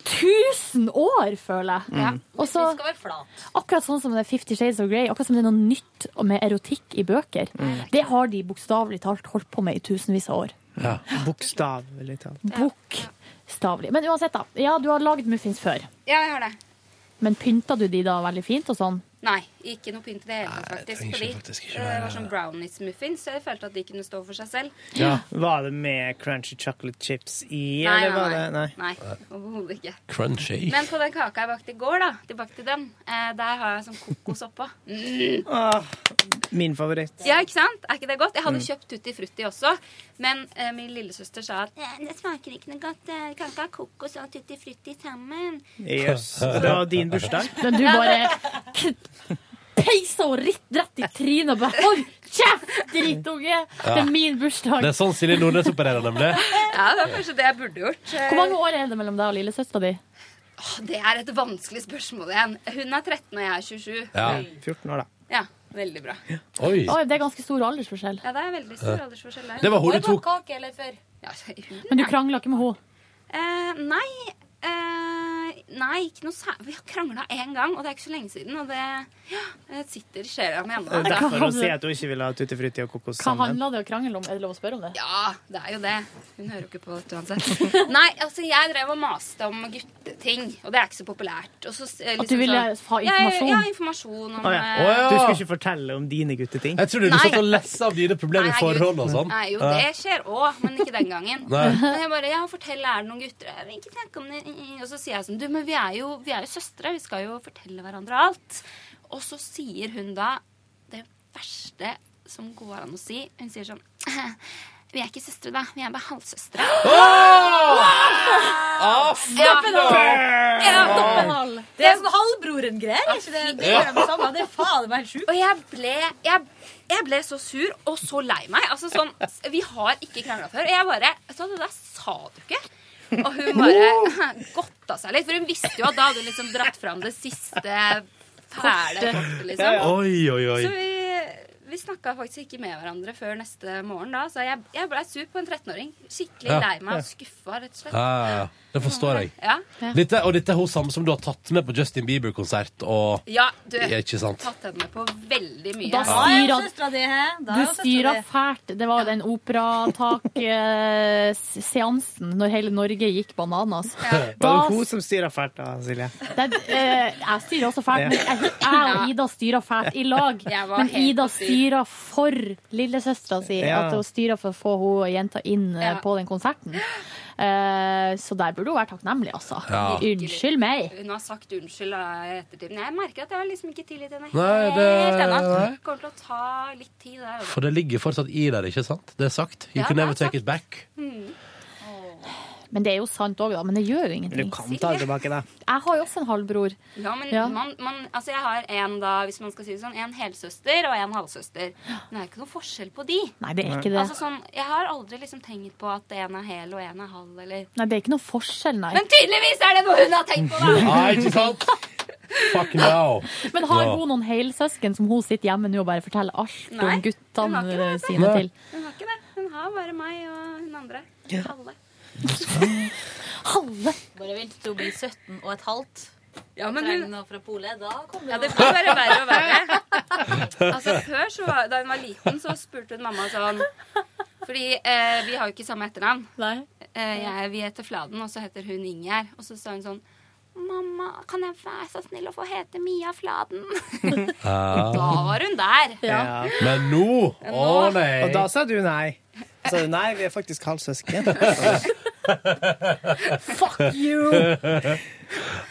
Speaker 4: 1000 år, føler jeg.
Speaker 2: Ja.
Speaker 4: Og så, akkurat sånn som det er Fifty Shades of Grey, akkurat som det er noe nytt med erotikk i bøker.
Speaker 3: Mm.
Speaker 4: Det har de bokstavelig talt holdt på med i tusenvis av år.
Speaker 3: Ja. Bokstavelig talt.
Speaker 4: Bokstavelig. Men uansett, da. Ja, du har lagd muffins før.
Speaker 20: Ja, jeg har det.
Speaker 4: Men pynta du de da veldig fint og sånn?
Speaker 20: Nei, ikke noe pynt i det hele tatt, faktisk.
Speaker 4: trenger
Speaker 20: Fordi
Speaker 4: ikke-
Speaker 3: faktisk ikke
Speaker 20: det var
Speaker 3: være-
Speaker 20: sånn brownies-muffins, så jeg følte at de kunne stå for seg selv.
Speaker 3: Var det med crunchy chocolate chips i,
Speaker 20: Nei,
Speaker 3: eller var
Speaker 20: nei,
Speaker 3: det
Speaker 20: nei. nei. overhodet ikke.
Speaker 2: Crunchy.
Speaker 20: Men på den kaka jeg bakte i går, da, tilbake til den, eh, der har jeg sånn kokos oppå. Mm.
Speaker 3: Ah, min favoritt.
Speaker 20: Ja, ikke sant? Er ikke det godt? Jeg hadde
Speaker 3: Mm.
Speaker 20: kjøpt Tutti Frutti også, men eh, min lillesøster sa at «Eh, det smaker ikke noe godt. eh, Kaka er kokos og Tutti Frutti sammen.
Speaker 3: Yes. Det var din bursdag.
Speaker 4: Men du bare k- peisa henne rett, rett i trynet og bare Hold kjeft, drittunge! Det er min bursdag.
Speaker 2: Det er sånn Silje Nordnes opererer, nemlig.
Speaker 20: Ja, det var kanskje det jeg burde gjort. Eh,
Speaker 4: Hvor mange år er det mellom deg og lillesøstera di?
Speaker 20: Åh, Det er et vanskelig spørsmål igjen. Hun er 13, og jeg er 27.
Speaker 2: Ja.
Speaker 3: 14 år, da.
Speaker 20: Ja, veldig bra.
Speaker 2: Oi.
Speaker 4: Oi, det er ganske stor aldersforskjell.
Speaker 20: Ja, det er veldig stor
Speaker 2: Ja.
Speaker 20: aldersforskjell der.
Speaker 2: Det var hun du tok-
Speaker 20: kake, eller før? Ja, hun,
Speaker 4: Men du
Speaker 20: ja.
Speaker 4: krangla ikke med henne?
Speaker 20: Eh, nei, eh, nei, ikke noe særlig. Vi har krangla én gang, og det er ikke så lenge siden. Og det ja, det sitter i sjela mi
Speaker 3: Det
Speaker 20: ennå.
Speaker 3: er Derfor å si at hun ikke ville ha tutti frutti og kokos
Speaker 4: Hva
Speaker 3: sammen.
Speaker 4: handla det å krangle om? Er det lov å spørre om det?
Speaker 20: Ja, det er jo det. Hun hører jo ikke på dette uansett. Nei, altså, jeg drev og maste om gutteting, og det er ikke så populært. Og så, eh,
Speaker 4: At du ville ha
Speaker 20: Ja,
Speaker 4: informasjon?
Speaker 20: Ja, informasjon om
Speaker 3: Å, ja.
Speaker 20: eh,
Speaker 3: Du skulle ikke fortelle om dine gutteting?
Speaker 2: Jeg trodde du satt og leste av dine problemer i
Speaker 20: Nei, herregud.
Speaker 2: forhold og sånn.
Speaker 20: Nei, jo, det skjer òg, men ikke den gangen.
Speaker 2: Nei.
Speaker 20: Men jeg bare, ja, fortell, er det noen gutter Jeg vil ikke snakke om det. Og så sier jeg sånn, du, men vi er jo, vi er jo søstre, vi skal jo fortelle hverandre alt. Og så sier hun da det verste som går an å si. Hun sier sånn Vi er ikke søstre, da. Vi er bare halvsøstre.
Speaker 2: Ah,
Speaker 10: Stoppen
Speaker 20: Ja.
Speaker 10: hall!
Speaker 20: Ja.
Speaker 10: Stoppen hall. Det er sånn halvbroren-greier. ikke Det, det,
Speaker 20: Ja.
Speaker 10: gjør de samme. det er faen meg helt sjukt.
Speaker 20: Og jeg ble, jeg, jeg ble så sur og så lei meg. Altså sånn, Vi har ikke krangla før. Og jeg bare Vet du hva, det der sa du ikke. Og hun bare godta seg litt. For hun visste jo at da hadde hun liksom dratt fram det siste fæle kortet,
Speaker 2: Ja,
Speaker 20: liksom.
Speaker 2: ja. Oi, oi, oi.
Speaker 20: Så vi, vi snakka faktisk ikke med hverandre før neste morgen da. Så jeg, jeg blei sur på en 13-åring. Skikkelig
Speaker 2: Ja.
Speaker 20: lei meg
Speaker 2: Ja.
Speaker 20: og skuffa, rett og slett.
Speaker 2: Ja, ja. det forstår jeg.
Speaker 20: Ja.
Speaker 2: Dette, og dette er hun samme som du har tatt med på Justin Bieber-konsert og
Speaker 20: Ja, du.
Speaker 2: Ikke sant?
Speaker 20: Tatt henne med på veldig mye.
Speaker 4: Da styrer-
Speaker 10: Søstera di her. Da er
Speaker 4: Du
Speaker 10: jo søstera
Speaker 4: styra
Speaker 10: di.
Speaker 4: fælt. Det var den operatak-seansen når hele Norge gikk bananas.
Speaker 3: Var
Speaker 4: Da
Speaker 3: det hun som styra fælt, da, Silje?
Speaker 4: Det, eh, jeg styrer også fælt,
Speaker 3: Ja.
Speaker 4: men jeg, jeg og Ida styrer fælt i lag.
Speaker 3: Jeg var
Speaker 4: Men
Speaker 3: helt
Speaker 4: Ida
Speaker 3: på styr.
Speaker 4: styrer for lillesøstera si,
Speaker 3: Ja.
Speaker 4: at hun styrer for å få hun jenta inn eh,
Speaker 20: Ja.
Speaker 4: på den konserten. Eh, så der burde hun være takknemlig, altså.
Speaker 2: Ja.
Speaker 4: Unnskyld meg.
Speaker 20: Hun har sagt unnskyld da, i ettertid. Men jeg merker at jeg har liksom ikke tilgitt henne
Speaker 2: Nei, det-
Speaker 20: helt ennå.
Speaker 2: nei.
Speaker 20: Det kommer til å ta litt tid. Det.
Speaker 2: For det ligger fortsatt i der, ikke sant? Det er sagt. You
Speaker 4: Ja,
Speaker 2: can
Speaker 4: det er
Speaker 2: never take it back.
Speaker 20: Hmm.
Speaker 4: Men det er jo sant òg, da. Men det gjør jo ingenting.
Speaker 3: tilbake, da.
Speaker 4: Jeg har jo også en halvbror.
Speaker 20: Ja, men
Speaker 4: Ja.
Speaker 20: Man, man, altså jeg har en da, hvis man skal si det sånn, en helsøster og en halvsøster. Men det er ikke noe forskjell på de.
Speaker 4: Nei, det er ikke det.
Speaker 20: Altså sånn, Jeg har aldri liksom tenkt på at en er hel og en er halv, eller
Speaker 4: Nei, det er ikke noe forskjell, nei.
Speaker 20: Men tydeligvis er det noe hun har tenkt på, da!
Speaker 2: Nei, Ah, ikke sant? Fuck now.
Speaker 4: Men har
Speaker 2: Ja.
Speaker 4: hun noen helsøsken som hun sitter hjemme nå og bare forteller alt
Speaker 20: Nei,
Speaker 4: om guttene sine
Speaker 2: Nei.
Speaker 4: til?
Speaker 20: Hun har ikke det. Hun har bare meg og hun andre. Alle.
Speaker 4: Halve.
Speaker 10: Bare vent til hun blir 17 og et halvt.
Speaker 20: Ja, men
Speaker 10: men
Speaker 20: hun-
Speaker 10: noe fra Pole, da kommer
Speaker 20: Ja, det
Speaker 10: hun.
Speaker 20: blir bare verre og verre. Altså, før, så, var- da hun var liten, så spurte hun mamma sånn Fordi eh, vi har jo ikke samme etternavn. Eh, jeg, vi heter Fladen, og så heter hun Ingjerd. Og så sa hun sånn Mamma, kan jeg være så snill å få hete Mia Fladen? Da var hun der.
Speaker 3: Ja.
Speaker 2: Men nå
Speaker 20: Men
Speaker 2: Å
Speaker 20: nå-
Speaker 2: nei!
Speaker 3: Og da sa du nei. Da sa du nei, vi er faktisk halvsøsken.
Speaker 10: Fuck you!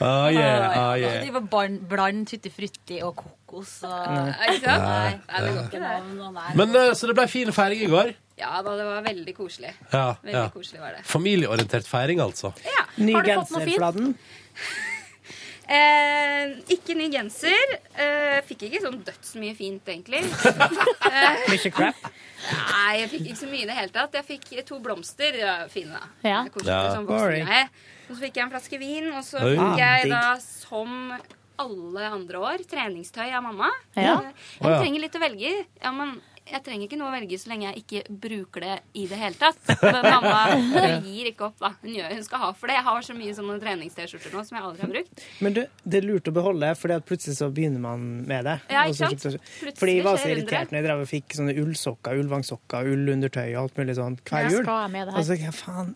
Speaker 2: Ah, yeah, ah,
Speaker 10: Og
Speaker 2: yeah.
Speaker 10: De var barn, bland tutti frutti og kokos og
Speaker 2: Nei.
Speaker 10: Nei,
Speaker 20: Ikke sant? Nei, nei, det går ikke, det.
Speaker 10: Navn og nei.
Speaker 2: Men eh, Så det ble fin feiring i går?
Speaker 20: Ja da, det var veldig koselig.
Speaker 2: Ja,
Speaker 20: Veldig
Speaker 2: ja.
Speaker 20: koselig var det.
Speaker 2: Familieorientert feiring, altså.
Speaker 20: Ja.
Speaker 3: Ny
Speaker 20: Har du fått noe
Speaker 3: genser,
Speaker 20: fint?
Speaker 3: Fladen.
Speaker 20: Eh, ikke ny genser. Eh, fikk ikke sånn dødsmye fint, egentlig. eh,
Speaker 3: Mye crap.
Speaker 20: nei, jeg fikk ikke så mye i det hele tatt. Jeg fikk to blomster. Ja, fine, da.
Speaker 4: Ja.
Speaker 20: Det er koselig,
Speaker 4: Ja.
Speaker 20: sånn
Speaker 4: Boring.
Speaker 20: voksen jeg er. Og så fikk jeg en flaske vin, og så
Speaker 4: Oi.
Speaker 20: fikk
Speaker 4: Ah,
Speaker 20: jeg
Speaker 4: digg.
Speaker 20: da, som alle andre år, treningstøy av mamma.
Speaker 4: Ja. Å,
Speaker 20: Eh,
Speaker 4: ja.
Speaker 20: Jeg trenger litt å velge. i. Ja, men jeg trenger ikke noe å velge så lenge jeg ikke bruker det i det hele tatt. Men mamma gir ikke opp hva hun gjør. Hun skal ha for det. Jeg har så mye sånne treningst-T-skjorter nå som jeg aldri har brukt.
Speaker 3: Men du, det er lurt å beholde, for plutselig så begynner man med det.
Speaker 20: Ja,
Speaker 3: Og så-
Speaker 20: ikke sant? Plutselig
Speaker 3: Fordi jeg var så
Speaker 20: skjer undre.
Speaker 3: irritert når jeg drev og fikk sånne ullsokker, ullvangsokker, ullundertøy og alt mulig sånn hver
Speaker 4: Jeg
Speaker 3: jul. Altså,
Speaker 4: skal ha med det her.
Speaker 3: Og
Speaker 2: Altså,
Speaker 3: så, ja, faen,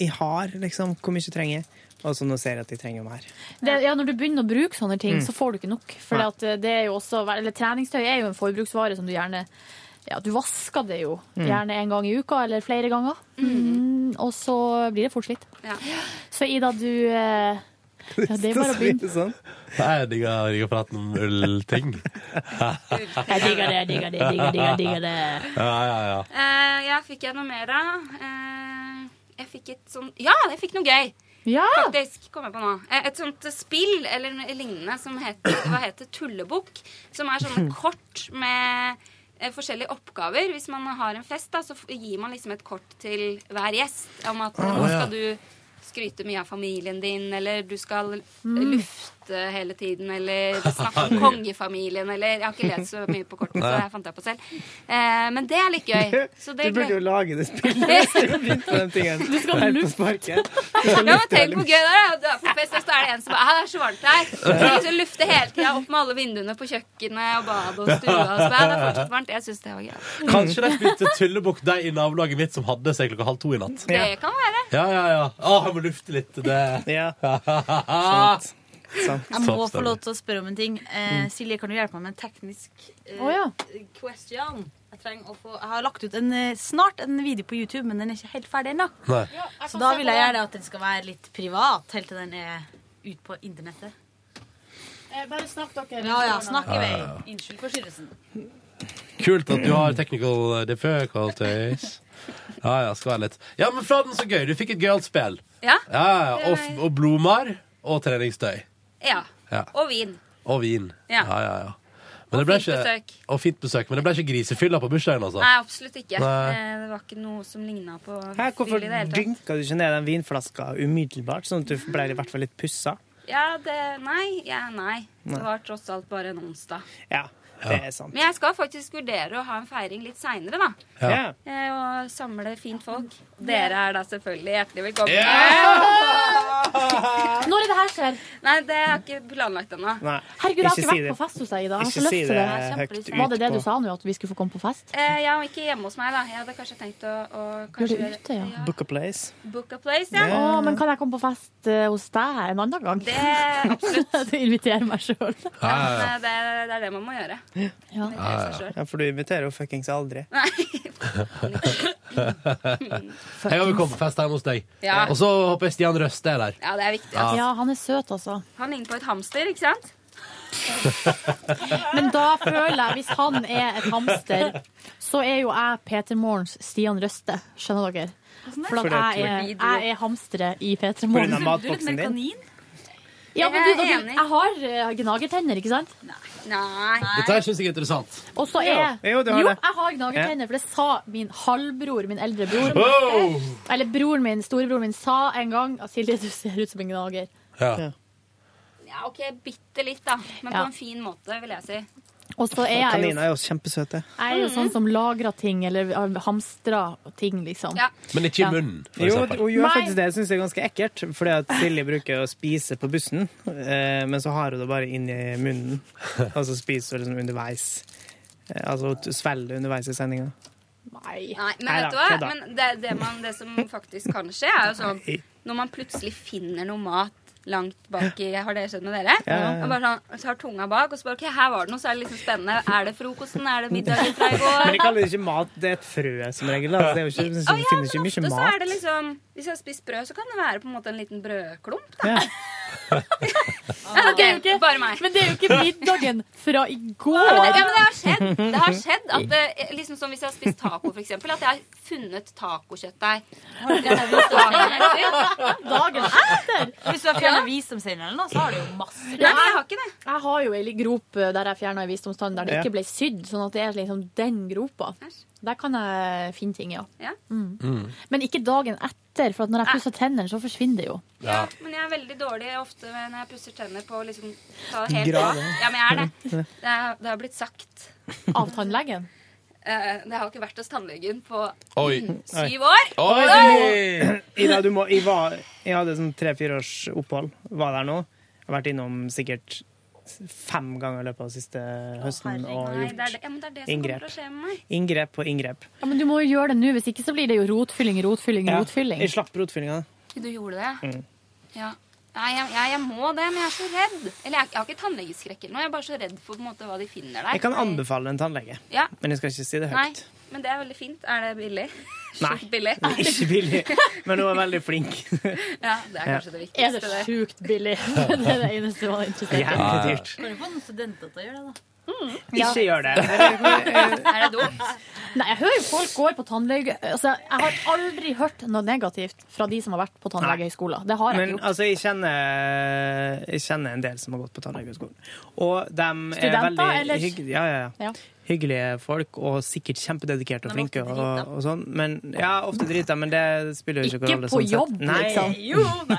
Speaker 3: jeg har liksom hvor mye jeg trenger. Og så nå ser jeg at jeg trenger mer.
Speaker 4: Det, ja, når du begynner å bruke sånne ting,
Speaker 3: Mm.
Speaker 4: så får du ikke nok. For
Speaker 3: Nei.
Speaker 4: at eh, det er jo også, eller treningstøy er jo en forbruksvare som du gjerne ja, Du vasker det jo
Speaker 21: Mm.
Speaker 4: gjerne en gang i uka eller flere ganger. Mm, og så blir det fort slitt. Så Ida, du eh, ja, Det er bare å begynne.
Speaker 3: sånn.
Speaker 2: Nei, jeg digger, jeg digger praten om ullting.
Speaker 21: Jeg digger det, jeg digger det, jeg digger det, jeg digger det.
Speaker 2: Ja, ja, ja.
Speaker 20: Eh, ja, fikk jeg noe mer da? Eh, jeg fikk et sånn Ja, jeg fikk noe gøy! Faktisk, kom jeg på nå. Eh, Et sånt eh, spill eller noe lignende som heter, hva heter Tullebukk. Som er sånne kort med eh, forskjellige oppgaver. Hvis man har en fest, da, så f- gir man liksom et kort til hver gjest om at
Speaker 21: Ah,
Speaker 20: nå
Speaker 21: ja.
Speaker 20: skal du skryte mye av familien din, eller du skal eh,
Speaker 21: Mm.
Speaker 20: lufte hele tiden, eller snakke om
Speaker 21: Herregud.
Speaker 20: kongefamilien, eller Jeg har ikke lest så mye på kortene, så
Speaker 3: Nei.
Speaker 20: jeg fant det på selv. Eh, men det er litt gøy. Så det
Speaker 3: du burde jo
Speaker 20: gleder-
Speaker 3: lage det spillet hvis du begynte på den tingen.
Speaker 20: Du skal
Speaker 3: Her på
Speaker 20: lufte.
Speaker 3: sparket.
Speaker 20: Ja, men tenk hvor gøy det er. da. På fest så er det en som bare «Ah, Det er så varmt her. Så liksom lufte hele tida opp med alle vinduene på kjøkkenet og badet og stua. Og så bare, «Ah, det er fortsatt varmt. Jeg syns det var gøy.
Speaker 2: Mm. Kanskje de spilte tullebukk, de i nabolaget mitt som hadde seg klokka halv to i natt.
Speaker 20: Det kan være.
Speaker 2: Ja, ja, ja. Å, jeg må lufte litt det.
Speaker 3: Ja.
Speaker 2: Sant.
Speaker 22: Jeg må få lov til å spørre om en ting. Eh, Silje, kan du hjelpe meg med en teknisk eh,
Speaker 21: Å, ja.
Speaker 22: question? Jeg, trenger å få, jeg har lagt ut en, eh, snart en video på YouTube, men den er ikke helt ferdig ennå.
Speaker 2: Nei.
Speaker 21: kan
Speaker 22: Så da
Speaker 21: se
Speaker 22: vil
Speaker 21: på
Speaker 22: jeg
Speaker 21: den.
Speaker 22: gjerne at den skal være litt privat, helt til den er ut på internettet.
Speaker 21: Eh, Bare snakk dere.
Speaker 22: Ja, ja, snakk i vei.
Speaker 2: Ja, ja.
Speaker 22: Unnskyld forstyrrelsen.
Speaker 2: Kult at du har technical uh, difficulties. Ja, ja, skal være litt. Ja, men Fladen, så gøy. Du fikk et gøyalt spill.
Speaker 20: Ja.
Speaker 2: Ja, ja. Og, f- og blomar og treningstøy.
Speaker 20: ja.
Speaker 2: Ja.
Speaker 20: Og vin.
Speaker 2: Og vin.
Speaker 20: Ja.
Speaker 2: ja, ja. ja. Men det ble
Speaker 20: fint
Speaker 2: ikke,
Speaker 20: besøk.
Speaker 2: Og fint besøk. Men det ble ikke grisefylla på bursdagen, altså?
Speaker 20: Nei, absolutt ikke.
Speaker 2: Nei.
Speaker 20: Eh, Det var ikke noe som ligna på
Speaker 3: Hæ,
Speaker 20: fyll
Speaker 3: hvorfor
Speaker 20: i det hele tatt.
Speaker 3: dynka du ikke ned den vinflaska umiddelbart, sånn at du ble i hvert fall litt pussa?
Speaker 20: Ja, det Nei. Ja, nei. Det
Speaker 3: Nei.
Speaker 20: var tross alt bare en onsdag.
Speaker 3: Ja, det er sant.
Speaker 20: Men jeg skal faktisk vurdere å ha en feiring litt seinere, da.
Speaker 3: Ja.
Speaker 20: Eh, Og samle fint folk. Dere er da selvfølgelig hjertelig velkommen.
Speaker 21: Når er det her skjer?
Speaker 20: Nei, det har jeg ikke planlagt ennå.
Speaker 3: Nei.
Speaker 4: Herregud, jeg har
Speaker 3: Ikke
Speaker 4: ikke
Speaker 3: si
Speaker 4: vært
Speaker 3: det.
Speaker 4: på fest hos deg, Ida. Jeg har
Speaker 3: Ikke
Speaker 4: så lyst
Speaker 3: si
Speaker 4: til
Speaker 3: det
Speaker 4: det.
Speaker 3: høyt ut
Speaker 4: Var det det du
Speaker 3: på-
Speaker 4: sa nå, at vi skulle få komme på fest?
Speaker 20: Eh, jeg var ikke hjemme hos meg, da. Jeg hadde kanskje tenkt å, å kanskje
Speaker 4: Gjør det ute, ja.
Speaker 3: Book a place.
Speaker 20: Book a place, ja.
Speaker 4: Å, men kan jeg komme på fest eh, hos deg en annen gang?
Speaker 20: Det absolutt.
Speaker 4: du inviterer meg sjøl.
Speaker 20: Ja, men, eh, det, det er det man må gjøre. Man inviterer seg selv.
Speaker 3: Ja, for du inviterer jo fuckings aldri.
Speaker 2: Jeg vil komme på fest hjemme hos deg.
Speaker 20: Ja.
Speaker 2: Og så håper jeg Stian Røste er der.
Speaker 20: Ja, det er viktig.
Speaker 2: Ja.
Speaker 4: Ja, han er søt, altså.
Speaker 20: Han ligner på et hamster, ikke sant?
Speaker 4: Men da føler jeg, hvis han er et hamster, så er jo jeg Peter Morgens Stian Røste. Skjønner dere? For
Speaker 3: Fordi at
Speaker 4: at jeg
Speaker 3: du-
Speaker 4: er, jeg er hamsteret i Peter
Speaker 3: På grunn
Speaker 4: Morgen.
Speaker 3: av matboksen din.
Speaker 4: Ja, men du,
Speaker 20: Jeg er
Speaker 4: dere- jeg har eh, gnagertenner, ikke sant?
Speaker 20: Nei.
Speaker 2: Dette her syns jeg er interessant.
Speaker 4: Og så
Speaker 2: Ja.
Speaker 4: er
Speaker 2: Jo, du har det.
Speaker 4: jeg har gnagertenner, for det sa min halvbror, min eldre bror.
Speaker 2: Wow!
Speaker 4: Eller broren min, storebroren min, sa en gang at Silje, du ser ut som en gnager.
Speaker 2: Ja.
Speaker 20: Ja, OK, bitte litt, da. Men
Speaker 4: Ja.
Speaker 20: på en fin måte, vil jeg si.
Speaker 4: Og så er jeg
Speaker 3: Kaniner
Speaker 4: jo,
Speaker 3: er jo kjempesøte.
Speaker 4: jeg
Speaker 20: Mm.
Speaker 4: er jo sånn som lagrer ting, eller hamstrer ting, liksom.
Speaker 2: Men ikke i munnen, for
Speaker 3: Jo,
Speaker 2: eksempel.
Speaker 3: hun gjør
Speaker 4: Nei.
Speaker 3: faktisk det. Jeg syns det er ganske ekkelt. Fordi at Silje bruker å spise på bussen, eh, men så har hun det bare inni munnen. Og så spiser hun liksom underveis. Eh, Altså hun svelger underveis i sendinga.
Speaker 4: Nei.
Speaker 20: men
Speaker 3: Nei
Speaker 20: vet du
Speaker 3: da, kødda.
Speaker 20: hva? Men det, det, man, det som faktisk kan skje, er jo sånn når man plutselig finner noe mat langt bak i Har det skjedd med dere?
Speaker 21: Ja, ja, ja.
Speaker 20: Og bare sånn, tar tunga bak, og så bare OK, her var det noe, så er det liksom spennende. Er det frokosten? Er det middagen fra i går?
Speaker 3: Men de kaller det ikke mat, det er et frø som regel. Altså, det er jo ikke,
Speaker 20: Å,
Speaker 3: det
Speaker 20: ja,
Speaker 3: finnes ikke
Speaker 20: men ofte
Speaker 3: mye
Speaker 20: så er det
Speaker 3: mat.
Speaker 20: liksom Hvis jeg har spist brød, så kan det være på en måte en liten brødklump.
Speaker 3: Ja.
Speaker 4: Men det er jo ikke,
Speaker 20: Bare meg.
Speaker 4: men det er jo ikke middagen fra i går!
Speaker 20: Ja, men, det, ja, men det har skjedd. Det har skjedd at det, liksom som Hvis jeg har spist taco, for eksempel, at jeg har funnet tacokjøttdeig
Speaker 21: Dagen
Speaker 4: etter.
Speaker 21: Hvis du har fjernet visdomsteinen eller noe, så har du jo masse.
Speaker 4: Ja, Jeg har jo ei li- grop eh, der jeg fjerna ei visdomstann der det
Speaker 21: Ja.
Speaker 4: ikke ble sydd. Sånn at det er liksom den gropa. Der kan jeg finne ting, ja. Mm.
Speaker 21: Mm.
Speaker 4: Men ikke dagen etter, for at når jeg pusser tennene, så forsvinner det jo.
Speaker 20: Ja, men jeg er veldig dårlig ofte når jeg pusser tenner på å liksom ta det helt
Speaker 4: Grave.
Speaker 20: av. Ja, men jeg er det. Det, er, det har blitt sagt.
Speaker 4: Av tannlegen.
Speaker 20: Eh, Jeg har ikke vært hos tannlegen på
Speaker 2: Oi.
Speaker 20: syv år.
Speaker 3: Oi!
Speaker 20: Oi!
Speaker 3: Ida, du må, jeg, var, jeg hadde sånn tre-fire års opphold. Var der nå. Jeg har vært innom sikkert fem ganger i løpet av siste høsten og
Speaker 20: Nei, det er det,
Speaker 3: gjort
Speaker 20: ja, men det er det som
Speaker 3: inngrep.
Speaker 20: kommer til å skje med meg.
Speaker 3: inngrep på inngrep.
Speaker 4: Ja, men du må jo gjøre det nå, hvis ikke så blir det jo rotfylling, rotfylling,
Speaker 3: Ja,
Speaker 4: rotfylling.
Speaker 3: Jeg slapp rotfyllinga.
Speaker 20: Du gjorde det?
Speaker 3: Mm.
Speaker 20: Ja. Nei, jeg, jeg, jeg må det, men jeg er så redd. Eller jeg, jeg har ikke tannlegeskrekk eller noe, jeg er bare så redd for på en måte, hva de finner der.
Speaker 3: Jeg kan anbefale en tannlege,
Speaker 20: Ja.
Speaker 3: men jeg skal ikke si det
Speaker 20: Nei,
Speaker 3: høyt.
Speaker 20: men det er veldig fint. Er det billig?
Speaker 3: Nei.
Speaker 20: Sjukt billig.
Speaker 3: Det er ikke billig, men hun er veldig flink.
Speaker 20: Ja, det er kanskje det viktigste.
Speaker 4: Er det sjukt billig? Det er det eneste man er interessert i.
Speaker 3: Jævlig dyrt.
Speaker 4: Kan du få noen studenter til å gjøre det, da?
Speaker 3: Ikke gjør det.
Speaker 20: Er det dumt?
Speaker 4: eh, Nei, jeg hører jo folk går på tannlege altså, Jeg har aldri hørt noe negativt fra de som har vært på tannlegehøyskolen. Det har jeg
Speaker 3: Men
Speaker 4: ikke gjort.
Speaker 3: altså, jeg kjenner, jeg kjenner en del som har gått på tannlegeskolen. Og de er
Speaker 4: Studenter,
Speaker 3: veldig
Speaker 4: eller?
Speaker 3: hyggelige. Ja, ja, ja.
Speaker 4: Ja.
Speaker 3: Hyggelige folk, og sikkert kjempededikerte og
Speaker 4: Men ofte
Speaker 3: flinke. Og, og sånn. men, ja, ofte driter, men det spiller jo ikke noen
Speaker 4: Ikke
Speaker 3: rolle.
Speaker 4: på
Speaker 3: sånn sett.
Speaker 4: jobb,
Speaker 3: Nei.
Speaker 4: liksom.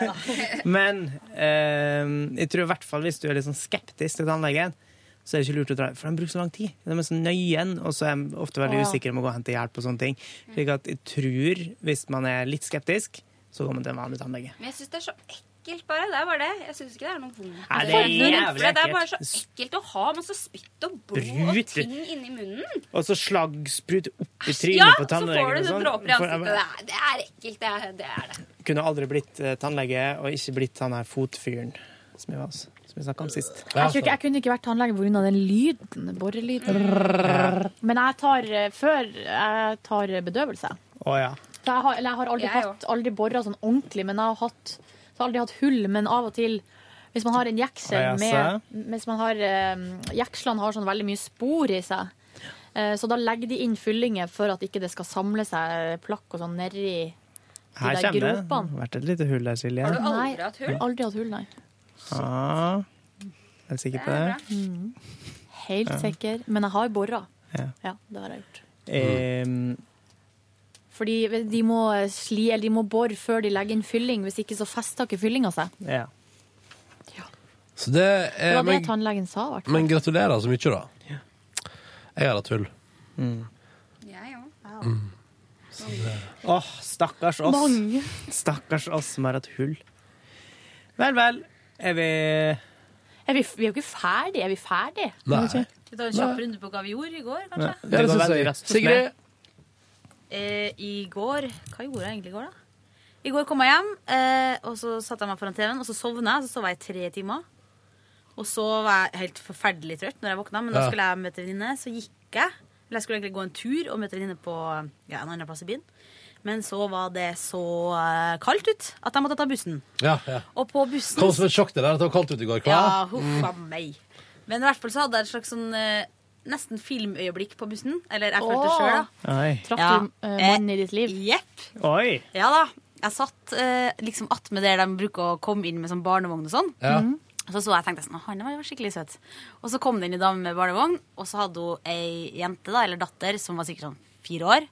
Speaker 3: Men eh, jeg tror i hvert fall hvis du er litt sånn skeptisk til tannlegen, så er det ikke lurt å dra, for de bruker så lang tid. De er så nøyen, og så er de ofte veldig
Speaker 4: Å, ja.
Speaker 3: usikre om å gå og hente hjelp og sånne ting. Slik at jeg tror, hvis man er litt skeptisk, så går man til en vanlig tannlege.
Speaker 20: Men jeg syns det er så ekkelt, bare. Det er bare det. Jeg syns ikke det er noe vondt.
Speaker 3: Nei, det er
Speaker 20: med
Speaker 3: jævlig
Speaker 20: For det er bare så
Speaker 3: ekkelt.
Speaker 20: ekkelt å ha masse spytt og blod og
Speaker 3: Brut.
Speaker 20: ting inni munnen.
Speaker 3: Og så slaggsprut opp i trynet
Speaker 20: Ja,
Speaker 3: på
Speaker 20: så får
Speaker 3: tannlegen.
Speaker 20: du
Speaker 3: og
Speaker 20: sånn dråper i
Speaker 3: For jeg
Speaker 20: ansiktet. Det er, det er ekkelt. Det er det. Er det.
Speaker 3: Kunne aldri blitt eh, tannlege og ikke blitt han her fotfyren som jeg var hos. Som jeg snakka om sist.
Speaker 4: Jeg, tror ikke, jeg kunne ikke vært tannlege pga. den lyden, borrelyden. Men jeg tar eh, før jeg tar bedøvelse.
Speaker 3: Å ja.
Speaker 4: For Jeg har, eller jeg har aldri,
Speaker 20: Jeg
Speaker 4: hatt- aldri borra sånn ordentlig, men jeg har hatt, så har jeg aldri hatt hull. Men av og til, hvis man har en jeksel
Speaker 3: Å, ja,
Speaker 4: med hvis man har, eh, Jekslene har sånn veldig mye spor i seg. Eh, Så da legger de inn fyllinger for at ikke det skal samle seg plakk og sånn nedi de
Speaker 3: Her
Speaker 4: der
Speaker 3: kommer det. Det
Speaker 4: gropene.
Speaker 3: har vært et lite hull der, Silje.
Speaker 4: Har du aldri
Speaker 20: hatt hull?
Speaker 4: Aldri hatt hull, nei.
Speaker 3: Ja. Er du sikker på det?
Speaker 4: Mm. Helt
Speaker 3: Ja.
Speaker 4: sikker. Men jeg har borra.
Speaker 3: Ja.
Speaker 4: Ja, det har jeg gjort.
Speaker 3: Ehm,
Speaker 4: Fordi de må sli, eller de må bore før de legger inn fylling. Hvis ikke så fester ikke fyllinga seg.
Speaker 3: ja.
Speaker 2: Så det
Speaker 4: Det
Speaker 2: er
Speaker 4: var det
Speaker 2: men,
Speaker 4: tannlegen sa, i hvert fall.
Speaker 2: men gratulerer så mye, da. Jeg har hatt hull. Mm.
Speaker 20: Jeg òg.
Speaker 3: Åh, stakkars oss.
Speaker 4: Mange.
Speaker 3: Stakkars oss som har hatt hull. Vel, vel. Er vi
Speaker 4: Er vi, vi er jo ikke ferdige. Er vi ferdige?
Speaker 3: Nei. Nei.
Speaker 10: Vi tar en kjapp runde på hva vi gjorde i går, kanskje.
Speaker 3: Det går veldig raskt hos meg.
Speaker 10: Eh, I går Hva gjorde jeg egentlig i går, da? I går kom jeg hjem, eh, og så satte jeg meg foran TV-en, og så sovna jeg. Så sov jeg i tre timer. Og så var jeg helt forferdelig trøtt når jeg våkna, men da
Speaker 4: Ja.
Speaker 10: skulle jeg møte en venninne. Så gikk jeg. Eller jeg skulle egentlig gå en tur og møte en venninne på ja, en annen plass i byen. Men så var det så eh, kaldt ut at jeg måtte ta bussen.
Speaker 2: Ja, ja.
Speaker 10: Og på bussen
Speaker 2: Kom som et sjokk det der at det var kaldt ute i går.
Speaker 10: ja,
Speaker 2: Hva? Mm.
Speaker 10: huff a meg. Men i hvert fall så hadde jeg et slags sånn eh, nesten filmøyeblikk på bussen. Eller jeg følte det
Speaker 4: Åh.
Speaker 10: sjøl, da.
Speaker 3: Oi.
Speaker 4: Traff
Speaker 10: Ja.
Speaker 4: du eh, mannen i ditt liv?
Speaker 10: Jepp.
Speaker 3: Oi.
Speaker 10: Ja da. Jeg satt eh, liksom attmed der de bruker å komme inn med sånn barnevogn og sånn.
Speaker 4: Ja. Mhm.
Speaker 10: Så så jeg tenkte jeg sånn, «Å, han var skikkelig søt. Og så kom det inn en dame med barnevogn, og så hadde hun ei jente, da, eller datter, som var sikkert sånn fire år,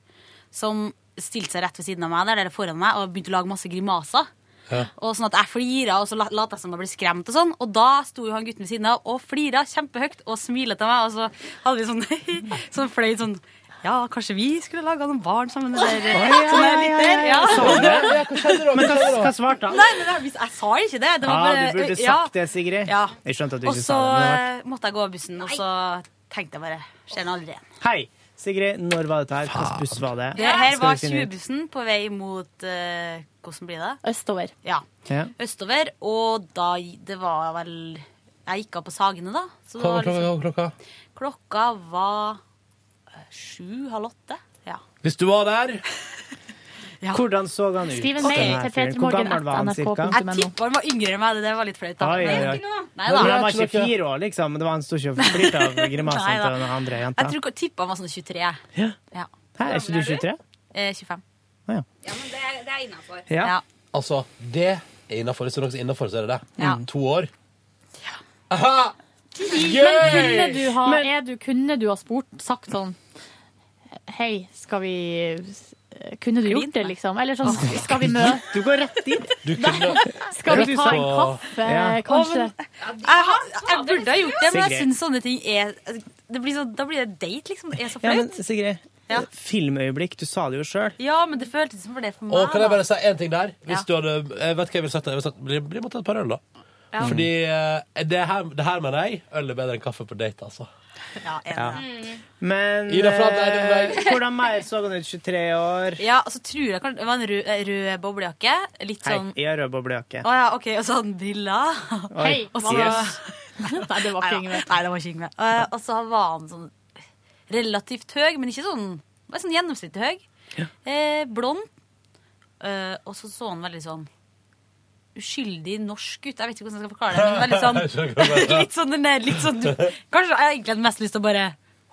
Speaker 10: som stilte seg rett ved siden av meg der, eller foran meg, og begynte å lage masse grimaser.
Speaker 2: Ja.
Speaker 10: Og sånn at jeg flira, og så la- lot jeg som jeg ble skremt. Og sånn Og da sto jo han gutten ved siden av og flira kjempehøyt og smilte til meg. Og så hadde vi sånn, sånn fløy sånn Ja, kanskje vi skulle laga noen barn sammen? Eller sånn der, litt der. Ja.
Speaker 3: Sa du det? Men hva, hva svarte han?
Speaker 10: Nei, men jeg, vis- jeg sa ikke det. det var
Speaker 3: Ah,
Speaker 10: bare,
Speaker 3: du burde sagt
Speaker 10: ja.
Speaker 3: det, Sigrid.
Speaker 10: Ja.
Speaker 3: Jeg skjønte at du
Speaker 10: Og
Speaker 3: ikke
Speaker 10: så
Speaker 3: sa det. men det.
Speaker 10: eh, måtte jeg gå av bussen, og så tenkte jeg bare Ser den aldri igjen.
Speaker 3: var- Hei, Sigrid. Når var dette her? Hvilken buss var det?
Speaker 10: Det her
Speaker 3: Skal
Speaker 10: var
Speaker 3: vi finne ut?
Speaker 10: 20-bussen på vei mot eh, Hvordan blir det?
Speaker 4: Østover.
Speaker 10: Ja.
Speaker 3: Ja.
Speaker 10: Østover. Og da Det var vel Jeg gikk av på Sagene, da. Så det var
Speaker 2: Hva var klokka?
Speaker 10: liksom,
Speaker 2: hva var klokka?
Speaker 10: klokka var eh, sju-halv åtte. Ja.
Speaker 2: Hvis du var der
Speaker 3: Hvordan så han ut?
Speaker 10: Skriv en mail
Speaker 3: den her
Speaker 10: til
Speaker 3: fyren?
Speaker 10: Peter
Speaker 3: Hvor
Speaker 10: Morgan
Speaker 3: gammel var han
Speaker 10: at
Speaker 3: cirka?
Speaker 10: Jeg tipper han var yngre enn meg. det- Det var litt flaut, da.
Speaker 3: Oi, oi, oi.
Speaker 10: Nei
Speaker 3: Men
Speaker 10: da.
Speaker 3: Han var ikke fire år, liksom. men Det var Han sto ikke og flirte av
Speaker 10: Nei
Speaker 3: grimasen
Speaker 10: da.
Speaker 3: til den andre jenta.
Speaker 10: Jeg tror tippa han var sånn 23.
Speaker 3: Ja.
Speaker 10: Ja.
Speaker 3: Hæ, er ikke du 23?
Speaker 10: Eh, 25.
Speaker 20: Ja, men det er, det er innafor.
Speaker 10: Ja.
Speaker 2: Altså, det er innafor. Hvis det er noe som er innafor, så er det det.
Speaker 10: Ja.
Speaker 2: To år. Aha!
Speaker 4: Men kunne du ha, er du, kunne du ha spurt, sagt sånn Hei, skal vi Kunne du gjort det, liksom? Eller sånn, skal vi møte
Speaker 3: Du går rett dit.
Speaker 2: Du kunne
Speaker 4: Skal vi
Speaker 2: rett
Speaker 4: ta en
Speaker 2: på-
Speaker 4: kaffe,
Speaker 2: Ja.
Speaker 4: kanskje?
Speaker 10: Jeg, har- jeg burde ha gjort det, men jeg
Speaker 3: Sigrid.
Speaker 10: syns sånne ting er det blir så, Da blir det date, liksom. Det er så
Speaker 3: Ja, men
Speaker 10: flaut.
Speaker 3: Sigrid,
Speaker 10: Ja.
Speaker 3: filmøyeblikk, du sa det jo sjøl.
Speaker 10: Ja, men det føltes som for det for meg.
Speaker 2: Og kan jeg
Speaker 10: da.
Speaker 2: bare si en ting der? Hvis
Speaker 10: Ja.
Speaker 2: du hadde, jeg vet hva jeg ville sett. Jeg ville sett bli, bli med og ta et par øl, da.
Speaker 10: Ja.
Speaker 2: Fordi eh, det her, det her mener jeg. Øl er bedre enn kaffe på date, altså.
Speaker 3: Ja.
Speaker 10: Mm,
Speaker 3: Men
Speaker 2: Ida Fladd er en
Speaker 3: eh,
Speaker 2: vei.
Speaker 3: hvordan mer så han ut 23 år?
Speaker 10: Ja, og så tror jeg kanskje Det var en rød, eh, rød boblejakke. Litt
Speaker 3: Hei,
Speaker 10: sånn Å
Speaker 3: jeg har rød boblejakke.
Speaker 10: ja, OK. Og så hadde han briller.
Speaker 3: Oi, Hei,
Speaker 10: Og så-
Speaker 3: yes.
Speaker 10: Nei, det var ikke Yngve. Nei, det var ikke Yngve. Eh, Og så var han sånn relativt høy, men ikke sånn bare sånn gjennomsnittlig høy. Eh, blond. Eh, og så så han veldig sånn uskyldig norsk ut. Jeg vet ikke hvordan jeg skal forklare det, men veldig
Speaker 2: Jeg skjønner hva
Speaker 10: sånn
Speaker 2: du mener.
Speaker 10: Litt sånn den der, litt sånn du, Kanskje jeg egentlig hadde mest lyst til å bare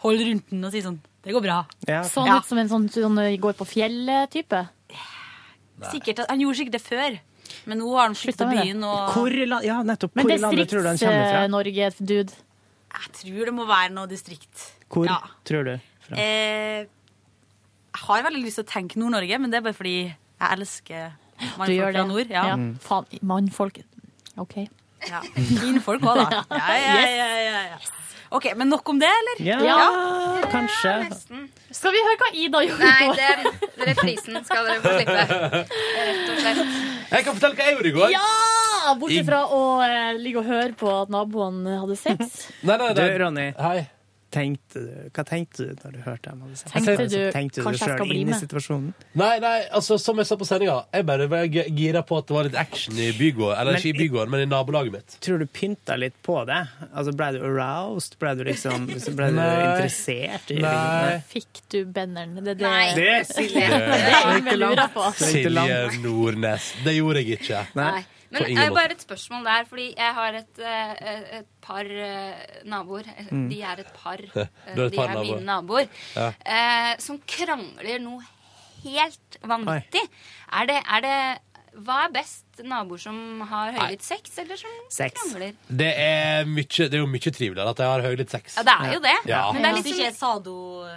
Speaker 10: holde rundt den og si sånn Det går bra.
Speaker 4: Sånn
Speaker 10: Ja.
Speaker 4: ut som en sånn, sånn eh, går på fjellet-type?
Speaker 10: Sikkert, at- han gjorde sikkert det før, men nå har han flyttet til
Speaker 4: med det.
Speaker 10: byen. Og...
Speaker 3: Hvor i land, ja, nettopp.
Speaker 10: Men
Speaker 3: Hvor i landet tror du han kommer fra?
Speaker 4: Distrikts-Norge-dude.
Speaker 10: Jeg tror det må være noe distrikt.
Speaker 3: Hvor
Speaker 10: Ja.
Speaker 3: tror du fra?
Speaker 10: Eh, jeg har veldig lyst til å tenke Nord-Norge, men det er bare fordi jeg elsker
Speaker 4: Du
Speaker 10: mannfolk
Speaker 4: gjør
Speaker 10: fra
Speaker 4: det.
Speaker 10: nord. Ja.
Speaker 4: Ja.
Speaker 3: Mm.
Speaker 4: Faen, mannfolk. OK.
Speaker 10: Ja. Kvinnfolk òg, da. Ja, ja, ja, ja, ja. OK, men nok om det, eller?
Speaker 3: Ja, kanskje.
Speaker 4: Skal vi høre hva Ida gjorde?
Speaker 20: Nei, det, det er prisen skal dere få slippe. Rett og slett.
Speaker 2: Jeg kan fortelle hva jeg gjorde i går.
Speaker 4: Ja!
Speaker 2: I-
Speaker 4: Bortsett fra å eh, ligge og høre på at naboen hadde sex.
Speaker 2: Nei, nei,
Speaker 3: Du,
Speaker 2: nei.
Speaker 3: Ronny.
Speaker 2: Hei.
Speaker 3: Tenkte du, hva tenkte du når du hørte ham? Alice?
Speaker 4: Tenkte
Speaker 3: Altså,
Speaker 4: du,
Speaker 3: tenkte
Speaker 4: kanskje
Speaker 3: du
Speaker 4: jeg skal
Speaker 3: selv
Speaker 4: bli
Speaker 3: inn i
Speaker 4: med?
Speaker 3: situasjonen?
Speaker 2: Nei, nei, altså som jeg sa på sendinga, jeg bare var g- gira på at det var litt action i bygården. Eller
Speaker 3: Men
Speaker 2: ikke i bygården, men i nabolaget mitt.
Speaker 3: Tror du pynta litt på det? Altså, Ble du aroused? Ble du liksom ble du
Speaker 2: Nei.
Speaker 3: interessert? I,
Speaker 2: Nei.
Speaker 4: Fikk du benneren? Det, er det.
Speaker 20: Nei.
Speaker 3: Det er Silje.
Speaker 4: Det er det
Speaker 3: Det er
Speaker 4: jeg
Speaker 3: ikke
Speaker 4: lurer
Speaker 3: langt.
Speaker 4: på.
Speaker 3: Tenkte langt.
Speaker 2: Silje Nordnes. Det gjorde jeg ikke.
Speaker 20: Nei. Men
Speaker 2: På
Speaker 20: jeg
Speaker 2: ingen
Speaker 20: har
Speaker 2: måte.
Speaker 20: bare et spørsmål der, fordi jeg har et, eh, et par eh, naboer. Eh,
Speaker 2: Mm.
Speaker 20: De er et par. eh,
Speaker 2: Du er et
Speaker 20: De
Speaker 2: par
Speaker 20: er
Speaker 2: naboer.
Speaker 20: mine naboer.
Speaker 2: Ja.
Speaker 20: eh, Som krangler noe helt vanvittig. Er det, er det Hva er best? Naboer som har høylytt sex, eller som
Speaker 2: Sex.
Speaker 20: krangler?
Speaker 2: Det er, mye, det er jo mye triveligere at jeg har høylytt sex.
Speaker 20: Ja, det er jo det.
Speaker 2: Ja.
Speaker 20: Men det er litt
Speaker 10: Hvis det ikke er
Speaker 20: sånn
Speaker 10: sado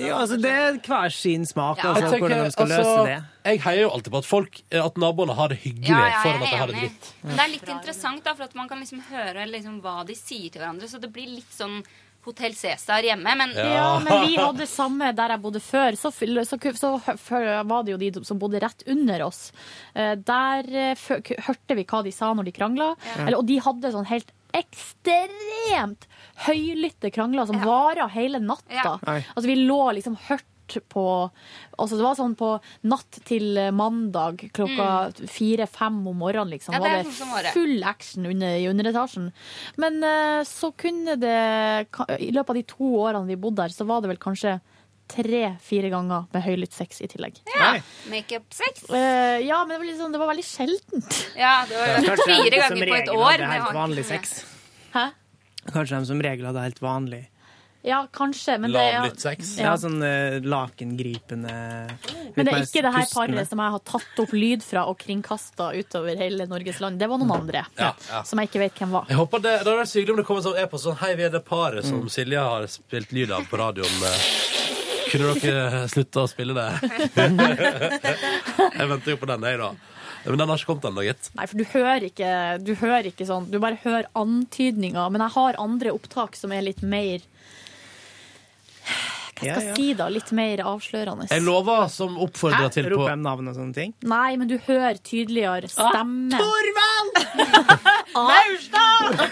Speaker 3: Ja, altså, det er hver sin smak,
Speaker 2: Jeg
Speaker 3: altså,
Speaker 2: tenker,
Speaker 3: hvordan de skal
Speaker 2: altså,
Speaker 3: løse det.
Speaker 2: Jeg heier jo alltid på at folk eh, At naboene har det hyggelig
Speaker 20: Ja, ja, jeg
Speaker 2: foran at de
Speaker 20: er
Speaker 2: har det
Speaker 20: enig.
Speaker 2: dritt.
Speaker 20: Men det er litt interessant, da, for at man kan liksom høre liksom hva de sier til hverandre. Så det blir litt sånn Hotell Cæsar hjemme, men
Speaker 4: Ja, men vi hadde samme der jeg bodde før. Så, fyll- så, ku- så hø- før var det jo de som bodde rett under oss. Eh, Der eh, fø- ku- hørte vi hva de sa når de krangla,
Speaker 23: Ja.
Speaker 4: Eller, og de hadde sånn helt ekstremt høylytte krangler som varer hele natta.
Speaker 23: Oi.
Speaker 4: Altså, vi lå liksom hørt på altså Det var sånn på natt til mandag klokka fire-fem om morgenen, liksom.
Speaker 23: Ja, det
Speaker 4: var
Speaker 23: er
Speaker 4: det
Speaker 23: sånn som var det.
Speaker 4: full action under, i underetasjen. Men eh, så kunne det ka- I løpet av de to årene vi bodde der, så var det vel kanskje tre-fire ganger med høylytt sex i tillegg.
Speaker 20: ja. Makeup-sex.
Speaker 4: Eh, ja, men det var, liksom, det var veldig sjeldent.
Speaker 20: Ja, det var
Speaker 3: Kanskje de
Speaker 20: fire
Speaker 3: som
Speaker 20: ganger på et
Speaker 3: regel
Speaker 20: år.
Speaker 3: hadde
Speaker 20: men jeg
Speaker 3: helt
Speaker 20: har
Speaker 3: vanlig
Speaker 20: ikke-
Speaker 3: sex.
Speaker 4: Hæ?
Speaker 3: Kanskje de som regel hadde helt vanlig.
Speaker 4: Ja, kanskje, men det, ja,
Speaker 3: Ja,
Speaker 4: Ja.
Speaker 3: sånn eh, lakengripende
Speaker 4: Men det er ikke det her
Speaker 3: pustende.
Speaker 4: paret som jeg har tatt opp lyd fra og kringkasta utover hele Norges land. Det var noen andre
Speaker 2: Ja, ja.
Speaker 4: som jeg ikke vet hvem var.
Speaker 2: Jeg håper det, det hadde vært så hyggelig om det kom en sånn e-post sånn Hei, vi er det paret som Silje har spilt lyd av på radioen. eh, Kunne dere slutta å spille det? jeg venter jo på den, jeg, da. Men den har ikke kommet ennå, gitt.
Speaker 4: Nei, for du hører ikke, du hører ikke sånn. Du bare hører antydninger. Men jeg har andre opptak som er litt mer Hva skal jeg si, da? Litt mer avslørende.
Speaker 2: Jeg lover som oppfordrer
Speaker 3: Hæ?
Speaker 2: til på
Speaker 3: Roper de navn og sånne ting?
Speaker 4: Nei, men du hører tydeligere stemme.
Speaker 3: Ah, Torvald!
Speaker 4: Maurstad!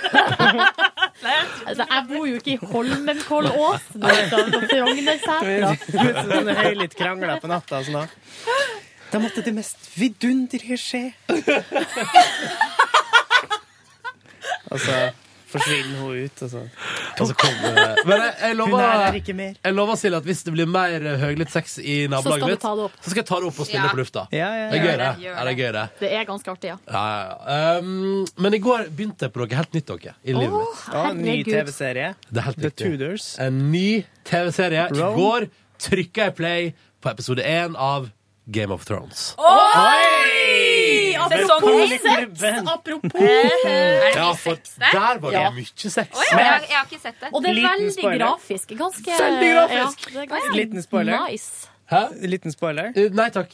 Speaker 4: altså, jeg bor jo ikke i Holmenkollåsen, liksom, på Frognersetra.
Speaker 3: Sånn høylytt krangler på natta og sånn. da. Da måtte det mest vidunderlige skje. Og så Altså, forsvinner hun ut, og så
Speaker 2: Og så kommer det Men jeg, jeg
Speaker 3: Hun er
Speaker 2: lover,
Speaker 3: der ikke mer.
Speaker 2: jeg lover Silje at hvis det blir mer høylytt sex i
Speaker 4: skal du
Speaker 2: nabolaget mitt,
Speaker 4: ta det opp.
Speaker 2: så skal jeg ta det opp og spille
Speaker 4: Ja.
Speaker 2: på lufta.
Speaker 3: Ja, ja, ja.
Speaker 2: Det er gøy,
Speaker 4: Gjør
Speaker 2: det.
Speaker 4: det, gjør
Speaker 2: Ja, det er gøy, det.
Speaker 4: Det er ganske artig, ja.
Speaker 2: Ja, ja, ja. Um, men i går begynte jeg på noe helt nytt dere, i livet mitt.
Speaker 3: Ja, en ny
Speaker 4: herregud.
Speaker 3: TV-serie.
Speaker 2: Det er helt
Speaker 3: The
Speaker 2: riktig.
Speaker 3: Tudors.
Speaker 2: En ny TV-serie. I
Speaker 3: Rome.
Speaker 2: går trykka jeg play på episode én av Game of Thrones.
Speaker 10: Oi! Sesong
Speaker 2: Velkommen i
Speaker 10: seks,
Speaker 2: klubben.
Speaker 20: Eh,
Speaker 10: apropos.
Speaker 2: Er
Speaker 10: Er det
Speaker 2: det mye
Speaker 3: Altså,
Speaker 10: sex
Speaker 2: der?
Speaker 10: der?
Speaker 2: Der var det
Speaker 10: Ja.
Speaker 2: mye sex.
Speaker 10: Å, ja, jeg, har- jeg har ikke sett det.
Speaker 4: Og det er
Speaker 3: Liten
Speaker 4: veldig
Speaker 3: spoiler.
Speaker 4: grafisk. Ganske
Speaker 3: Veldig grafisk.
Speaker 4: Ja, det er ganske
Speaker 3: Liten spoiler.
Speaker 4: Nice.
Speaker 2: Hæ?
Speaker 3: Liten spoiler?
Speaker 2: nei takk.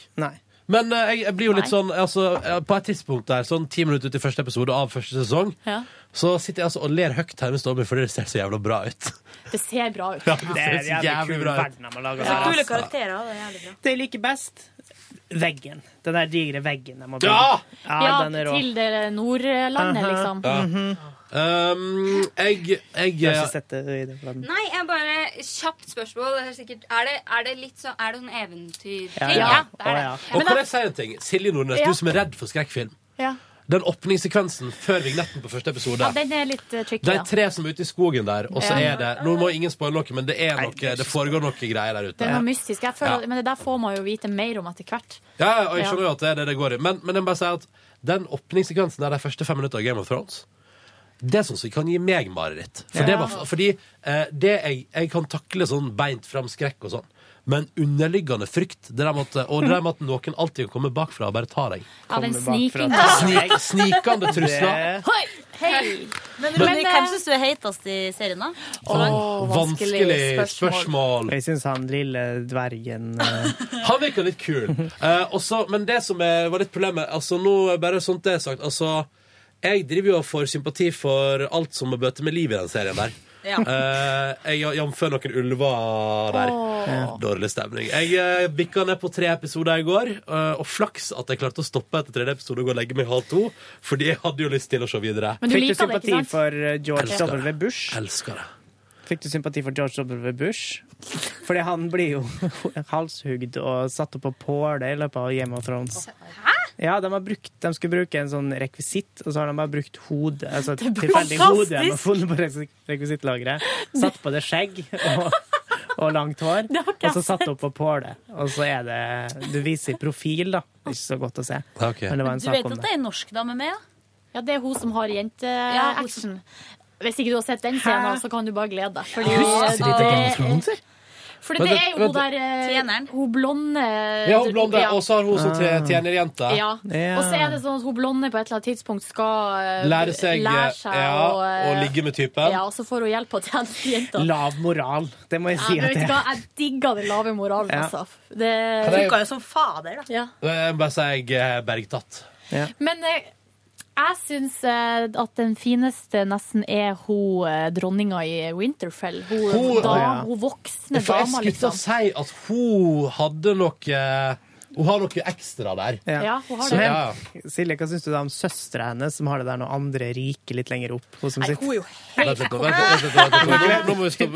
Speaker 2: Men eh, jeg, jeg blir jo litt
Speaker 4: Nei.
Speaker 2: sånn altså, eh, På et tidspunkt der, sånn ti minutter ut i første episode av første sesong,
Speaker 4: Ja.
Speaker 2: så sitter jeg altså og ler høyt hjemme i stua mi fordi det ser så jævla bra ut.
Speaker 4: Det ser bra ut.
Speaker 2: Ja, det ser så jævlig bra ut.
Speaker 3: verden de har
Speaker 2: Ja.
Speaker 3: laget der,
Speaker 2: Kule
Speaker 3: altså.
Speaker 10: karakterer, det er jævlig bra.
Speaker 3: Det jeg liker best, veggen. Den der digre veggen de har
Speaker 2: Ja!
Speaker 4: Ja,
Speaker 3: den er rå.
Speaker 4: til det Nordlandet,
Speaker 3: Aha.
Speaker 4: liksom.
Speaker 2: Ja. Um, jeg jeg,
Speaker 3: Ehm, Jeg har ikke sett det i den verden.
Speaker 20: Nei, jeg bare Kjapt spørsmål. Det er, sikkert, er, det, er det litt sånn Er det noen eventyr?
Speaker 2: Ja, ja.
Speaker 20: det er det.
Speaker 2: Og
Speaker 20: Men altså,
Speaker 2: kan
Speaker 20: da-
Speaker 2: jeg si en ting? Silje Nordnes,
Speaker 4: Ja.
Speaker 2: du som er redd for skrekkfilm.
Speaker 4: Ja.
Speaker 2: Den åpningssekvensen før vignetten på første episode.
Speaker 4: Ja, den er litt eh, tricky.
Speaker 2: Det
Speaker 4: ja.
Speaker 2: er tre som er ute i skogen der, og så
Speaker 4: Ja.
Speaker 2: er det Nå må ingen spoile noe, men det er noe, det foregår noe greier der ute.
Speaker 4: Det er noe mystisk. Jeg føler,
Speaker 2: Ja.
Speaker 4: Men det der får man jo vite mer om etter hvert.
Speaker 2: Ja, og jeg skjønner jo at det er det det går i. Men, men jeg må bare si at den åpningssekvensen der de første fem minutter av Game of Thrones det syns jeg kan gi meg mareritt. For
Speaker 11: Ja.
Speaker 2: det var, fordi eh, det jeg, jeg kan takle sånn beint fram skrekk og sånn, men underliggende frykt det der med at, Og det der med at noen alltid kan komme bakfra og bare ta deg.
Speaker 4: Ja, den
Speaker 2: Komme bakfra.
Speaker 4: sniking- Ah!
Speaker 2: Snik, Snikende trusler.
Speaker 4: Hoi! Hei!
Speaker 10: Men, eh,
Speaker 2: Men-
Speaker 10: Ronny, hvem syns du er heitest i serien, da? Så langt?
Speaker 2: Åh, vanskelig Vanskelig spørsmål. spørsmål.
Speaker 3: Jeg syns han lille dvergen eh,
Speaker 2: Han virker litt kul. Eh, også, men det som er, var litt problemet altså nå er Bare sånt det er sagt. Altså, jeg driver jo og får sympati for alt som må bøte med liv i den serien der.
Speaker 11: Ja.
Speaker 2: Eh, jeg Jf. noen ulver der.
Speaker 11: Åh. Ja.
Speaker 2: Dårlig stemning. Jeg eh, bikka ned på tre episoder i går, eh, og flaks at jeg klarte å stoppe etter tredje episode og gå og legge meg halv to, fordi jeg hadde jo lyst til å se videre.
Speaker 3: Fikk du sympati for eh, George
Speaker 2: Elsker
Speaker 3: W. Bush?
Speaker 2: Elsker det.
Speaker 3: Fikk du sympati for George W. Bush? Fordi han blir jo halshugd og satt opp på påle i løpet av Game of Thrones. Ja, de, har brukt, de skulle bruke en sånn rekvisitt, og så har de bare brukt hodet. Altså,
Speaker 11: Det er
Speaker 3: tilfeldig
Speaker 11: fantastisk!
Speaker 3: hode de har funnet på rekvis- rekvisittlageret. Satt på det skjegg og, og langt hår, og så satt opp på påle. Og så er det Du viser profil, da. Ikke så godt å se. Men det var en
Speaker 10: Du
Speaker 3: sak
Speaker 10: vet
Speaker 3: om
Speaker 10: at
Speaker 3: det.
Speaker 10: det er en norsk dame med, ja?
Speaker 4: Ja, det er hun som har
Speaker 10: Ja, hun
Speaker 4: jenteaction. Hvis ikke du har sett den scenen, så kan du bare glede deg. Fordi
Speaker 2: Husker du det, Game of Thrones, eller?
Speaker 4: Fordi
Speaker 2: Vent,
Speaker 4: det er jo
Speaker 2: vent,
Speaker 4: hun der eh, Hun blonde
Speaker 2: Ja, hun blonde,
Speaker 4: Eh, ja.
Speaker 2: og så har hun
Speaker 3: Ah.
Speaker 2: sånn tre tjenerjente.
Speaker 4: Ja. Og så er det sånn at hun blonde på et eller annet tidspunkt skal eh,
Speaker 2: Lære seg,
Speaker 4: lære seg
Speaker 2: ja,
Speaker 4: å,
Speaker 2: å
Speaker 4: eh,
Speaker 2: ligge med typen.
Speaker 4: Ja, og så får hun hjelp av tjenestejenta.
Speaker 3: Lav moral, det må jeg
Speaker 4: Ja,
Speaker 3: si
Speaker 4: men
Speaker 3: at
Speaker 4: vet
Speaker 3: det
Speaker 4: du hva,
Speaker 3: er.
Speaker 4: jeg digger den lave moralen,
Speaker 2: Ja.
Speaker 4: altså. Det
Speaker 2: Kan jeg- Funka
Speaker 4: jo som fader, da. Ja.
Speaker 2: Eh, Jeg må bare si jeg er bergtatt.
Speaker 4: Men eh, jeg syns eh, at den fineste nesten er hun eh, dronninga i Winterfell. Hun,
Speaker 2: Hun-
Speaker 4: da,
Speaker 2: Ja.
Speaker 4: hun voksne
Speaker 2: For jeg
Speaker 4: dama,
Speaker 2: skulle til å
Speaker 4: liksom.
Speaker 2: si at hun hadde eh, noe Hun har noe ekstra der.
Speaker 4: Ja, hun har det.
Speaker 2: Men,
Speaker 3: Men Silje, hva syns du da om søstera hennes, som har det der når andre ryker litt lenger opp? Hun som
Speaker 4: Nei,
Speaker 3: sitter-
Speaker 4: hun er jo
Speaker 2: Vent litt nå, vent litt, vent litt, vent litt, vent litt. Nå må vi stoppe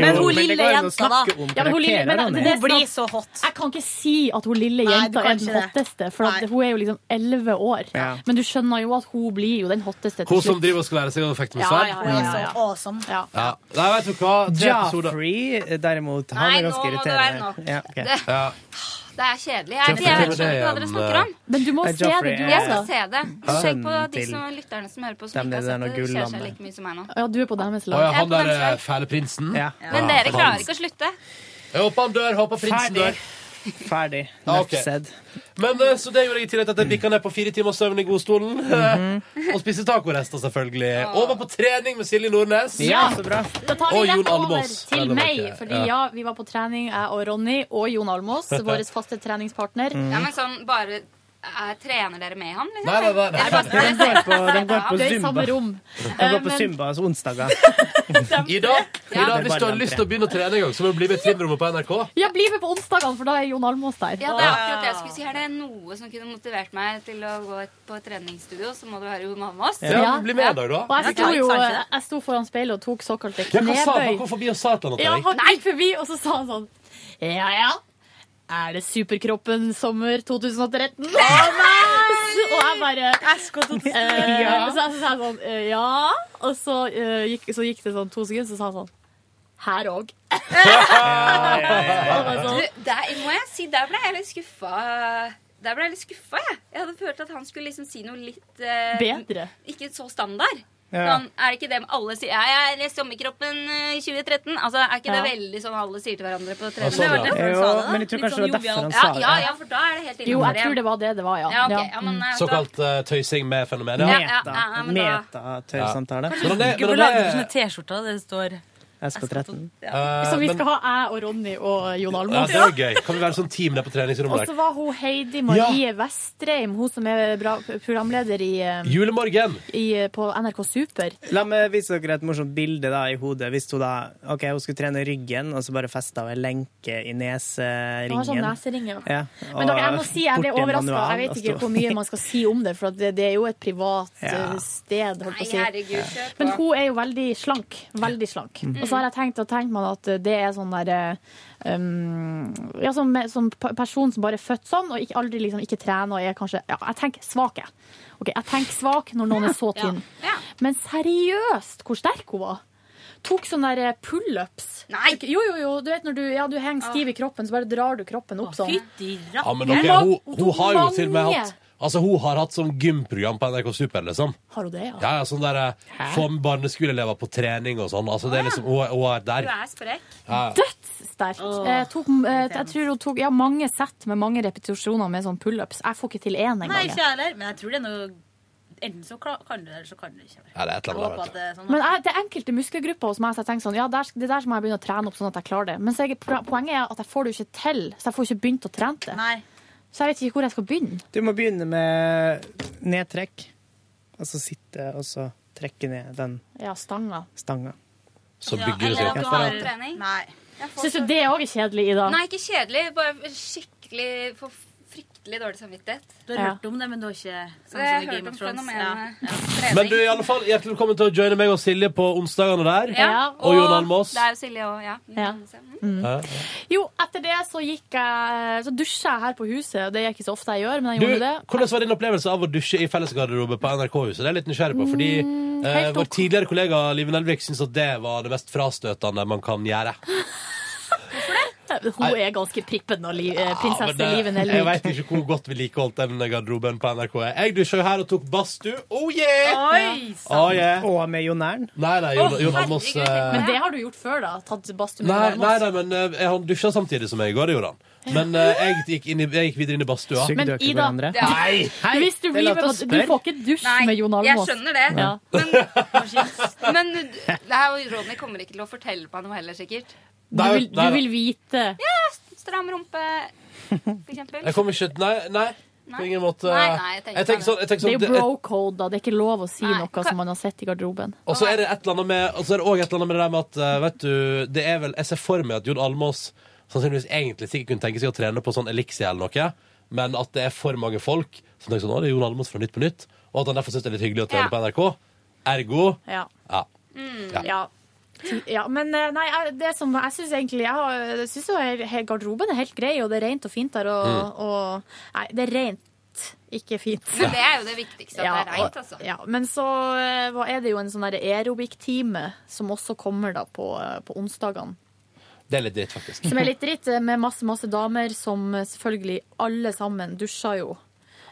Speaker 3: Men hun
Speaker 2: det
Speaker 3: lille
Speaker 2: går an å
Speaker 3: jenta,
Speaker 2: snakke
Speaker 3: da.
Speaker 2: om
Speaker 4: Ja, men hun lille,
Speaker 2: karakterer,
Speaker 4: men
Speaker 2: Ronny.
Speaker 4: det, det er blir så hot. Jeg kan ikke si at hun lille jenta
Speaker 10: kan
Speaker 4: er den
Speaker 10: ikke det.
Speaker 4: hotteste, for at hun er jo liksom elleve år.
Speaker 2: Ja.
Speaker 4: Men du skjønner jo at hun blir jo den hotteste til
Speaker 2: Hun som
Speaker 4: slutt.
Speaker 2: driver og skal lære seg å fekte med
Speaker 4: Ja,
Speaker 2: sverd?
Speaker 4: ja, ja, ja, ja. Ja.
Speaker 2: Ja. Nei, vet du hva? Tre episoder.
Speaker 3: Joffrey, eh, derimot, han
Speaker 20: Nei,
Speaker 3: er ganske
Speaker 20: nå må det være
Speaker 3: irriterende.
Speaker 20: nok.
Speaker 3: Ja, ok.
Speaker 20: Det-
Speaker 2: Ja.
Speaker 20: Det er kjedelig. Jeg,
Speaker 3: Kjempe-
Speaker 20: jeg, vet
Speaker 3: kjempe-
Speaker 20: ikke hva dere
Speaker 3: det er
Speaker 20: snakker om.
Speaker 3: en, Men du må Nei, se det, Joffrey du er-
Speaker 20: Jeg skal se det.
Speaker 3: Hæ?
Speaker 20: Skjegg på de
Speaker 3: eh, Til-
Speaker 20: som, lytterne som hører på,
Speaker 3: Dem
Speaker 20: som ikke
Speaker 3: det
Speaker 20: har
Speaker 3: der
Speaker 20: sett
Speaker 3: noe
Speaker 20: det. Det skjer
Speaker 3: gulllammet.
Speaker 20: seg like mye som meg nå.
Speaker 4: Ja, du er på deres
Speaker 2: Å ja,
Speaker 4: lag.
Speaker 2: han der eh, fæle prinsen? Ah,
Speaker 20: Men dere klarer
Speaker 2: han.
Speaker 20: ikke å slutte.
Speaker 2: Jeg håper han dør. Håper prinsen
Speaker 3: Ferdig.
Speaker 2: dør.
Speaker 3: Ferdig.
Speaker 2: Ja,
Speaker 3: Nok
Speaker 2: ok.
Speaker 3: said.
Speaker 2: Men eh, Så det gjorde jeg i tillegg til at jeg bikka ned på fire timers søvn i godstolen. eh, Og spiste tacorester, selvfølgelig. Og var på trening med Silje Nordnes.
Speaker 4: Ja,
Speaker 3: så bra.
Speaker 4: Da tar vi
Speaker 2: Og Jon
Speaker 4: rett over
Speaker 2: Almaas.
Speaker 4: til
Speaker 2: Vel å
Speaker 4: meg.
Speaker 2: merke,
Speaker 4: Fordi ja, vi var på trening, jeg og Ronny og Jon Almås, vår faste treningspartner.
Speaker 20: Mm. Ja, men sånn bare eh, Trener dere med han, liksom?
Speaker 3: Nei, nei, nei, nei.
Speaker 20: Jeg bare-
Speaker 3: De går på- de går på
Speaker 20: Det er i
Speaker 3: Zumba.
Speaker 20: samme rom.
Speaker 3: Han går på
Speaker 20: Eh, men-
Speaker 3: Zumba altså onsdager.
Speaker 2: Ida,
Speaker 3: Ja.
Speaker 2: Ida, hvis du har lyst til å begynne å trene en gang, så må du bli med i trimrommet på NRK.
Speaker 4: Ja, bli med på onsdagene, for da er Jon Almås der.
Speaker 20: Ja, det er akkurat det jeg skulle si. Er det noe som kunne motivert meg til å gå på et treningsstudio, så må det være Jon Almaas.
Speaker 2: Ja, men bli med en dag, da.
Speaker 4: Og jeg sto jo eh,
Speaker 20: Ja,
Speaker 4: jeg sto foran speilet og tok såkalte
Speaker 2: Ja, hva sa han? Han
Speaker 4: knebøy.
Speaker 2: kom forbi og sa et eller
Speaker 4: Ja,
Speaker 2: annet til deg.
Speaker 4: han gikk forbi, og så sa han sånn Ja, ja. Er det Superkroppen sommer 2013? Å nei! Og jeg bare eh,
Speaker 10: Ja.
Speaker 4: Så jeg så sa jeg sånn eh, Ja. Og så, eh, gikk, så gikk det sånn to sekunder, så sa han sånn Her òg.
Speaker 20: Du, der må jeg si, der ble jeg litt skuffa. Der ble jeg litt skuffa, jeg. Jeg hadde følt at han skulle liksom si noe litt eh,
Speaker 4: Bedre.
Speaker 20: Ikke så standard.
Speaker 3: Ja.
Speaker 20: Sånn, er det ikke det alle sier? Ja, jeg er sommerkroppen eh, 2013. Altså, er ikke det veldig sånn alle sier til hverandre på
Speaker 3: Ja,
Speaker 20: trening?
Speaker 3: sånn, ja. Jo, men jeg tror kanskje det var derfor han sa det.
Speaker 20: sånn Ja, ja, for da er det
Speaker 4: sånn
Speaker 20: helt
Speaker 4: Jo,
Speaker 20: innenfor
Speaker 4: jeg tror det var det det var, ja.
Speaker 20: Ja, ok.
Speaker 4: Ja.
Speaker 20: Ja, men, eh,
Speaker 2: Såkalt eh, tøysing med fenomenet.
Speaker 20: Ja, ja, ja, ja, men da-
Speaker 3: Metatøysamtale.
Speaker 2: Men han er-
Speaker 10: Du
Speaker 2: men
Speaker 10: burde
Speaker 2: han
Speaker 10: lage
Speaker 2: er-
Speaker 10: sånne T-skjorter der det står
Speaker 3: SP13.
Speaker 2: Eh,
Speaker 4: Så vi
Speaker 2: men-
Speaker 4: skal ha jeg og Ronny og Jon
Speaker 2: Ja,
Speaker 4: Almaas.
Speaker 2: det var gøy. Kan vi være sånn team der på
Speaker 4: Og så
Speaker 2: treningsrommet? der?
Speaker 4: var hun Heidi Marie Vestreim, hun som er bra programleder i, eh,
Speaker 2: Julemorgen!
Speaker 4: i, eh, på NRK Super.
Speaker 3: La meg vise dere et morsomt bilde da, i hodet. Hvis hun da ok, hun skulle trene ryggen, og så bare festa hun en lenke i neseringen.
Speaker 4: Hun har sånn neseringer.
Speaker 3: Ja, og
Speaker 4: Men dere, jeg må si, jeg ble
Speaker 3: bort i en
Speaker 4: overraska.
Speaker 3: manual,
Speaker 4: Jeg vet
Speaker 3: og
Speaker 4: ikke
Speaker 3: stå-
Speaker 4: hvor mye man skal si om det, for at det, det er jo et privat
Speaker 3: Ja.
Speaker 4: eh, sted. Holdt på å si.
Speaker 20: Nei, herregud, kjør på.
Speaker 4: Men hun er jo veldig slank. Veldig slank.
Speaker 20: Mm.
Speaker 4: Og så har jeg tenkt og tenkt meg at det er sånn der eh, um, Ja, som, som pe- person som bare er født sånn, og ikke, aldri liksom ikke trener og er kanskje Ja, jeg tenker svak, jeg. Ok, jeg tenker svak når noen er så
Speaker 20: Ja.
Speaker 4: tynn. Men seriøst hvor sterk hun var! Tok sånne der eh, pullups. Jo, jo, jo. Du vet når du, ja, du henger stiv i
Speaker 20: Ah.
Speaker 4: kroppen, så bare drar du kroppen opp sånn.
Speaker 2: Ja, men dere,
Speaker 4: Ja.
Speaker 2: hun, hun har jo
Speaker 4: Mange.
Speaker 2: til og med hatt Altså, Hun har hatt sånn gymprogram på NRK Super, liksom.
Speaker 4: Har hun det, ja?
Speaker 2: Ja, ja, sånn der, eh, Få med barneskoleelever på trening og sånn. Altså, det er liksom, Hun er- hun er der.
Speaker 20: Du er sprekk.
Speaker 2: Ja.
Speaker 4: Dødssterk. Eh, tok, eh, jeg tror hun tok ja, mange sett med mange repetisjoner med sånn pullups. Jeg får ikke til én
Speaker 10: Nei, ikke
Speaker 4: engang. jeg.
Speaker 10: jeg heller. Men jeg tror det er noe Enten så kla- kan du det, eller så kan du det ikke.
Speaker 2: Ja, det er et eller annet
Speaker 10: Jeg
Speaker 2: der,
Speaker 10: håper
Speaker 2: vet
Speaker 10: at det er sånn
Speaker 4: Men jeg, det er enkelte muskelgrupper hos meg så jeg tenker sånn, ja, der, det der må jeg begynne å trene opp sånn at jeg klarer det. Men så jeg, poenget er at jeg får det jo ikke til, så jeg får ikke begynt å trene det. Så jeg vet ikke hvor jeg skal begynne.
Speaker 3: Du må begynne med nedtrekk, og så sitte og så trekke ned den
Speaker 4: Ja, stanga.
Speaker 3: stanga.
Speaker 2: Så
Speaker 20: bygger det seg opp. eller at du har en trening.
Speaker 10: Nei.
Speaker 4: Syns du det òg er kjedelig, Ida?
Speaker 20: Nei, ikke kjedelig. Bare skikkelig for fryktelig dårlig samvittighet.
Speaker 10: Du har hørt om det, men du har ikke sånn
Speaker 20: Så jeg har
Speaker 10: som i
Speaker 20: hørt
Speaker 10: Game
Speaker 20: om
Speaker 10: of Thrones.
Speaker 20: fenomenet.
Speaker 10: Ja.
Speaker 2: Men du, i alle fall, hjertelig velkommen til å joine meg og Silje på onsdagene der. og Jon Almaas.
Speaker 20: Det er jo Silje òg, ja.
Speaker 4: Mm.
Speaker 2: Ja.
Speaker 4: Jo, etter det så gikk jeg Så dusja jeg her på huset. Det er ikke så ofte jeg gjør, men jeg
Speaker 2: Du,
Speaker 4: gjorde det.
Speaker 2: hvordan var din opplevelse av å dusje i fellesgarderobe på NRK-huset? Det er jeg litt nysgjerrig på, fordi eh,
Speaker 4: helt
Speaker 2: vår tidligere kollega Live Nelvik syns at det var det mest frastøtende man kan gjøre.
Speaker 4: Hun er ganske prippen og li, eh,
Speaker 2: Men
Speaker 4: prinsesse
Speaker 2: det,
Speaker 4: Liven
Speaker 2: jeg
Speaker 4: Elvik.
Speaker 2: veit ikke hvor godt vedlikeholdt den garderoben på NRK er. Jeg dusja jo her og tok badstue. Oh yeah!
Speaker 4: Oi,
Speaker 2: Oh, yeah.
Speaker 3: Og med Jon Ern.
Speaker 2: Nei, nei, Jon, Jon Almaas eh,
Speaker 4: Men det har du gjort før, da? Tatt badstue med
Speaker 2: Nei,
Speaker 4: Almaas?
Speaker 2: nei, nei, men eh, han dusja samtidig som jeg i går, det gjorde han. Men eh, jeg, gikk inn i, jeg gikk videre inn i badstua.
Speaker 4: Sugde Men dere Ida- hverandre? Ja.
Speaker 2: Nei!
Speaker 4: Hei, Hvis du,
Speaker 2: det er
Speaker 4: blir
Speaker 2: lov
Speaker 4: med,
Speaker 2: til å
Speaker 4: på- du
Speaker 2: spørre.
Speaker 4: får ikke dusj med Jon
Speaker 20: Jeg
Speaker 4: Almaas.
Speaker 20: skjønner det.
Speaker 4: Ja.
Speaker 20: Men det her Ronny kommer ikke til å fortelle meg noe heller, sikkert.
Speaker 4: Du,
Speaker 2: Nei,
Speaker 4: vil, du
Speaker 2: nei,
Speaker 4: vil vite.
Speaker 20: Ja, stram rumpe, for eksempel.
Speaker 2: Jeg kommer ikke Nei, nei. På ingen måte.
Speaker 4: Nei, nei,
Speaker 20: jeg tenker
Speaker 2: eh, jeg tenker sånn, jeg tenker
Speaker 4: det
Speaker 2: sånn
Speaker 4: er jo
Speaker 2: det-
Speaker 4: bro code, da. Det er ikke lov å si noe som man har sett i garderoben.
Speaker 2: Og så er det et eller annet med Og så er det også et eller annet med det der med at eh, Vet du, det er vel Jeg ser for meg at Jon Almaas sannsynligvis egentlig sikkert kunne tenke seg å trene på sånn elixir eller noe, men at det er for mange folk som tenker sånn Å, det er Jon Almaas fra Nytt på Nytt, og at han derfor syns det er litt hyggelig å trene
Speaker 4: Ja.
Speaker 2: på NRK. Ergo
Speaker 4: Ja.
Speaker 2: Ja.
Speaker 4: Mm, ja. Ja, men eh, nei, jeg- det som jeg syns egentlig jeg har, jeg synes jo he- he- Garderoben er helt grei, og det er rent og fint der. Og,
Speaker 20: Mm.
Speaker 4: og Nei, det er rent, ikke fint.
Speaker 20: Men det er jo det viktigste, at
Speaker 4: Ja,
Speaker 20: det er reint, altså.
Speaker 4: Ja, men så eh, hva er det jo en sånn der aerobic-time som også kommer da på, eh, på onsdagene.
Speaker 2: Det er litt dritt, faktisk.
Speaker 4: Som er litt dritt, eh, med masse, masse damer som eh, selvfølgelig alle sammen dusjer jo.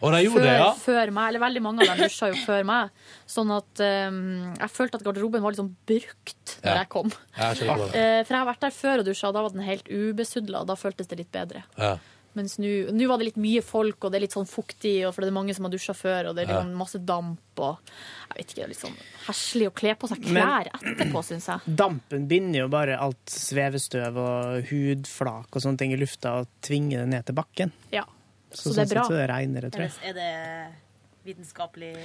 Speaker 2: Og de gjorde det, ja.
Speaker 4: før meg, eller veldig mange av dem dusja jo før meg. Sånn at eh, jeg følte at garderoben var litt sånn brukt når
Speaker 2: Ja.
Speaker 4: jeg kom.
Speaker 2: Ja, jeg skjønner hva du
Speaker 4: Eh, for jeg har vært der før og dusja, og da var den helt ubesudla. Da føltes det litt bedre.
Speaker 2: Ja.
Speaker 4: Mens nå nå var det litt mye folk, og det er litt sånn fuktig, og for det er mange som har dusja før, og det er
Speaker 2: Ja.
Speaker 4: liksom masse damp og Jeg vet ikke, det er litt sånn heslig å kle på seg
Speaker 3: Men-
Speaker 4: klær etterpå, syns jeg.
Speaker 3: Dampen binder jo bare alt svevestøv og hudflak og sånne ting i lufta og tvinger det ned til bakken.
Speaker 4: Ja.
Speaker 3: Så, sånn sett så er det reinere, tror jeg.
Speaker 10: Eller er det vitenskapelig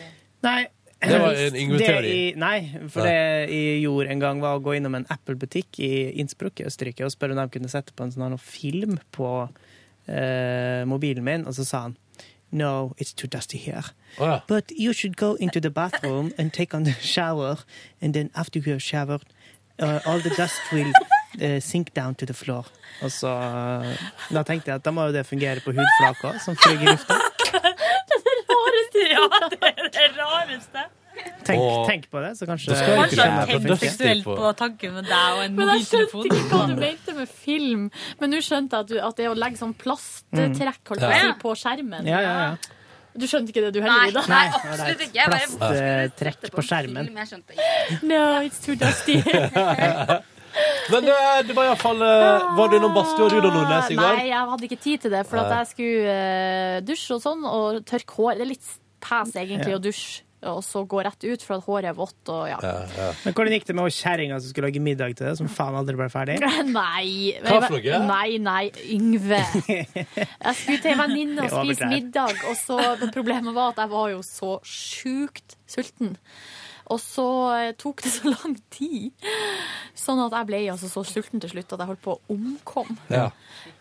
Speaker 3: Nei.
Speaker 2: Det var en Yngve-teori.
Speaker 3: Det i- Nei, for det jeg gjorde en gang, var å gå innom en Apple-butikk i Innsbruck i Østerrike og spørre om de kunne sette på en sånn her film på eh, mobilen min, og så sa han No, it's too dusty here. But you should go into the bathroom and take on the shower, and then after you have showered, uh, all the dust will uh, sink down to the floor. Og så eh, Da tenkte jeg at da må jo det fungere på hudflaka, som flyr i lufta.
Speaker 10: rareste? Ja, det er det rareste.
Speaker 3: Tenk, tenk på det, så kanskje
Speaker 2: Da skal jeg ikke
Speaker 10: Kanskje
Speaker 2: kjenne
Speaker 10: han
Speaker 2: på
Speaker 10: tenkte
Speaker 2: dusty
Speaker 10: seksuelt
Speaker 2: på-
Speaker 10: på tanken med deg og en
Speaker 4: Men jeg skjønte
Speaker 10: mobiltelefon.
Speaker 4: ikke hva du mente med film. Men nå skjønte jeg at, du, at det er å legge sånn plasttrekk holdt på, å si,
Speaker 2: Mm.
Speaker 4: på skjermen
Speaker 3: Ja, ja, ja.
Speaker 4: Du skjønte ikke det du
Speaker 20: Nei,
Speaker 4: heller, Ida?
Speaker 20: nei, absolutt ikke. Jeg bare
Speaker 3: Plasttrekk på skjermen.
Speaker 20: film, jeg skjønte ikke.
Speaker 4: No, it's too dusty.
Speaker 2: Men eh, det var iallfall uh, Var du innom Bastø og Rudolf Nordnes i går?
Speaker 4: Ah, Nei, jeg hadde ikke tid til det, for at
Speaker 2: Nei.
Speaker 4: jeg skulle eh, dusje og sånn, og tørke hår. Det er litt pes, egentlig,
Speaker 3: Ja.
Speaker 4: å dusje. Og så gå rett ut, for at håret er vått. og ja.
Speaker 3: Men hvordan gikk det med hun kjerringa som skulle lage middag til deg, som faen aldri ble ferdig?
Speaker 4: Nei.
Speaker 3: Hva for noe?
Speaker 4: Nei, nei, Yngve. Jeg skulle til en venninne og
Speaker 3: Jeg
Speaker 4: spise
Speaker 3: overtrer.
Speaker 4: middag, og så men problemet var at jeg var jo så sjukt sulten. Og så eh, tok det så lang tid, sånn at jeg ble altså så sulten til slutt at jeg holdt på å omkomme.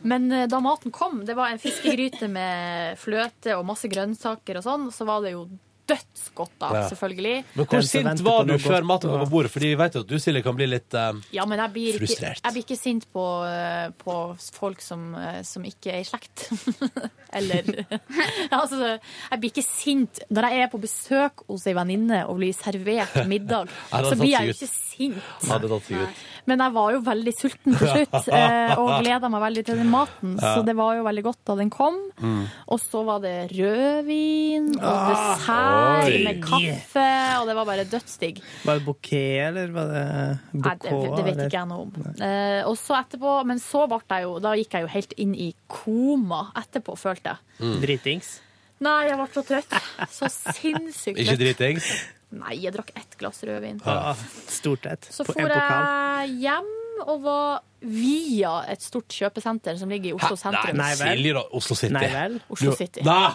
Speaker 4: Men eh, da maten kom, det var en fiskegryte med fløte og masse grønnsaker og sånn, så var det jo dødsgodt da,
Speaker 2: Ja.
Speaker 4: selvfølgelig.
Speaker 2: Men hvor sint var du før maten var på bordet? Fordi jeg vet jo at du, Silje, kan bli litt eh,
Speaker 4: Ja, men jeg blir ikke,
Speaker 2: Frustrert.
Speaker 4: jeg blir ikke sint på, eh, på folk som, eh, som ikke er i slekt. Eller Altså, jeg blir ikke sint når jeg er på besøk hos ei venninne og blir servert middag.
Speaker 2: Nei, det hadde
Speaker 4: så blir jeg
Speaker 2: tatt
Speaker 4: jo
Speaker 2: seg
Speaker 4: ikke sint.
Speaker 2: Hadde tatt seg ut.
Speaker 4: Men jeg var jo veldig sulten til slutt, eh, og gleda meg veldig til den maten.
Speaker 2: Ja.
Speaker 4: Så det var jo veldig godt da den kom.
Speaker 2: Mm.
Speaker 4: Og så var det rødvin og
Speaker 3: Ah,
Speaker 4: dessert
Speaker 3: oi.
Speaker 4: med kaffe, og det var bare dødsdigg.
Speaker 3: Var det bouquet, eller var det
Speaker 4: Nei,
Speaker 3: bouquet?
Speaker 4: det, det vet ikke jeg noe om. Eh, og så etterpå, men så ble jeg jo Da gikk jeg jo helt inn i koma etterpå, følte jeg.
Speaker 3: Dritings.
Speaker 4: Nei, jeg ble så trøtt. Så sinnssykt
Speaker 3: Ikke
Speaker 4: trøtt.
Speaker 2: dritings?
Speaker 4: Nei, jeg drakk ett glass rødvin.
Speaker 3: Ja, stort et.
Speaker 4: Så
Speaker 3: På
Speaker 4: for
Speaker 3: en pokal.
Speaker 4: jeg hjem og var via et stort kjøpesenter som ligger i Oslo sentrum.
Speaker 2: Nei, Silje, da. Oslo City.
Speaker 3: Nei vel.
Speaker 4: Oslo
Speaker 2: Du-
Speaker 4: City.
Speaker 2: Nei!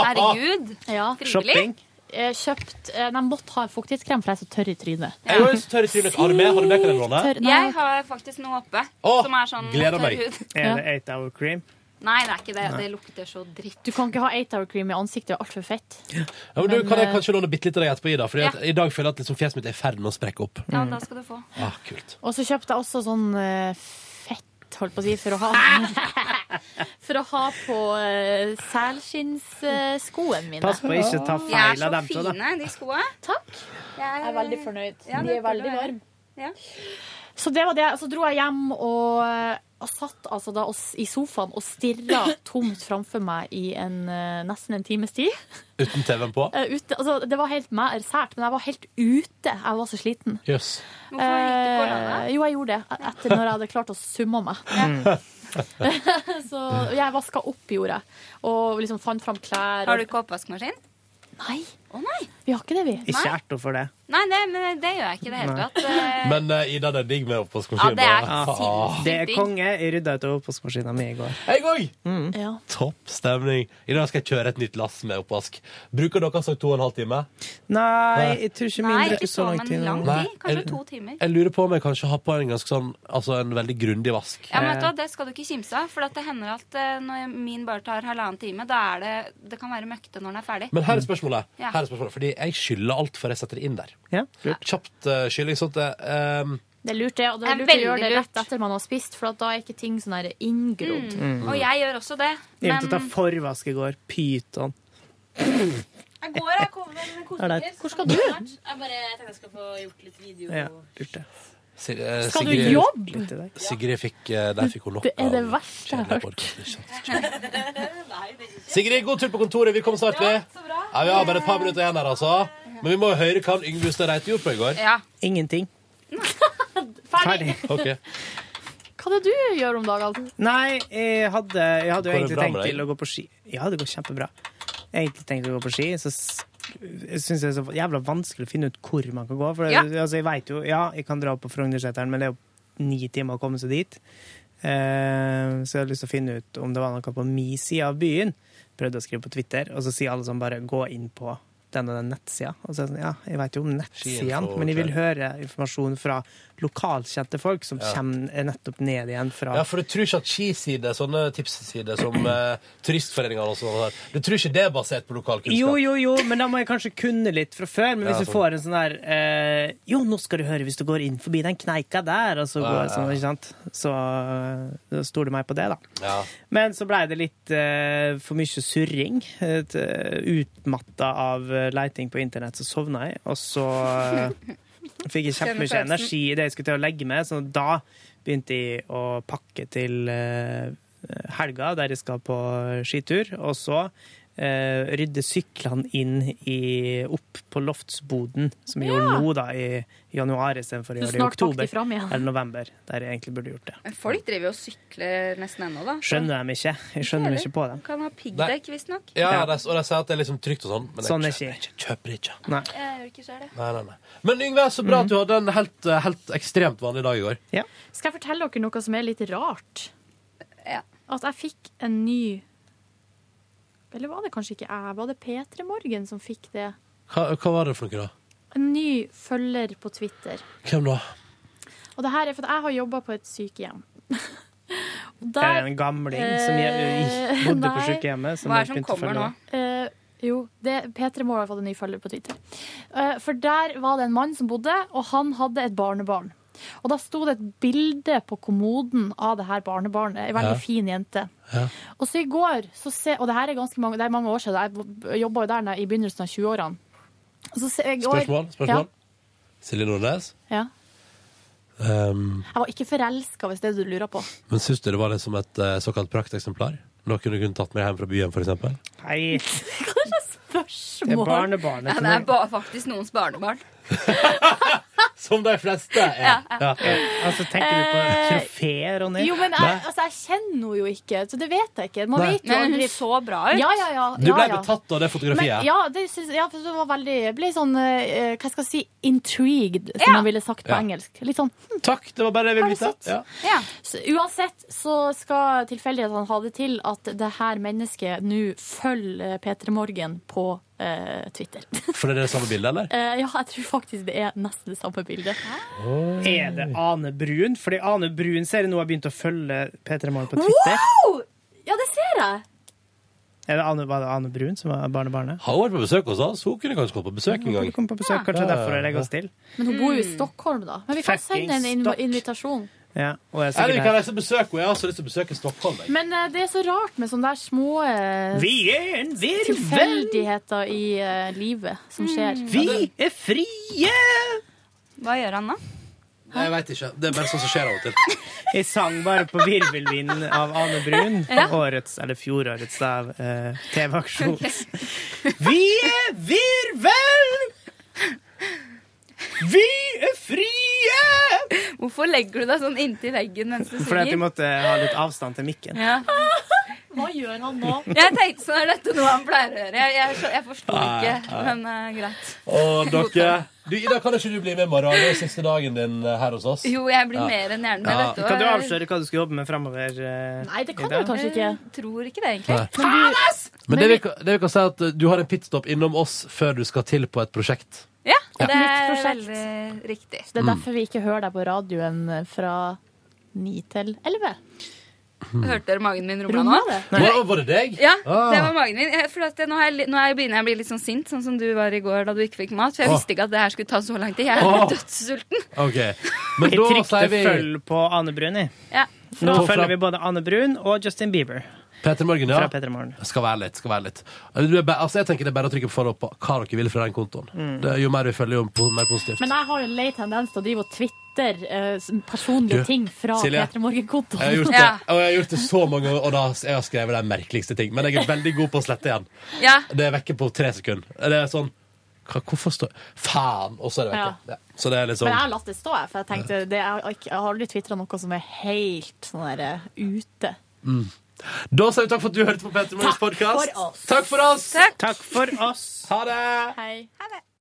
Speaker 4: Herregud. Ja.
Speaker 2: Shopping?
Speaker 4: Eh, Kjøpt eh, Nei, måtte ha en fuktighetskrem, for jeg er så tørr i trynet.
Speaker 2: Jeg er jo så tørr i trynet. Har du med, har du med Karin-rolle?
Speaker 4: Tørr- nei.
Speaker 20: Jeg har faktisk noe oppe som er sånn tørr hud.
Speaker 3: Er det eight hour cream?
Speaker 20: Nei, det er ikke det.
Speaker 3: Nei.
Speaker 20: Det lukter så dritt.
Speaker 4: Du kan ikke ha 8 hour cream i ansiktet, det er altfor fett.
Speaker 2: Ja, men du,
Speaker 4: Men,
Speaker 2: kan jeg
Speaker 4: eh,
Speaker 2: kanskje låne bitte litt av deg etterpå, Ida? Fordi at,
Speaker 4: Ja.
Speaker 2: i dag føler jeg at liksom fjeset mitt er i ferd med å sprekke opp.
Speaker 4: Ja, da skal du få.
Speaker 2: Ah, kult.
Speaker 4: Og så kjøpte jeg også sånn eh, fett, holdt på å si, for å ha For å ha på uh, selskinnsskoene mine.
Speaker 3: Pass på å ikke ta
Speaker 20: De er
Speaker 3: feil
Speaker 20: så
Speaker 3: av dem to, da.
Speaker 20: fine, de skoene.
Speaker 4: Takk.
Speaker 20: Jeg
Speaker 4: er veldig fornøyd.
Speaker 20: Ja,
Speaker 4: De
Speaker 20: det
Speaker 4: er veldig
Speaker 20: burde være.
Speaker 4: varme.
Speaker 20: Ja.
Speaker 4: Så det var det. Og så dro jeg hjem og, eh, og satt altså da oss i sofaen og stirra tomt framfor meg i en, eh, nesten en times tid.
Speaker 2: Uten TV-en på?
Speaker 4: Eh, ute, altså, det var helt mer sært, men jeg var helt ute. Jeg var så sliten.
Speaker 2: Jøss.
Speaker 4: Eh, jo, jeg gjorde det etter når jeg hadde klart å summe meg. så jeg vaska opp, gjorde jeg. Og liksom fant fram klær.
Speaker 20: Har du ikke oppvaskmaskin?
Speaker 4: Nei.
Speaker 20: Å nei.
Speaker 4: Vi har ikke det, vi.
Speaker 2: Ikke erto for det.
Speaker 20: Nei, det, men det gjør jeg ikke i det hele
Speaker 2: Nei.
Speaker 20: tatt. Eh,
Speaker 2: Men eh, Ida, det er digg med
Speaker 20: Ja,
Speaker 2: oppvaskmaskinen.
Speaker 20: det er
Speaker 2: da.
Speaker 20: sinnssykt
Speaker 3: Det er
Speaker 20: digg.
Speaker 3: konge. Mm. Jeg rydda ut av oppvaskmaskina mi i går.
Speaker 2: Jeg òg!
Speaker 4: Ja.
Speaker 2: Topp stemning. I dag skal jeg kjøre et nytt lass med oppvask. Bruker dere sagt to og en halv time?
Speaker 3: Nei,
Speaker 2: Nei.
Speaker 3: jeg tror ikke
Speaker 20: Nei,
Speaker 3: min
Speaker 20: ikke
Speaker 3: bruker så
Speaker 20: så,
Speaker 3: lang
Speaker 20: men
Speaker 3: tid.
Speaker 20: lang
Speaker 2: Nei.
Speaker 20: tid. Kanskje to timer.
Speaker 2: Jeg lurer på om jeg kanskje har på en ganske sånn Altså en veldig grundig vask.
Speaker 20: Ja, men vet du, hva, Det skal du ikke kimse av. For at det hender at eh, når min bare tar halvannen time, da er det, det kan være møkkete når den er ferdig.
Speaker 2: Men her er spørsmålet.
Speaker 20: Ja.
Speaker 2: Her er spørsmålet fordi jeg skyller alt før jeg setter det inn der. Kjapt uh, skylling. Sånn at eh, um,
Speaker 4: Det er lurt, det. Og det er
Speaker 20: Det er
Speaker 4: lurt å gjøre
Speaker 20: veldig
Speaker 4: det rett etter man har spist, for at da er ikke ting sånn her inngrodd.
Speaker 3: Mm.
Speaker 20: Og jeg gjør også det.
Speaker 3: Jeg begynte å ta
Speaker 20: Men
Speaker 3: forvask i går. Pyton.
Speaker 10: Jeg går, jeg kommer med en
Speaker 3: Er det-
Speaker 4: Hvor skal du?
Speaker 10: Jeg bare tenkte jeg skulle få gjort litt video.
Speaker 3: Ja, lurt det.
Speaker 2: Si- eh,
Speaker 4: Skal du
Speaker 2: Sigrid-
Speaker 4: jobbe?
Speaker 2: Sigrid fikk eh, Der fikk hun nok
Speaker 4: Det er det
Speaker 2: av
Speaker 4: verste jeg har
Speaker 2: kjedelig
Speaker 4: hørt.
Speaker 2: podcast, ikke sant? Sigrid, god tur på kontoret. Vi kommer snart, vi. Ja, vi har bare et par minutter igjen her, altså. Men vi må jo høre hva Yngve Hustad Reite gjorde på i går.
Speaker 20: Ja.
Speaker 3: Ingenting. Ferdig.
Speaker 2: Ok.
Speaker 4: Hva er det du gjør om dagene?
Speaker 3: Nei, jeg hadde, jeg hadde jo
Speaker 4: Går det
Speaker 3: egentlig
Speaker 4: bra med
Speaker 3: tenkt
Speaker 4: deg?
Speaker 3: til å gå på ski. Ja, det går kjempebra. Jeg har egentlig tenkt å gå på ski, så s- jeg synes det er så jævla vanskelig å finne ut hvor man kan gå. For
Speaker 19: Ja.
Speaker 3: altså, jeg vet jo, ja, jeg kan dra opp på Frognerseteren, men det er jo ni timer å komme seg dit. Eh, så jeg hadde lyst til å finne ut om det var noe på min side av byen. Prøvde å skrive på Twitter, og så sier alle sånn bare gå inn på den og den nettsida. Og så er det sånn, ja, jeg vet jo om nettsidene,
Speaker 19: Skiinfo,
Speaker 3: men jeg vil
Speaker 19: klart.
Speaker 3: høre informasjon fra lokalkjente folk som
Speaker 2: Ja.
Speaker 3: kommer nettopp ned igjen fra
Speaker 2: Ja, for du tror ikke at skisider, sånne tipssider som eh, turistforeninger og sånn har Du tror ikke det er basert på lokal kunnskap?
Speaker 3: Jo, jo, jo, men da må jeg kanskje kunne litt fra før. Men
Speaker 2: Ja,
Speaker 3: hvis du
Speaker 2: sånn.
Speaker 3: får en sånn der eh, Jo, nå skal du høre hvis du går inn forbi den kneika der, og så
Speaker 2: Ja,
Speaker 3: går
Speaker 2: ja.
Speaker 3: sånn, ikke sant. Så eh, stoler meg på det, da.
Speaker 2: Ja.
Speaker 3: Men så blei det litt eh, for mye surring. Et, eh, Utmatta av eh, leiting på internett, så sovna jeg, og så eh, fikk jeg kjempemye
Speaker 19: Kjenner følelsen.
Speaker 3: energi i det jeg skulle til å legge meg, så da begynte jeg å pakke til eh, helga, der jeg skal på skitur. Og så eh, rydde syklene inn i, opp på loftsboden, som vi gjorde
Speaker 24: Ja.
Speaker 3: nå da i januar istedenfor i, år, i
Speaker 20: Så snart pakk de
Speaker 3: oktober
Speaker 20: fram igjen.
Speaker 3: eller november, der jeg egentlig burde gjort det.
Speaker 20: Men folk driver jo og sykler nesten ennå, da.
Speaker 3: Skjønner dem ikke. Jeg skjønner ikke på dem.
Speaker 20: Kan ha piggdekk, visstnok.
Speaker 2: Ja, de- og de sier at det er liksom trygt og sånn, men
Speaker 3: Sånn
Speaker 2: jeg
Speaker 3: er
Speaker 2: kjøper, jeg kjøper ikke.
Speaker 3: Nei. Mhm.
Speaker 20: Jeg gjør ikke selv det.
Speaker 2: Nei, nei, nei. Men Yngve, så bra at du hadde en helt, eh, helt ekstremt vanlig dag i går.
Speaker 4: Skal jeg fortelle dere noe som er litt rart?
Speaker 20: Ja.
Speaker 4: At jeg fikk en ny Eller var det kanskje ikke jeg? Var det P3 Morgen som fikk det?
Speaker 2: Hva, hva var det for noe, da?
Speaker 4: En ny følger på Twitter.
Speaker 2: Hvem da?
Speaker 4: Og det her er for at jeg har jobba på et sykehjem. Og
Speaker 3: Er det en gamling som je-
Speaker 4: Eh,
Speaker 3: bodde på
Speaker 4: nei.
Speaker 3: sykehjemmet? Som har begynt å følge deg?
Speaker 4: Eh, jo, det, P3 Mål har fått en ny følger på Twitter. Eh, for der var det en mann som bodde, og han hadde et barnebarn. Og da sto det et bilde på kommoden av det her barnebarnet. Ei veldig
Speaker 7: Ja.
Speaker 4: fin jente.
Speaker 7: Ja.
Speaker 4: Og så i går, så se, og det her er ganske mange, det er mange år siden, jeg jobba jo der når jeg- i begynnelsen av 20-årene. Og så ser jeg i går-
Speaker 2: Spørsmål? spørsmål? Silje Nordnes?
Speaker 4: Ja, ja.
Speaker 2: Um,
Speaker 4: Jeg var ikke forelska, hvis det er det du lurer på.
Speaker 2: men syns du det var liksom et eh, såkalt prakteksemplar? Noen du kunne tatt med hjem fra byen, f.eks.?
Speaker 3: Hei.
Speaker 4: Spørsmål.
Speaker 2: Det er barnebarnet
Speaker 20: Ja,
Speaker 2: til
Speaker 20: det
Speaker 2: meg.
Speaker 20: er ba faktisk noens barnebarn.
Speaker 2: Som de fleste!
Speaker 20: Ja, ja.
Speaker 3: Altså, tenker du på
Speaker 4: Eh,
Speaker 3: trofeer, Ronny?
Speaker 4: Jo, men jeg, altså, jeg kjenner henne jo ikke, så det vet jeg ikke. Man
Speaker 3: Nei.
Speaker 4: vet jo
Speaker 3: Men hun
Speaker 4: aldri.
Speaker 20: så bra ut.
Speaker 4: Ja, ja, ja.
Speaker 2: Du ble
Speaker 4: ja, ja.
Speaker 2: betatt av det fotografiet?
Speaker 4: Men, ja, det syns- ja, for det var veldig Jeg ble sånn, eh, hva skal jeg si, intrigued, som man ville sagt på
Speaker 2: Ja.
Speaker 4: engelsk. Litt sånn hm,
Speaker 2: Takk, det var bare det jeg ville vite. Ja.
Speaker 4: så uansett så skal tilfeldighetene ha det til at det her mennesket nå følger P3 Morgen på eh, Twitter.
Speaker 2: For det er det samme bildet, eller?
Speaker 4: Eh, ja, jeg tror faktisk det er nesten det samme bildet.
Speaker 3: Er det Ane Brun? Fordi Ane Brun ser jeg nå har begynt å følge P3 Morgen på Twitter.
Speaker 4: Wow! Ja, det ser jeg!
Speaker 3: Er det Ane, var det Ane Brun som var barnebarnet?
Speaker 2: Har hun vært på besøk hos oss? Hun kunne kanskje kommet på besøk en gang.
Speaker 3: Hun kom på besøk, kanskje derfor jeg legger oss til.
Speaker 4: Men hun bor jo i Stockholm, da. Men vi kan
Speaker 3: Fucking
Speaker 4: sende en inv
Speaker 3: stokk.
Speaker 4: invitasjon.
Speaker 3: Ja, og jeg er
Speaker 2: Eller vi kan
Speaker 3: sikkert der.
Speaker 2: reise og besøke henne. Jeg har så lyst til å besøke Stockholm. Jeg.
Speaker 4: Men eh, det er så rart med sånne der små eh,
Speaker 3: Vi er en virvel!
Speaker 4: tilfeldigheter i eh, livet som skjer.
Speaker 3: Vi er frie!
Speaker 20: Hva gjør han da?
Speaker 2: Jeg veit ikke. Det er bare sånn som skjer av og til.
Speaker 3: Jeg sang bare på Virvelvinden av Ane Brun.
Speaker 2: Ja.
Speaker 3: Årets, eller fjorårets, da, eh, TV-aksjon.
Speaker 7: Vi er virvel!
Speaker 3: Vi er frie!
Speaker 20: Hvorfor legger du deg sånn inntil veggen mens du
Speaker 3: Fordi at jeg
Speaker 20: synger?
Speaker 3: måtte ha litt avstand til mikken.
Speaker 20: Ja.
Speaker 4: Hva gjør han nå?
Speaker 20: Jeg tenkte sånn, er dette noe han pleier å gjøre? Jeg, jeg, skjø- jeg forsto
Speaker 2: Nei,
Speaker 20: ikke,
Speaker 2: nei.
Speaker 20: men eh, greit.
Speaker 2: Og dere du, Ida, kan ikke du bli med i morgen? Det er siste dagen din eh, her hos oss.
Speaker 20: Jo, jeg blir mer enn gjerne med
Speaker 2: Ja.
Speaker 20: dette
Speaker 3: Kan du avsløre hva du skal jobbe med framover?
Speaker 20: Nei, det
Speaker 3: kan Ida? du kanskje ikke.
Speaker 20: Jeg tror ikke det, egentlig.
Speaker 2: Nei.
Speaker 20: Men du-
Speaker 2: Men det vi, kan- det vi kan si, er at eh, du har en pitstop innom oss før du skal til på et prosjekt.
Speaker 20: Ja,
Speaker 2: Ja.
Speaker 20: det er
Speaker 4: Nytt prosjekt.
Speaker 20: veldig riktig.
Speaker 4: Det er
Speaker 2: Mm.
Speaker 4: derfor vi ikke hører deg på radioen eh, fra ni til elleve.
Speaker 20: Hørte dere magen min rumle nå?
Speaker 4: Rommet, det.
Speaker 2: Var, var det deg?
Speaker 20: Ja,
Speaker 2: Ah.
Speaker 20: det var magen min. Jeg- For at jeg, nå, er jeg, li- nå er jeg begynner jeg å bli litt sånn sint, sånn som du var i går da du ikke fikk mat. For jeg
Speaker 2: Åh.
Speaker 20: visste ikke at det her skulle ta så lang tid. Jeg
Speaker 2: Åh.
Speaker 20: er dødssulten.
Speaker 2: OK. Men da
Speaker 3: Jeg
Speaker 2: sier
Speaker 3: trykte
Speaker 2: vi
Speaker 3: følg på Ane Brun, jeg.
Speaker 20: Ja.
Speaker 3: Nå
Speaker 2: Fra-
Speaker 3: følger vi både Anne Brun og Justin Bieber.
Speaker 2: Peter Morgen, ja.
Speaker 3: Fra Peter Morgen.
Speaker 2: Skal være litt. skal være litt Du er bare- altså, Jeg tenker det er bare å trykke på follow på hva dere vil fra den kontoen.
Speaker 4: Mm.
Speaker 2: Det, jo mer vi følger, jo po- mer positivt.
Speaker 4: Men jeg har jo en lei tendens til å drive og twitter eh, personlige
Speaker 2: Du,
Speaker 4: ting fra
Speaker 2: Silje,
Speaker 4: P3 Morgen-kontoen.
Speaker 2: Jeg har gjort det, og jeg har gjort det så mange ganger, og da jeg har skrevet de merkeligste ting. Men jeg er veldig god på å slette igjen.
Speaker 20: Ja.
Speaker 2: Det er vekke på tre sekunder. Det er sånn hva, Hvorfor står Faen! Og så er det vekke.
Speaker 4: Ja.
Speaker 2: Ja. Så det er litt
Speaker 4: Men jeg har
Speaker 2: sånn
Speaker 4: latt det stå, jeg, for jeg tenkte det, jeg, har ikke- jeg har aldri tvitra noe som er helt sånn der eh, ute.
Speaker 2: mm. Da sier vi takk for at du hørte på Petter Morgens podkast.
Speaker 4: for oss.
Speaker 2: Takk for oss!
Speaker 3: Takk for oss.
Speaker 2: Ha det!
Speaker 4: Hei.